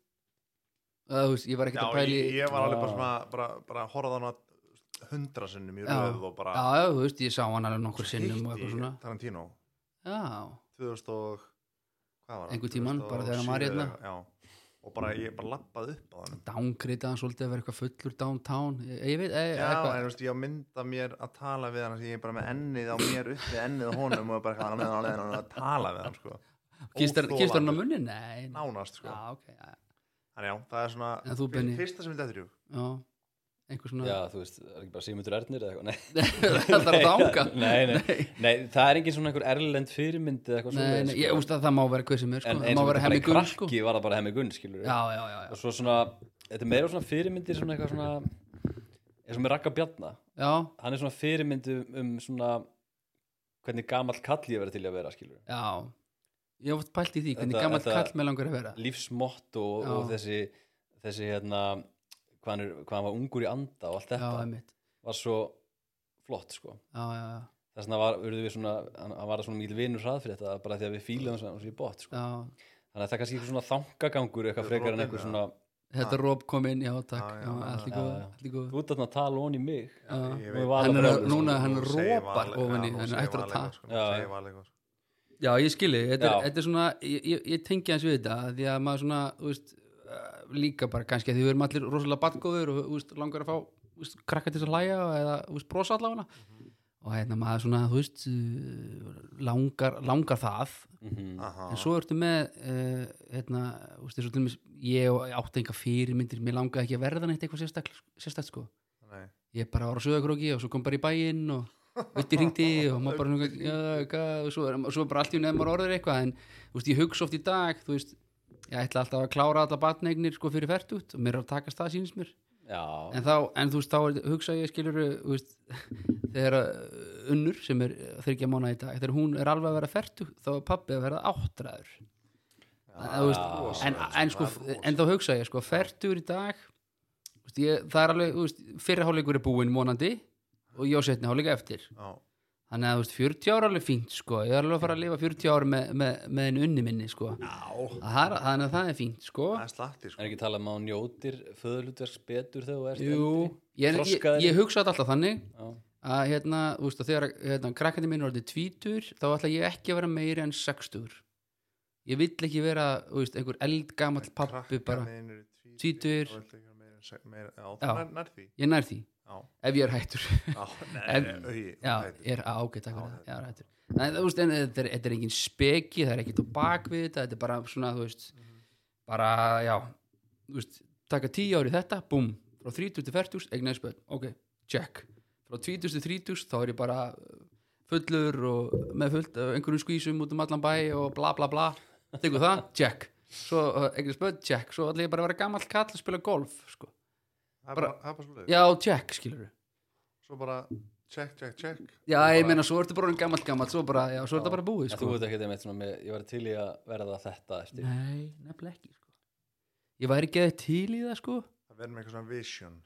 Speaker 1: það, þú veist, ég var
Speaker 2: já,
Speaker 1: ekkert að
Speaker 2: ég,
Speaker 1: pæli
Speaker 2: ég var alveg bara
Speaker 3: Já.
Speaker 2: svona bara, bara horfað á hana hundra sinnum í
Speaker 1: Já.
Speaker 2: röð og bara
Speaker 1: já, þú veist, ég sá hann alveg nokkur sinnum og
Speaker 2: hitti
Speaker 1: eitthvað svona
Speaker 2: Tarantino
Speaker 1: já,
Speaker 2: 2000 og hvað var það?
Speaker 1: Einhvern tímann, bara þegar hann var
Speaker 2: 2007
Speaker 1: hérna.
Speaker 2: eða- já, og bara ég bara lappaði upp á hann
Speaker 1: downgrita hann svolítið að vera eitthvað fullur downtown, ég, ég veit, e,
Speaker 2: Já, en
Speaker 1: eitthvað
Speaker 2: þú veist, ég á mynda mér að tala við hann því ég er bara með ennið á mér upp við ennið á honum og bara hann með hann að tala við hann sko.
Speaker 1: kistur
Speaker 2: óþolandi.
Speaker 1: kistur hann á munni, nei nei.
Speaker 2: nánast sko.
Speaker 1: já, ok, já,
Speaker 2: Þannig já, það er svona
Speaker 1: En þú, Benni?
Speaker 2: fyrsta sem ég sko. dættur jú
Speaker 1: já einhver svona
Speaker 3: já, þú veist, það er ekki bara Sigmundur Ernir eða eitthvað nei,
Speaker 1: það er að danga
Speaker 3: Nei, nei. nei, það er engin svona einhver erlend fyrirmynd eða eitthvað
Speaker 1: Nei,
Speaker 3: svoleiðis,
Speaker 1: nei, ég
Speaker 3: sko.
Speaker 1: veist að það má vera hvað sem er sko.
Speaker 3: en
Speaker 1: það
Speaker 3: eins
Speaker 1: má
Speaker 3: og
Speaker 1: vera
Speaker 3: þetta bara
Speaker 1: hemmi
Speaker 3: í
Speaker 1: gunn sko.
Speaker 3: krakki var það bara hemmi gunn
Speaker 1: já,
Speaker 3: skilur
Speaker 1: já, já, já.
Speaker 3: og svo svona, þetta er meira svona fyrirmyndir svona eitthvað svona eins og með Ragga Bjarna
Speaker 1: já,
Speaker 3: hann er svona fyrirmynd um, um svona hvernig gamall kall ég verið til að vera skilur
Speaker 1: já ég hef oft pælt í því, hvernig
Speaker 3: Þetta-
Speaker 1: gammal
Speaker 3: þetta-
Speaker 1: kall með langar að vera
Speaker 3: lífsmott og, og
Speaker 1: Já.
Speaker 3: þessi þessi hérna hvað hann, er, hvað hann var ungur í anda og allt
Speaker 1: já,
Speaker 3: þetta
Speaker 1: einmitt
Speaker 3: var svo flott sko
Speaker 1: já, já, já.
Speaker 3: þess vegna var, urðu við svona hann hann var svona mjög vinur hraðfrétta bara því að við fílaðum svona, svona í bot sko.
Speaker 1: já,
Speaker 3: þannig að það er kannski eitthvað svona þangagangur eitthvað
Speaker 2: Þetta er
Speaker 3: frekar en
Speaker 2: opið,
Speaker 3: eitthvað
Speaker 2: ja.
Speaker 3: svona
Speaker 1: Þetta Rob kom inn, já takk
Speaker 2: Já, já,
Speaker 1: já, allt í
Speaker 3: já,
Speaker 1: góð,
Speaker 3: já.
Speaker 1: allt í góð
Speaker 3: þú ert þarna að tala ón í mig
Speaker 1: Já.
Speaker 2: Ég
Speaker 3: Hún
Speaker 2: veit-
Speaker 3: var
Speaker 1: Hann er
Speaker 3: alveg
Speaker 1: að-
Speaker 3: brjáluð,
Speaker 1: núna, hann
Speaker 2: Hún sko. segir
Speaker 1: ropar
Speaker 2: varlega-
Speaker 1: ofan í
Speaker 2: já, hún
Speaker 1: hann
Speaker 2: segir
Speaker 1: ættir að
Speaker 2: varlega,
Speaker 1: taka
Speaker 2: sko,
Speaker 3: Já,
Speaker 2: hún segir
Speaker 3: já.
Speaker 2: varlega, sko.
Speaker 1: Já, ég skilji, þetta, er-
Speaker 3: Já.
Speaker 1: þetta er svona ég, ég- ég tengi hans við þetta því að maður svona, þú veist eh, líka bara kannski að því við erum allir rosalega badgóður og þú veist, langar að fá þú veist, krakka til þess að hlæja eða þú veist, brosa allavega og hérna maður svona, þú veist eh, langar, langar það
Speaker 3: Mhm.
Speaker 2: Aha.
Speaker 1: en svo ertu með uh, hérna, þú veist, þessu til mér ég átti enga fyrirmyndir, mér langaði ekki að verða neitt eitthvað sérstakt, sérstakt sko
Speaker 2: Nei.
Speaker 1: ég bara var á söðakróki og svo kom bara í bæinn og vitti hringdi og maður bara svona, já, hvað, og svo, er- og svo bara allt í nefn maður orður eitthvað en þú veist, ég hugsa oft í dag þú veist, ég ætla alltaf að klára alla batneignir sko fyrir fertut og mér er að takast það sínist mér
Speaker 3: já,
Speaker 1: en, þá, en þú veist, þá er- hugsa ég skilur þú veist, þegar uh, unnur sem er þryggja mánu í dag þegar hún er alveg að vera fertut þá er pappi að vera áttræður Þú veist, en, en, sko, en þá hugsa ég sko, fertur í dag þú veist, ég, það er alveg þú veist, fyrri hálfleikur er búinn vonandi og ég á setni hálfleik eftir
Speaker 2: Já,
Speaker 1: þannig að þú veist, 40 ára er alveg fínt sko. ég er alveg að fara að lifa 40 ára með, með, með en unni minni sko. það, er- þannig að það er fínt sko.
Speaker 2: það er slatti sko.
Speaker 3: er ekki talað um að hún njótir föðlutverks betur þegar þú ert
Speaker 1: Jú, ég, ég,
Speaker 3: Þroskaðri.
Speaker 1: ég hugsa þetta alltaf þannig
Speaker 3: eldri?
Speaker 1: að hérna, þú veist, að þegar hérna, krakkandi minn er orðið tvítur þá ætla ég ekki að vera meiri en 60 ég vill ekki vera þú veist, einhver eldgamall pappi bara, tvítugur. Já.
Speaker 2: Nær því
Speaker 1: ég nær því
Speaker 2: Já,
Speaker 1: ef ég er hættur
Speaker 2: já,
Speaker 1: Ef-
Speaker 2: nei, augi,
Speaker 1: Já,
Speaker 2: hættur.
Speaker 1: er ágætt
Speaker 2: Já,
Speaker 1: akkur
Speaker 2: þetta-
Speaker 1: það Já, rættur Nei, þú veist, en þetta er, þetta er engin speki, það er ekkert á bakvið þetta, þetta er bara svona, þú veist bara, já, þú veist taka tíu ári þetta, búm, frá 30 til 40, eignar spöld, ok, check frá 20 til 30, þá er ég bara uh, fullur og með fullt af einhverjum skvísum út um allan bæ og bla bla bla, tekur það, check svo eignar spöld, check, svo allir ég bara að vera gamall kall að spila golf, sko
Speaker 2: Það er
Speaker 1: bara-
Speaker 2: bara- það er bara svolítið
Speaker 1: já, check, skilur
Speaker 2: Svo bara check, check, check
Speaker 1: já,
Speaker 2: Og
Speaker 1: ég
Speaker 2: bara-
Speaker 1: meina, svo ertu bara orðinn gamall gamall, svo bara, já, svo er þetta bara búið,
Speaker 3: En
Speaker 1: sko
Speaker 3: þú veit ekki þeim eitt svona með, ég var til í að verða þetta eftir.
Speaker 1: Nei, nefnilega ekki sko. Ég væri ekki að til í það sko
Speaker 2: Það verður með eitthvað svona vision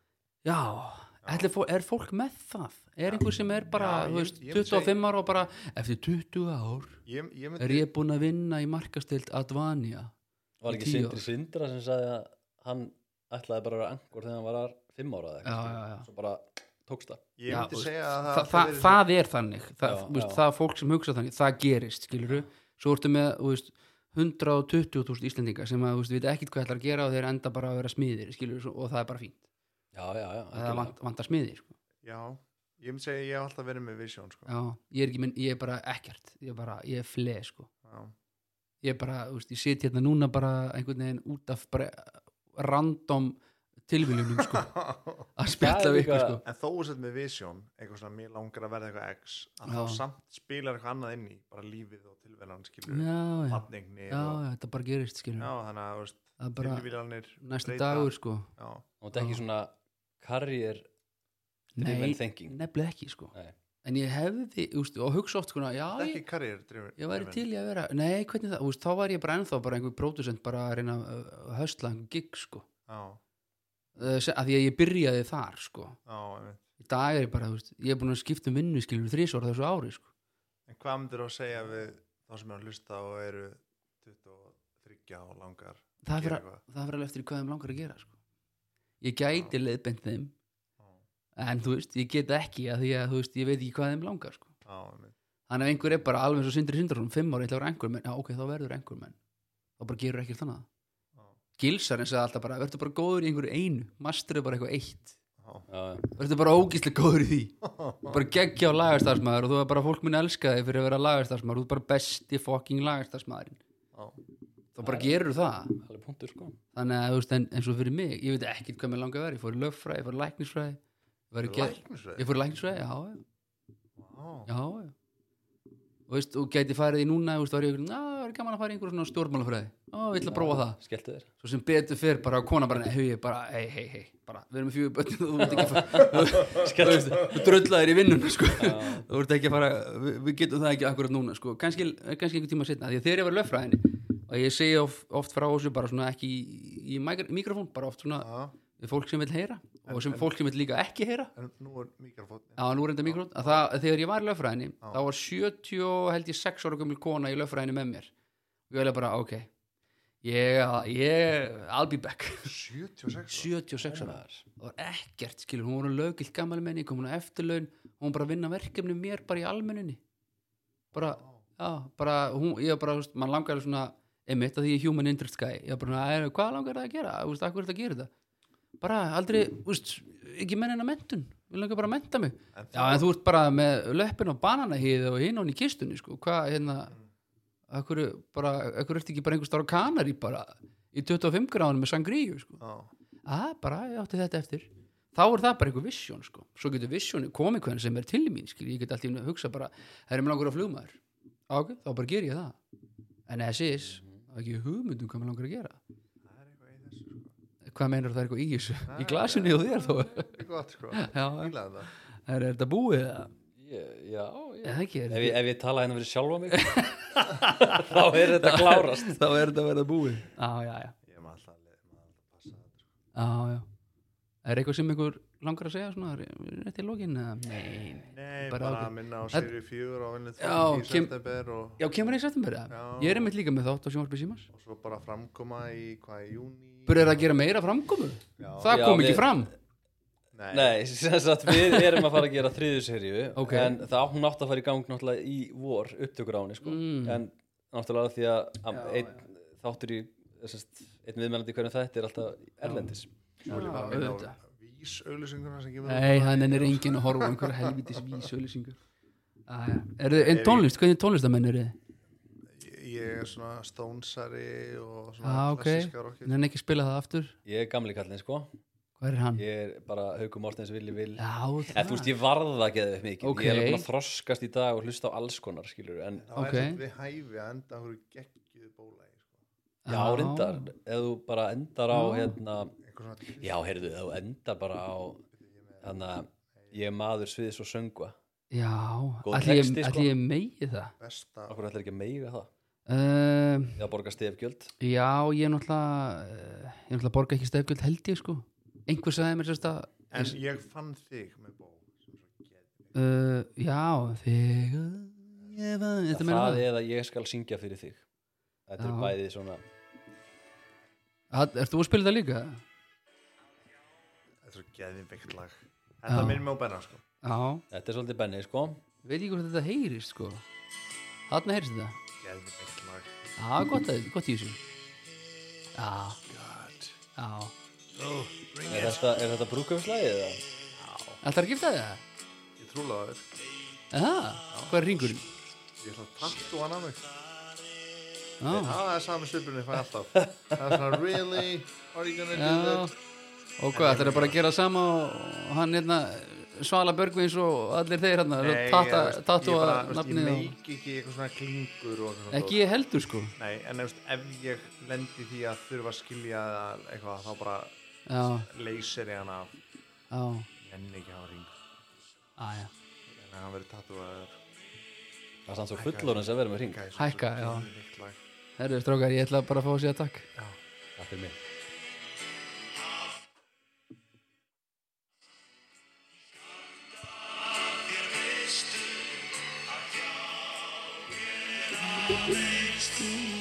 Speaker 1: Já, ætli, fó- er fólk með það? Er einhver sem er bara,
Speaker 2: Já,
Speaker 1: þú
Speaker 2: ég-
Speaker 1: veist,
Speaker 2: ég myndi
Speaker 1: 25 ára og bara Eftir 20 ár
Speaker 2: Ég, ég
Speaker 1: er
Speaker 2: myndi
Speaker 1: ég búinn að vinna í markastild Advania
Speaker 3: Var ekki
Speaker 1: Tíu ár.
Speaker 3: Sindri Sindra sem sagði að hann ætlaði bara að vera angor þegar hann var fimm ára eða
Speaker 1: Já, já, já.
Speaker 3: Svo bara tókst það.
Speaker 2: Ég
Speaker 1: Já,
Speaker 2: myndi
Speaker 1: þú veist,
Speaker 2: segja að
Speaker 1: Þa,
Speaker 2: það
Speaker 1: það,
Speaker 2: verið
Speaker 1: það er þannig það,
Speaker 3: Já,
Speaker 1: já, veist,
Speaker 3: já.
Speaker 1: það er fólk sem hugsa þannig, það gerist skilur svo ertu með þú veist, 120.000 Íslendinga sem að þú veist, vita ekkit hvað ætlar að gera og þeir enda bara að vera smiðir skilur, og það er bara fínt,
Speaker 3: Já, já, já.
Speaker 1: það
Speaker 3: algjörlega.
Speaker 1: vant, vantar smiði sko.
Speaker 2: svona- Já, ég myndi segja að ég hef alltaf verið með vision sko.
Speaker 1: Já, ég er ekki minn, ég er bara ekkert ég er bara, ég er fleð sko
Speaker 2: Já,
Speaker 1: ég er bara, þú veist, ég sit hérna núna bara einhvern veginn út af bara random tilviljunum sko að
Speaker 3: Það
Speaker 1: spjalla
Speaker 3: er
Speaker 1: við ykkur
Speaker 3: líka-
Speaker 1: sko
Speaker 2: En þó þú sett með vision Eitthvað svona, mér langar að verða eitthvað X Að
Speaker 1: Já.
Speaker 2: þá samt spilar eitthvað annað inn í Bara lífið og tilverðan skilur
Speaker 1: já, já,
Speaker 2: Fatningni
Speaker 1: já,
Speaker 2: og
Speaker 1: já, þetta bara gerist skilur
Speaker 2: Já, þannig að þú veist,
Speaker 1: það er bara
Speaker 2: tilvílanir
Speaker 1: næsti
Speaker 2: breyta-
Speaker 1: dagur sko
Speaker 2: Já,
Speaker 3: Og þetta er ekki svona karriér
Speaker 1: nei,
Speaker 3: driven thinking.
Speaker 1: nefnilega ekki sko
Speaker 3: Nei.
Speaker 1: en ég hefði, þú veist, og hugsa oft sko já,
Speaker 2: það er
Speaker 1: ég,
Speaker 2: ekki karriér drifin
Speaker 1: ég væri til í að vera nei, hvernig það, þú veist, þá var ég bara ennþá bara einhver pródusent bara að reyna að uh, höstla einhver gig sko,
Speaker 2: Já,
Speaker 1: uh, se- af því að ég byrjaði þar sko,
Speaker 2: já, einmitt.
Speaker 1: í dag er ég bara, þú veist, ég er búin að skipta um vinnu skilur þrísvara þessu ári sko
Speaker 2: en hvað myndir þú að segja við þá sem er að hlusta og eru 23 og langar
Speaker 1: það
Speaker 2: gera
Speaker 1: fyrir
Speaker 2: eitthvað?
Speaker 1: það fyrir alveg eftir í hvað þeim langar að gera sko. ég gæti leiðbent þeim
Speaker 2: Já,
Speaker 1: en þú veist, ég get ekki að því að þú veist, ég veit ekki hvað þeim langar sko.
Speaker 2: já, einmitt.
Speaker 1: þannig að einhver er bara alveg eins og sindri sindrarum fimm ára, ég ætla að vera einhver menn, já ok, þá verður einhver menn þá bara gerur ekkert þannig
Speaker 2: Já.
Speaker 1: gilsarinn sagði alltaf bara, verður bara góður í einhverju einu masterðu bara eitthvað eitt
Speaker 3: Já, já.
Speaker 1: verður bara ógíslega góður í því
Speaker 2: já.
Speaker 1: bara geggja á lagastarsmaður og þú er bara fólk minn elska þig fyrir að vera lagastarsmaður, þú er bara besti fucking lagastarsmaðurinn
Speaker 2: já.
Speaker 1: þá bara gerur það
Speaker 3: Alveg punktur sko.
Speaker 1: þannig að þú veist, en, eins og fyrir mig ég veit ekkert hvað mér langar að vera, ég fór í löffræði ég fór í læknisfræði ég, var í geð-
Speaker 2: Læknisfræði?
Speaker 1: ég fór í læknisfræði, já, já,
Speaker 2: Já,
Speaker 1: já, já. Og, veist, og gæti farið í núna þú veist, var ég, ná, það er gaman að fara í einhver svona stjórnmálafræði ó, ég ætla að prófa það
Speaker 3: Skelltu þér.
Speaker 1: svo sem betur fyrr, bara kona bara, hei, bara, hei, hei, hei bara, við erum fjögur börn þú ert ekki að fara þú veist, þú dröllaðir í vinnuna sko. þú ert ekki að fara, við, við getum það ekki akkurat núna, sko, kannski, kannski einhver tíma setna því að þegar ég var í löffræðinni og ég segi of, oft frá þessu bara svona ekki í, í mikro- mikrofón, bara oft svona
Speaker 2: já.
Speaker 1: við fólk sem vil heyra og sem fólk sem vil líka ekki heyra
Speaker 2: En nú er mikrofónni.
Speaker 1: Já, nú reynda mikrofón að það, að þegar ég var í lögfræðinni þá var 70 og held ég 6 ára gömul kona í lögfræðinni með mér og ég var bara, ok ég, ég, I'll be back
Speaker 2: 76 ára?
Speaker 1: 76 ára það var ekkert skilur, hún voru lögilt gammal menni, kom hún á eftirlaun hún var bara að vinna verkefni mér bara í almenninni bara, já, bara hún, ég var bara, þú veist, mann langar svona, einmitt að því ég er human interest guy ég var bara, "Æ, hvað langar það að gera, þú veist, hvað er það að gera þetta bara aldrei, þú veist, ekki menn en að mentun við langar bara að menta mig
Speaker 2: En
Speaker 1: já, en þú ert bara með löppin og bananahýð og hinn hún í kistunni, sko, hvað, hérna akkur, bara, akkur ert ekki bara einhver starf kanari bara í 25 gráðunum með sangríu, sko
Speaker 2: Já,
Speaker 1: að bara ég átti þetta eftir þá er það bara einhver visjón sko. svo getur visjónu komið hvernig sem er til mín skil. ég get alltaf að hugsa bara það er mér langur að flugmaður Á, ok, þá bara ger ég það en as is, það er ekki hugmyndum hvað mér langur að gera
Speaker 2: það er eitthvað í þessu sko.
Speaker 1: hvað meinar það er eitthvað í þessu í glasinu og þér þó
Speaker 2: Það er gott sko.
Speaker 1: já,
Speaker 2: Fílaði það.
Speaker 1: er, er þetta búið eða
Speaker 3: Ég- Já, já.
Speaker 1: eða ekki,
Speaker 3: Ef
Speaker 1: er,
Speaker 3: ég, ef ég tala hérna fyrir sjálfa mig þá er þetta klárast
Speaker 1: þá er þetta að verða búið á, já, já,
Speaker 2: Ég maður alltaf leið, maður alltaf passa það. sko.
Speaker 1: á, já er eitthvað sem einhver langar að segja svona rétt í lokin eða nein
Speaker 2: Nei,
Speaker 1: Bara
Speaker 2: bara
Speaker 1: ágætt.
Speaker 2: að minna á
Speaker 1: Það-
Speaker 2: sérið fjögur á vinnið
Speaker 1: Já,
Speaker 2: þrjú í
Speaker 1: kem-
Speaker 2: september og,
Speaker 1: já, kemur ég sættum verið
Speaker 2: Já.
Speaker 1: ég er einmitt líka með þátt á sjónvarpi símas
Speaker 2: og svo bara framkoma í hvað í júni.
Speaker 1: Byrjar að gera meira framkomu
Speaker 2: Já.
Speaker 1: Það
Speaker 3: Já,
Speaker 1: kom ekki
Speaker 3: við-
Speaker 1: fram
Speaker 2: Nei,
Speaker 3: Nei, sem sagt við erum að fara að gera þriðu seríu
Speaker 1: Ok.
Speaker 3: en það hún átti að fara í gang náttúrulega í vor upptökur á henni sko.
Speaker 1: Mm.
Speaker 3: en náttúrulega því að, að
Speaker 1: Já,
Speaker 3: einn þáttur í sest, einn viðmælandi í hverjum þetta er alltaf erlendis
Speaker 2: svo er ég bara að
Speaker 1: auðvitað.
Speaker 2: minna á vísauðlýsinguna sem kemur.
Speaker 1: Nei,
Speaker 2: út.
Speaker 1: hann er enginn að horfa á einhverja helvitis vísauðlýsingur En tónlist, hvernig tónlistamenn eru þið?
Speaker 2: Ég- Ég er svona stónsari og svona
Speaker 1: Ah, ok,
Speaker 2: klassíska rockið.
Speaker 1: hann ekki spila það aftur
Speaker 3: ég er gamli kallinn sko
Speaker 1: Hvað er hann?
Speaker 3: ég er bara Hauku Mortens villi vil
Speaker 1: Já,
Speaker 3: en þú veist ég varða að geða upp mikið
Speaker 1: Ah. Ok.
Speaker 3: ég er alveg búin að þroskast í dag og hlusta á alls konar skilur en
Speaker 2: Það
Speaker 1: Ok.
Speaker 2: okay. er svolítið við hæfi að enda okkur geggjuð bóla í sko.
Speaker 3: já reyndar ef þú bara endar á
Speaker 1: Já.
Speaker 3: hérna
Speaker 2: Einhver svona
Speaker 3: já heyrðu ef þú endar bara á þannig að ég er maður sviðis og söngva
Speaker 1: Já,
Speaker 3: Góð
Speaker 1: allir ég,
Speaker 3: texti, sko.
Speaker 1: ætli ég megi það
Speaker 2: besta
Speaker 3: okkur ætlar ekki að meiga það
Speaker 1: uh,
Speaker 3: eða borga stefgjöld
Speaker 1: Já, ég náttúrulega eh, Ég náttúrulega borga ekki stefgjöld held ég sko Einhver sagði mér sérst að
Speaker 2: En ég fann þig með bó sem svo geggjuð.
Speaker 1: uh, Já, þegar ég var Þetta meina
Speaker 3: það eða ég skal syngja fyrir þig þetta er
Speaker 1: Já.
Speaker 3: bæði svona
Speaker 1: það Ert þú að spila það líka?
Speaker 2: Þetta er svo geðvikt lag Þetta
Speaker 1: Já.
Speaker 2: minnir mig á benna sko
Speaker 1: Já
Speaker 3: þetta er svolítið benni sko
Speaker 1: Ég veit ekki hvort þetta heyrist sko Þarna heyrist þetta
Speaker 2: Geðvikt lag
Speaker 1: Já, gott, að- gott í þessu Já,
Speaker 2: God
Speaker 1: já
Speaker 2: oh, bring
Speaker 3: er þetta, er þetta brúkumslægi eða
Speaker 1: Ætlar að gifta þig það?
Speaker 2: Ég trúla það
Speaker 1: Aha, hvað er ringurinn?
Speaker 2: Ég ætla að tattu hann af mig
Speaker 1: Já,
Speaker 2: Já, það er sami svipurinn ég fæ alltaf Það er svona really Are you gonna do
Speaker 1: já
Speaker 2: that
Speaker 1: Og hvað, ætlar bara að gera sama og hann hérna Svala Björgvins og allir þeir hérna svo
Speaker 2: Nei,
Speaker 1: tata,
Speaker 2: ég, veist,
Speaker 1: Tatu
Speaker 2: ég bara,
Speaker 1: að
Speaker 2: veist,
Speaker 1: nafnið
Speaker 2: Ég
Speaker 1: og...
Speaker 2: meik ekki eitthvað svona klingur og eitthvað svona
Speaker 1: Ekki ég heldur sko
Speaker 2: dót. Nei, en veist, ef ég lendi því að þurfa að skilja það eitthvað þá bara
Speaker 1: Já,
Speaker 2: leysir ég hann af
Speaker 1: já,
Speaker 2: Nenni ekki að hafa ring
Speaker 1: aðja
Speaker 2: En hann verið tattuaður
Speaker 3: það er samt svo fullorinn sem verður með hring
Speaker 1: Hækka, já.
Speaker 2: Nýtt lag
Speaker 1: Herðu strókar, ég ætla bara að fá að segja takk
Speaker 2: Já
Speaker 3: takk fyrir mig
Speaker 4: Thank you.